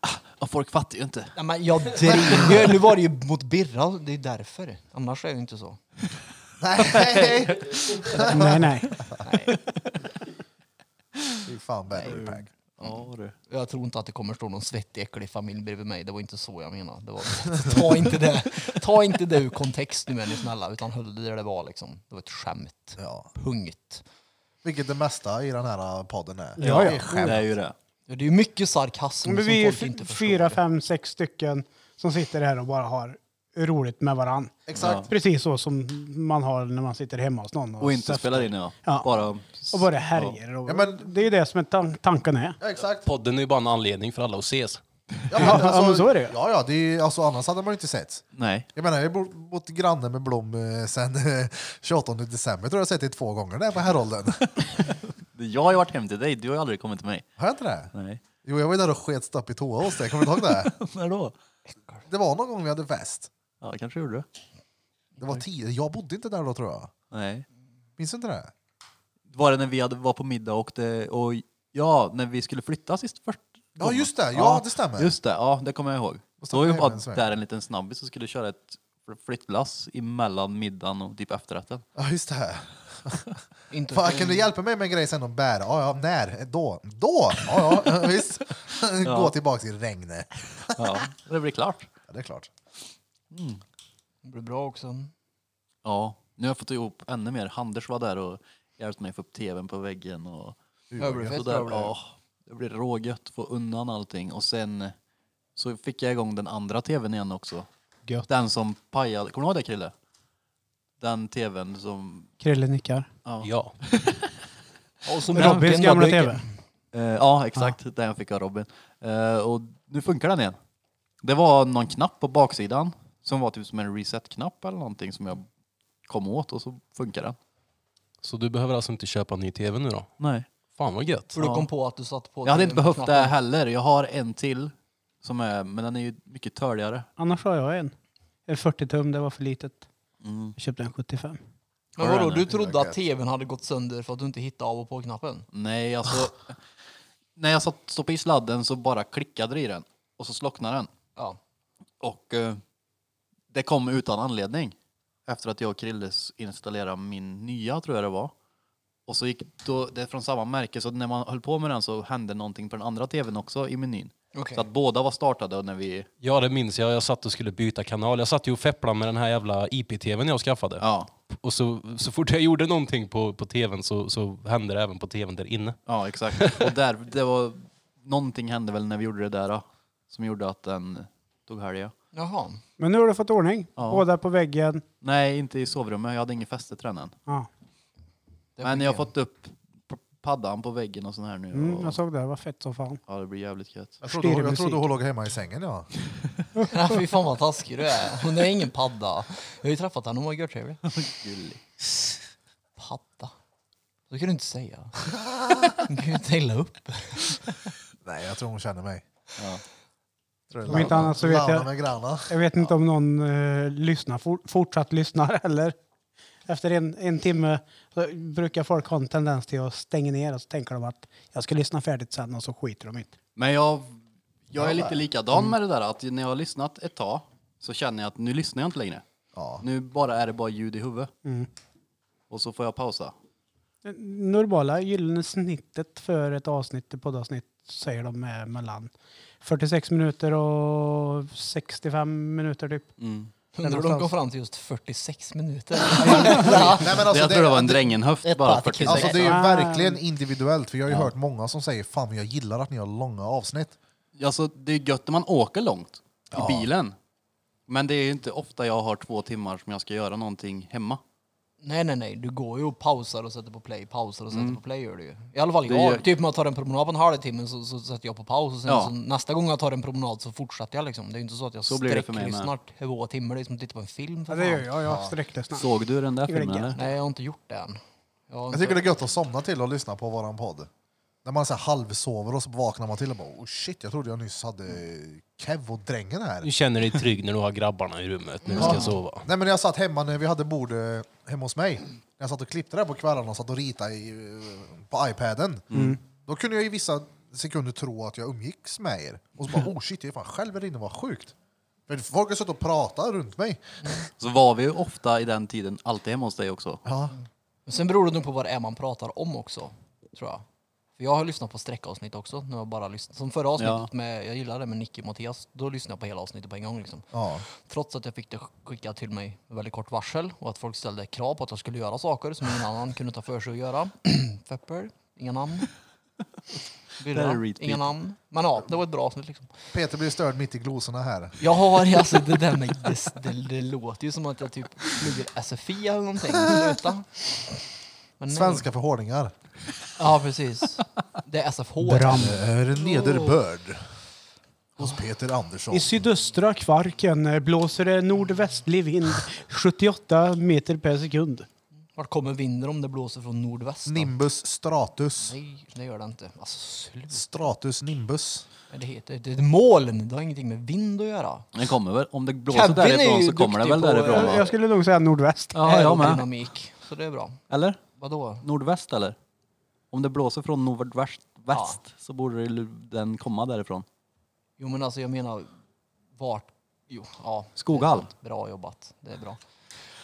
D: Ah, ah, folk fattar ju inte.
B: Nej, men jag driver Nu var det ju mot Birra, det är därför. Annars är det ju inte så.
A: Nej!
C: Nej, nej.
A: Fy fan, battery pack.
D: Ja, du.
B: Jag tror inte att det kommer stå någon svettig äcklig familj bredvid mig. Det var inte så jag menade. Det var, ta, inte det, ta inte det ur kontext nu är ni snälla, utan höll det där det var liksom. Det var ett skämt.
A: Ja.
B: Punkt.
A: Vilket det mesta i den här podden är.
C: Ja, ja.
A: Det är skämt.
D: Det är ju det.
B: Ja, det är ju mycket sarkasm
C: Men
B: som
C: vi är
B: folk inte
C: f-
B: förstår.
C: fyra, fem, sex stycken som sitter här och bara har roligt med varann.
A: Exakt.
C: Precis så som man har när man sitter hemma hos någon.
D: Och inte
C: sätter-
D: spelar in ja.
C: Ja.
D: Bara...
C: Och bara härjer. Och
A: Ja, men-
C: Det är ju det som är tan- tanken är.
A: Ja, exakt.
E: Podden är ju bara en anledning för alla att ses.
A: Ja, men, alltså,
C: ja, men så är det ju.
A: Ja, ja, det är, alltså, annars hade man ju inte sett.
D: Nej.
A: Jag menar, jag har bott- bott granne med Blom eh, sen eh, 28 december. Jag tror jag har sett dig två gånger där på Herolden.
D: Jag har ju varit hem till dig, du har ju aldrig kommit till mig.
A: har jag inte det?
D: Nej.
A: Jo, jag var ju där och sket stapp i toa hos dig. Kommer du ihåg det?
D: När då?
A: Det var någon gång vi hade fest.
D: Ja, det kanske gjorde du.
A: Det var tio. Jag bodde inte där då tror jag.
D: Nej.
A: Minns du inte det?
D: Var det när vi hade, var på middag och, det, och ja, när vi skulle flytta sist först?
A: Ja, just det. Ja, det stämmer.
D: Just det, ja, det kommer jag ihåg.
A: Och
D: Då var ju
A: stack
D: bara
A: hem en sväng.
D: där en liten snabbis som skulle köra ett flyttlass emellan middagen och typ efterrätten.
A: Ja, just det.
B: Inte
A: Fan, kan du hjälpa mig med en grej sen om bär? Ja, ja, när? Då? Då? Ja, ja, visst. Gå tillbaka till regnet.
D: Ja, det blir klart.
A: Ja, det är klart.
B: Det blir bra också.
D: Ja, nu har jag fått ihop ännu mer. Anders var där och hjälpte mig få upp tvn på väggen och
B: Överfett
D: sådär.
B: över
D: Ja, det blir rågött, få undan allting och sen så fick jag igång den andra tvn igen också.
B: Gött.
D: Den som pajade, kommer du ihåg det Krille? Den tvn som,
C: Krille nickar.
D: ja.
E: Ja.
B: Och så
C: Robins
B: Robin gamla
C: gamla tv.
D: Eh, ja, exakt. Den jag fick av Robin. Eh, och nu funkar den igen. Det var någon knapp på baksidan som var typ som en reset-knapp eller någonting som jag kom åt och så funkar den.
E: Så du behöver alltså inte köpa en ny tv nu då?
D: Nej.
E: Fan vad gött.
B: För du kom på att du satt på...
D: Jag hade inte
B: den
D: behövt det
B: knappen.
D: heller. Jag har en till, som är, men den är ju mycket törligare.
C: Annars har jag en. En 40 tum, det var för litet. Jag köpte en 75.
B: Men vadå, du trodde att tvn hade gått sönder för att du inte hittade av och på-knappen?
D: Nej, alltså... när jag satt, stoppade i sladden så bara klickade det i den och så slocknade den.
B: Ja.
D: Och eh, det kom utan anledning. Efter att jag och Krilles installerade min nya, tror jag det var. Och så gick då, det är från samma märke, så när man höll på med den så hände någonting på den andra tvn också i menyn.
B: Okej.
D: Så att båda var startade och när vi...
E: Ja det minns jag, jag satt och skulle byta kanal. Jag satt ju och fepplade med den här jävla IP-tvn jag skaffade.
D: Ja,
E: Och så, så fort jag gjorde någonting på, på tvn så, så hände det även på tvn där inne.
D: ja exakt. Och där, det var... Någonting hände väl när vi gjorde det där då, som gjorde att den tog helga.
B: Jaha.
C: Men nu har du fått ordning.
D: Ja.
C: Båda på väggen.
D: Nej, inte i sovrummet. Jag hade inget fäste till den än.
C: Ja.
B: Det
D: Men
B: fick
D: jag har fått upp p- paddan på väggen och sån här nu.
C: Mm,
B: alltså.
C: jag
D: och,
C: såg det, det var fett som fan.
D: ja, det blir jävligt gött.
A: Jag trodde,
C: Styr
A: jag
C: musik.
A: trodde hon låg hemma i sängen, ja.
B: Ja, fy fan vad taskig du är. Hon är ingen padda. Jag har ju träffat henne, hon var görtrevlig.
D: Gullig.
B: Padda. Så kan du inte säga. Hon kan ju inte hälla upp.
A: Nej, jag tror hon känner mig.
D: Ja.
A: Tror
C: Om inte annat så vet jag-
A: Med granna.
C: Jag vet inte om någon eh, lyssnar, for, fortsatt lyssnar eller efter en, en timme så brukar folk ha en tendens till att stänga ner och så tänker de att jag ska lyssna färdigt sen och så skiter de i det.
D: Men jag, jag är lite likadan med det där att när jag har lyssnat ett tag så känner jag att nu lyssnar jag inte längre.
A: Ja.
D: Nu bara är det bara ljud i huvudet. Och så får jag pausa.
C: Det Normala gyllene snittet för ett avsnitt, ett poddavsnitt, säger de är mellan 46 minuter och 65 minuter typ.
B: Undrar hur de
C: någonstans.
B: kom fram till just 46 minuter.
A: Nej, men
D: jag
A: alltså,
D: tror det var en
A: det-
D: drängenhöft
B: ett
D: bara.
B: paket.
D: 46.
A: Alltså det är ju
C: Ah.
A: verkligen individuellt, för jag har ju hört många som säger fan vad jag gillar att ni har långa avsnitt.
D: Alltså, det är gött när man åker långt i bilen. Men det är ju inte ofta jag har två timmar som jag ska göra någonting hemma.
B: Nej, nej, nej. Du går ju och pausar och sätter på play, pausar och sätter på play gör du ju. I alla fall
D: Mm. Det
B: jag.
D: gör-
B: Typ om jag tar en promenad på en halvtimme så, så sätter jag på paus och sen
D: Ja.
B: så, nästa gång jag tar en promenad så fortsätter jag liksom. Det är ju inte så att jag
D: Så blir det för mig med.
B: sträcklyssnar två timmar. Det är som att titta på en film. för
C: Ja, det gör
B: fan.
C: jag, jag sträcklyssnar.
D: Såg du den där
C: Det är väl
D: filmen
C: gött.
D: eller?
B: Nej, jag har inte gjort det än. Jag har
A: Jag
B: inte-
A: tycker det är gött att somna till och lyssna på våran podd. När man så här halvsover och så vaknar man till och bara oh shit, jag trodde jag nyss hade Kev och drängen här.
E: Du känner dig trygg när du har grabbarna i rummet när du ska sova.
A: Nej men jag satt hemma när vi hade bord eh, hemma hos mig. När jag satt och klippte där på kvällarna och satt och ritade i, eh, på iPaden. Då kunde jag i vissa sekunder tro att jag umgicks med er. Och så bara oh shit, jag är fan själv här inne, vad sjukt. För folk har suttit och pratat runt mig.
D: Så var vi ju ofta i den tiden alltid hemma hos dig också.
A: Ja.
B: Men sen beror det nog på vad det är man pratar om också, tror jag. För För jag har lyssnat på sträckavsnitt också. Nu har jag bara lyssnat. Som förra avsnittet,
D: Ja.
B: med, jag gillade det med Nicky och Mattias, då lyssnade jag på hela avsnittet på en gång. Liksom.
A: Ja.
B: Trots att jag fick det skickat till mig med väldigt kort varsel och att folk ställde krav på att jag skulle göra saker som ingen annan kunde ta för sig att göra. Pepper, inga namn.
D: Där är
B: Birra,
D: repeat.
B: inga namn. Men ja, det var ett bra avsnitt liksom.
A: Peter blir störd mitt i glosorna här.
B: Jag har alltså det där med, det, det, det låter ju som att jag typ pluggar SFI eller någonting. Sluta. Men nej.
A: Svenska förhårdningar.
B: Ja, precis. Det är SFH.
A: Det är en nederbörd hos Peter Andersson.
C: I sydöstra Kvarken eh, blåser det nordvästlig vind 78 meter per sekund.
B: Vart kommer vinden om det blåser från nordväst? då?
A: Nimbus stratus.
B: Nej, det gör det inte. Alltså, sluta.
A: Stratus nimbus.
B: Det heter det är moln. Det har ingenting med vind att göra.
D: Den kommer väl, om det blåser
B: Camping är ju
D: därifrån så kommer den väl
B: duktig på-
D: därifrån
C: Jag,
D: va?
C: jag skulle nog säga nordväst.
D: Ja, jag med.
B: Dynamik. Så det är bra.
D: Eller?
B: Vadå?
D: Nordväst eller? Om det blåser från nordväst väst, så borde det- den komma därifrån.
B: Jo, men alltså jag menar vart... Jo, ja.
D: Skoghall.
B: det är sant. Bra jobbat. Det är bra.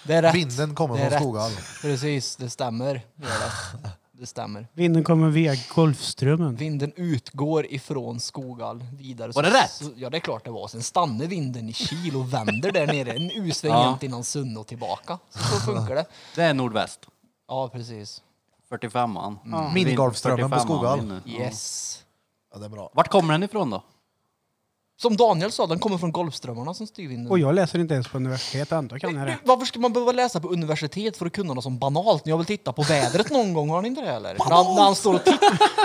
B: Det är rätt.
A: Vinden
B: Det
A: kommer
B: är
A: från
B: rätt.
A: Skoghall.
B: Precis, det stämmer. Det, är rätt. det stämmer.
C: Vinden kommer via Golfströmmen.
B: Vinden utgår ifrån Skoghall vidare.
D: Var det rätt?
B: Så, ja, det är klart det var. Sen stannar vinden i Kil och vänder där nere. En U-sväng
D: Ja.
B: jämt innan Sunne och tillbaka. Så, så funkar det.
D: Det är nordväst.
B: Ja, precis.
D: 45an. Mm.
A: Minigolfströmmen på Skoghall.
B: Yes.
A: Ja, det är bra.
D: Vart kommer den ifrån då?
B: Som Daniel sa, den kommer från Golfströmmarna som styr vinden.
C: Och jag läser inte ens på universitet, ändå kan jag det.
B: Varför ska man behöva läsa på universitet för att kunna något som banalt? Ni har väl tittat på vädret någon gång? Har ni inte det eller? När han, när han står och, titt-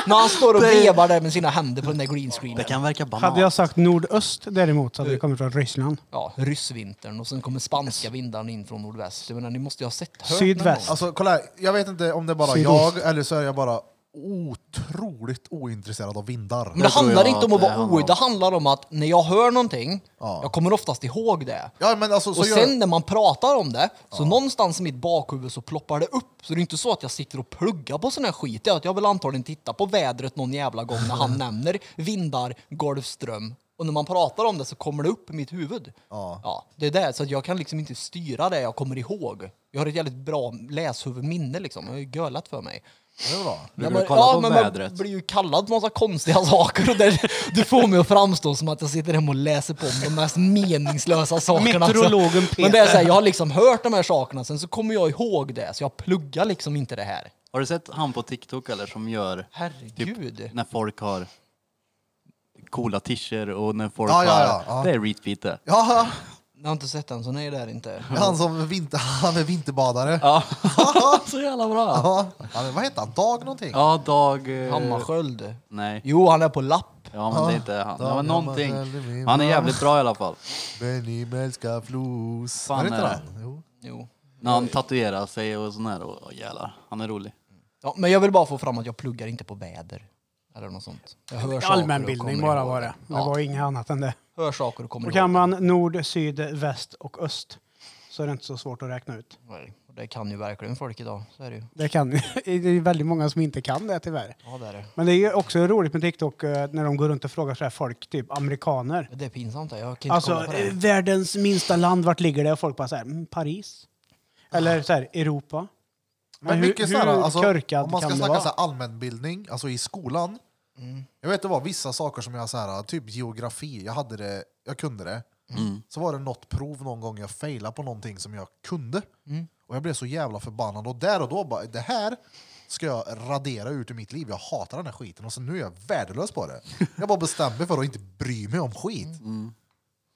B: när han står och vevar där med sina händer på den där greenscreenen.
D: kan verka
C: Hade jag sagt nordöst däremot så hade det kommit från Ryssland.
B: Ja, ryssvintern och sen kommer spanska vindarna in från nordväst. Jag menar, ni måste ju ha sett hört
C: Sydväst.
A: Alltså, kolla här. Jag vet inte om det är bara
C: Sydost.
A: jag eller så är jag bara otroligt ointresserad av vindar.
B: Men det
D: Det tror
B: handlar
D: jag
B: inte om
D: att
B: att
D: det
B: vara
D: handlar
B: oerhört,
D: om.
B: det handlar om att när jag hör någonting,
A: Ja.
B: jag kommer oftast ihåg det.
A: Ja, men alltså, så
B: och
A: gör-
B: sen när man pratar om det, så någonstans i mitt bakhuvud så ploppar det upp. Så det är inte så att jag sitter och pluggar på sån här skit. Det är att jag vill antagligen titta på vädret någon jävla gång när han nämner vindar, golfström. Och när man pratar om det så kommer det upp i mitt huvud.
A: Ja.
B: det är det. Så att jag kan liksom inte styra det jag kommer ihåg. Jag har ett jävligt bra läshuvudminne liksom. Jag har ju gölat för mig.
A: Det är bra.
D: Brukar
B: men-
D: du kolla på
B: men
D: vädret?
B: Man blir ju kallad på massa konstiga saker och det, du får mig att framstå som att jag sitter hemma och läser på om de mest meningslösa sakerna. Alltså,
C: Meteorologen Peter.
B: Men det är så här, jag har liksom hört de här sakerna, sen så kommer jag ihåg det, så jag pluggar liksom inte det här.
D: Har du sett han på TikTok eller som gör
B: Herregud.
C: Typ.
D: när folk har coola t-shirts och när folk
A: Ja, ja, ja,
D: har...
A: ja.
D: Det är retweet det.
A: Ja, ja.
B: Jag har inte sett den, så nej det är det inte.
A: han som vinter, han är vinterbadare.
D: Ja. så jävla bra.
A: Ja. Han, vad heter han? Dag någonting?
D: Ja, Dag... eh,
B: Hammarskjöld.
D: Nej.
B: Jo, han är på lapp.
D: Ja, men det är inte han. Det var
A: Dag
D: någonting.
A: Hammarskjöld är min
D: Han är
A: man.
D: jävligt bra i alla fall.
A: Benny Melska Flos.
D: Fan
A: är det inte
D: är det.
A: den? Jo.
B: Jo.
D: När han tatuerar sig och sån här. Och, åh, jävlar, han är rolig.
B: Ja, men jag vill bara få fram att jag pluggar inte på väder. Eller något sånt. Jag hör saker och
C: Allmänbildning
B: kommer
C: bara
B: ihåg
C: var det. Det
B: Ja,
C: var inget annat än det.
B: hör saker och kommer
C: Och
B: ihåg
C: kan
B: det.
C: man nord, syd, väst och öst så är det inte så svårt att räkna ut.
B: Nej, och Det kan ju verkligen folk idag. Så är det ju.
C: Det, kan, det är väldigt många som inte kan det tyvärr.
B: Ja, det är det.
C: Men det är ju också roligt med TikTok eh, när de går runt och frågar så här folk, typ amerikaner.
B: Det är pinsamt. det. Jag kan inte kolla
C: Alltså
B: på det.
C: eh, världens minsta land, vart ligger det? Och folk bara så här, mm, Paris. Eller så här, Europa.
A: Men
C: hur,
A: mycket
C: hur
A: så här, alltså,
C: körkad
A: om man ska
C: kan det
A: snacka
C: vara?
A: så här allmänbildning, alltså i skolan. Jag vet det var vissa saker som jag, så här, typ geografi, jag, hade det, jag kunde det.
D: Mm.
A: Så var det något prov någon gång jag failade på någonting som jag kunde.
C: Mm.
A: Och jag blev så jävla förbannad. Och där och då bara, det här ska jag radera ut ur mitt liv. Jag hatar den här skiten. Och så nu är jag värdelös på det. Jag bara bestämde mig för att inte bry mig om skit.
C: Mm.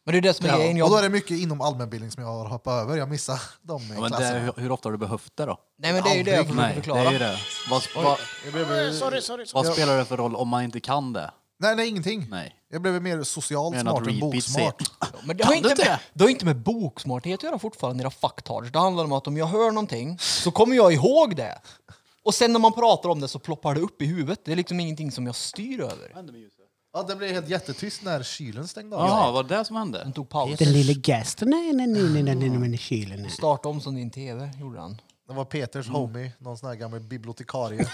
B: Men det är det som är grejen.
A: Och då är
B: Jag,
A: det mycket inom allmänbildning som jag har hoppat över. Jag missar de
D: Ja,
A: ja,
D: men det, är-
A: klasserna.
D: hur, hur ofta har du behövt det då?
B: nej men det är ju det jag
A: aldrig-
B: försöker
D: Nej, det
B: förklara.
D: är ju det. Vad, vad, vad spelar det för roll om man inte kan det?
A: Nej, nej, ingenting.
D: Nej.
A: Jag blev mer socialt
D: Mer än att
A: smart än
D: read bits
A: boksmart.
B: Ja, Men det har,
D: Kan du
B: inte
D: inte?
B: med, det har inte med boksmarthet att göra fortfarande, era fucktards. Det handlar om att om jag hör någonting så kommer jag ihåg det. Och sen när man pratar om det så ploppar det upp i huvudet. Det är liksom ingenting som jag styr över.
A: Ja, det blev helt jättetyst när kylen stängde av.
D: Ja, vad var det som hände?
B: Den tog paus.
C: Den lille gästen är den inne i kylen.
B: Starta om som din tv, gjorde han.
A: Det var Peters homie, någon sån här gammal bibliotekarie.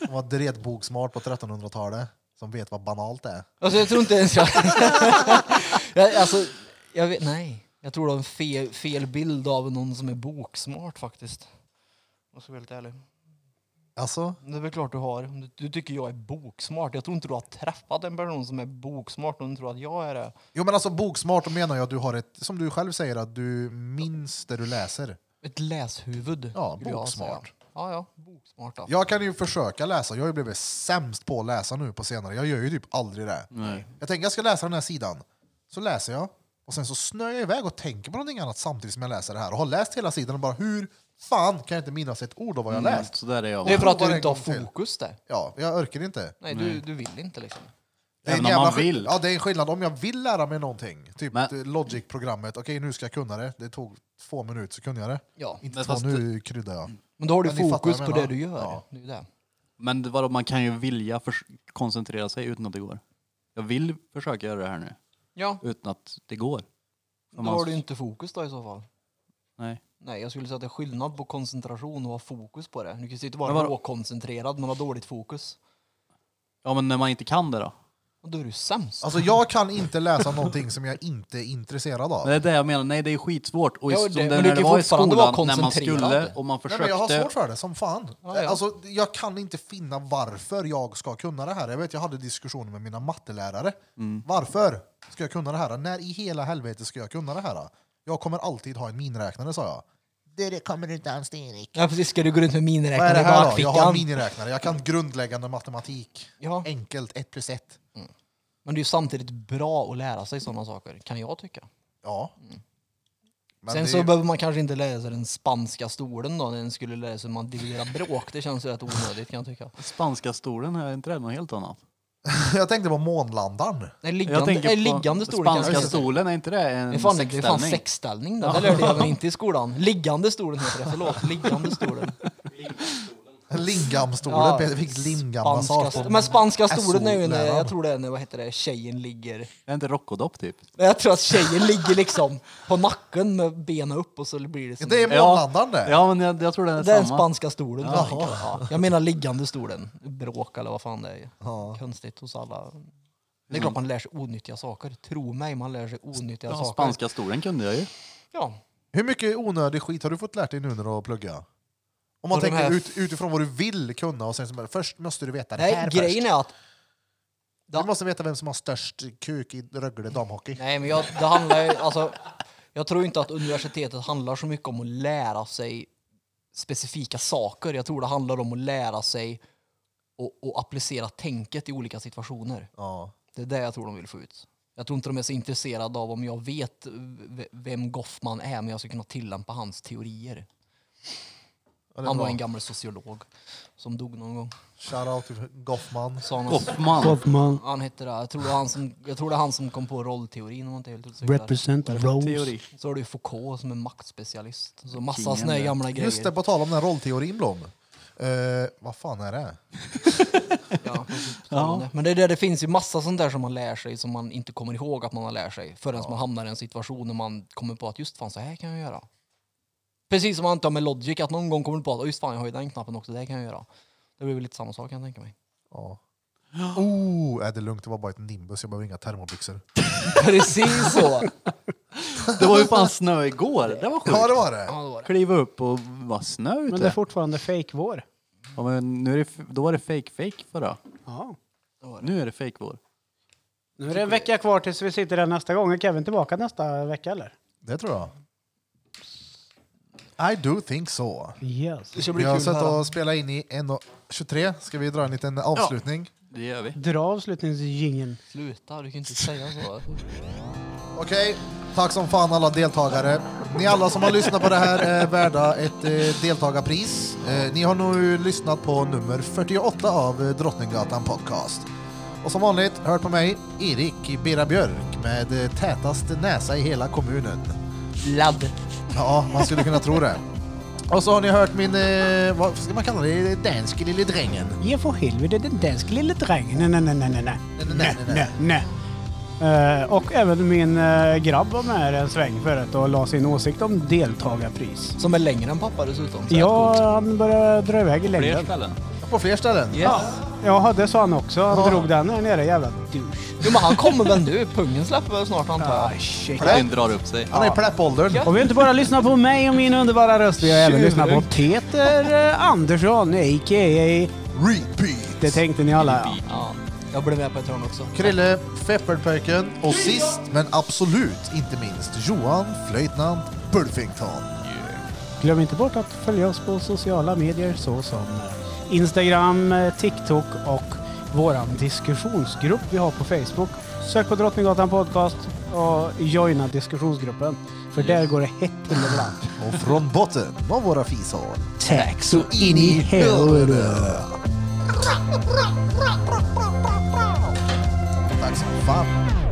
A: Han var dretboksmart på 1300-talet, som vet vad banalt är.
B: Alltså jag tror inte ens jag... jag alltså, jag vet, nej. Jag tror du har en fel, fel bild av någon som är boksmart faktiskt. Om jag ska vara helt ärlig.
A: Alltså,
B: Det är väl klart du har. Du, du tycker jag är boksmart. Jag tror inte du har träffat en person som är boksmart och du tror att jag är det.
A: jo men alltså boksmart då menar jag att du har ett, som du själv säger, att du minns det du läser.
B: Ett läshuvud.
A: Ja,
B: skulle jag säga.
A: boksmart.
B: Ja, ja, boksmart. Ja.
A: Jag kan ju försöka läsa, jag har ju blivit sämst på att läsa nu på senare. Jag gör ju typ aldrig det.
D: Nej.
A: Jag tänker jag ska läsa den här sidan, så läser jag. Och sen så snöar jag iväg och tänker på någonting annat samtidigt som jag läser det här. Och har läst hela sidan och bara hur fan kan jag inte minnas ett ord av vad jag
D: Mm,
A: läst?
D: Så där är jag.
B: Det är
D: Med.
B: för att
A: Bara
B: du
A: en
B: inte har
A: gång till.
B: fokus där.
A: Ja, jag orkar inte.
B: Nej, du, du vill inte liksom.
A: Det är en
D: Även om
A: jävla
D: man
A: skill-
D: vill.
A: Ja, det är en skillnad om jag vill lära mig någonting. Typ
D: Men-
A: eh, Logic-programmet. Okej, nu ska jag kunna det. Det tog två minuter så kunde jag det.
B: Ja.
A: Inte
D: Men
A: två,
D: fast-
A: nu kryddar jag.
B: Men då har du
A: Men ni fattar
B: fokus
A: vad
B: på
A: jag
B: det
A: menar.
B: du gör.
A: Ja.
B: Det är ju det.
D: Men det- vadå, man kan ju vilja förs- koncentrera sig utan att det går. Jag vill försöka göra det här nu
B: Ja,
D: utan att det går.
B: då
D: man-
B: har du inte fokus då i så fall.
D: Nej.
B: Nej, jag skulle säga att det är skillnad på koncentration och ha fokus på det. Du kan ju sitta
D: Men
B: bara
D: vadå?
B: råkoncentrerad men ha dåligt fokus.
D: Ja men när man inte kan det då?
B: Och då är du sämst.
A: Alltså, jag kan inte läsa någonting som jag inte är intresserad av.
D: Det är det jag menar, nej det är skitsvårt. Och
B: Ja,
D: ja,
B: och
D: som
B: det-
D: det,
B: men
D: när
B: du
D: det
B: kan
D: var i
B: fortfarande
D: skolan,
B: vara
D: när man
B: koncentrerad.
D: skulle och man
A: Nej,
D: försökte.
A: men jag har svårt för det, som fan.
B: Ja, ja.
A: Alltså, jag kan inte finna varför jag ska kunna det här. Jag vet, jag hade diskussioner med mina mattelärare.
B: Mm.
A: Varför ska jag kunna det här? När i hela helvete ska jag kunna det här? Jag kommer alltid ha en miniräknare, sa jag. Det det kommer du inte alls, det, Erik.
B: Ja precis, ska du gå runt med
A: Vad är
B: miniräknare
A: det
B: i
A: här då? Jag har en
B: bakfickan?
A: miniräknare. Jag kan grundläggande matematik.
B: Ja.
A: Enkelt, ett plus ett.
B: Men det är ju samtidigt bra att lära sig sådana saker, kan jag tycka.
A: Ja. Men
B: Sen
A: det är
B: så
A: ju-
B: behöver man kanske inte lära sig den spanska stolen då, när den skulle lära sig hur man dividerar bråk. Det känns ju rätt onödigt kan jag tycka.
D: Spanska stolen har jag inte rädd något helt annat.
A: jag tänkte på månlandan.
B: Nej, liggande,
D: tänker
B: nej,
D: på
B: liggande stolen kan
D: Spanska
B: jag säga.
D: stolen, är inte det en
B: Det är fan, det är fan
D: sexställning?
B: sexställning då. Det lärde jag mig inte i skolan. Liggande stolen heter det, förlåt. Liggande stolen.
A: Lingamstolen.
B: Ja,
A: Peter fick lingammassage
B: Spanska,
A: på
B: men spanska stolen är ju när,
A: SO-läraren.
B: jag tror det är när, vad heter det, tjejen ligger.
D: Är det inte rockodopp typ?
B: Nej, Jag tror att tjejen ligger liksom på nacken med benen upp och så blir det som
A: Det är månlandan det.
D: Ja men jag, jag tror den är
B: Det är den
D: samma.
B: spanska stolen.
A: Jaha.
B: Ja, jag menar liggande stolen. Bråk eller vad fan det är. Konstigt hos alla. Det är klart man lär sig onyttiga saker. Tro mig, man lär sig onyttiga
D: ja,
B: saker.
D: Alltså, spanska stolen kunde jag ju.
B: Ja.
A: Hur mycket onödig skit har du fått lärt dig nu när du har pluggat? Om man
B: Och de
A: tänker
B: här-
A: ut, utifrån vad du vill kunna och sen så bara, först måste du veta det
B: Nej,
A: här
B: grejen
A: först.
B: är att...
A: Du måste veta vem som har störst kuk i Rögle damhockey.
B: Nej, men jag, det handlar ju... Alltså, jag tror inte att universitetet handlar så mycket om att lära sig specifika saker. Jag tror det handlar om att lära sig och, och applicera tänket i olika situationer.
A: Ja.
B: Det är det jag tror de vill få ut. Jag tror inte de är så intresserade av om jag vet v- vem Goffman är, men jag ska kunna tillämpa hans teorier.
A: Ja, det är
B: Han
A: bra.
B: var en gammal sociolog som dog någon gång.
A: Shoutout till Goffman.
B: Så han,
D: Goffman.
C: Goffman
B: han hette det, jag tror det, var han som, jag tror det är han som kom på rollteorin om jag inte är helt ute och cyklar.
C: represent Rose.
D: Teori.
B: Så har du Foucault som är maktspecialist. Så massa
D: Kingen
B: såna här
D: där.
B: gamla grejer.
A: Just det, på tal om den rollteorin Blom. Eh, vad fan är det?
B: Ja, precis. Men det, är det, det finns ju massa sånt där som man lär sig som man inte kommer ihåg att man har lärt sig förrän man hamnar i en situation när man kommer på att just fan så här kan jag göra. Precis som man antar med Logic att någon gång kommer du på att "Åh, just fan jag har ju den knappen också, det här kan jag göra. Det blir väl lite samma sak kan jag tänka mig.
A: Ja. Oh, är det är lugnt, det var bara ett nimbus. Jag behöver inga termobyxor.
B: Precis så!
D: Det var ju fan snö igår. Det var
A: Ja, det
D: sjukt.
A: var det.
B: Ja, det var det.
D: Kliva upp och var snö ute.
C: Men det är fortfarande fake vår.
D: ja, men nu är det, f- då var det fake fake förra.
C: Ja.
D: Nu är det fake vår.
C: Nu är det en vecka kvar tills vi sitter där nästa gång. Är Kevin tillbaka nästa vecka eller?
A: Det tror jag. I do think so.
C: Yes.
B: Det ska bli
A: Vi har
B: kul att
A: suttit
B: höra.
A: och spelat in i 1.23. Ska vi dra en liten avslutning?
D: Det gör vi.
C: Dra avslutningsjingeln.
B: Sluta, du kan inte säga så.
A: Okej, tack som fan alla deltagare. Ni alla som har lyssnat på det här är värda ett eh, deltagarpris. Eh, ni har nu lyssnat på nummer 48 av eh, Drottninggatan Podcast. Och som vanligt hört på mig, Erik Bera Björk med eh, tätast näsa i hela kommunen.
B: Ladd!
A: Ja, man skulle kunna tro det. Och så har ni hört min, eh, vad ska man kalla det, danske lille drängen.
C: Ge för helvete den danske lille drängen. Nej, nej, nej, nej, nej, nej,
A: nej,
C: nej,
A: nej,
C: nej, nej. Eh, och även min eh, grabb var med här en sväng förut och la sin åsikt om deltagarpris.
B: Som är längre än pappa dessutom. så är det
C: Ja,
B: coolt.
C: han började dra iväg i
D: Fler
C: längden.
D: ställen.
A: På fler ställen.
B: Yes.
C: Jaha, det sa han också. Han
A: Ja.
C: drog den här nere, jävla douche.
B: Jo men han kommer väl nu? Pungen släpper väl snart antar jag?
C: shit.
D: Den drar upp sig.
A: Han är i pläppåldern.
B: Ja.
A: Ja.
C: Och vi inte bara lyssnar på mig och min underbara röst. Vi har även
B: Tjuring.
C: lyssnat på Peter eh, Andersson, a.k.a.
A: Repeat!
C: Det tänkte ni alla, ja.
B: Ja, jag blev med på ett hörn också.
A: Krille, Fepperpöken och sist men absolut inte minst Johan Flöjtnant Bulfington.
C: Glöm inte bort att följa oss på sociala medier såsom Instagram, eh, TikTok och våran diskussionsgrupp vi har på Facebook. Sök på Drottninggatan Podcast och joina diskussionsgruppen. För där går det hett till ibland.
A: Och från botten var våra fishål.
C: Tack så in i helvete!
A: Tack så fan.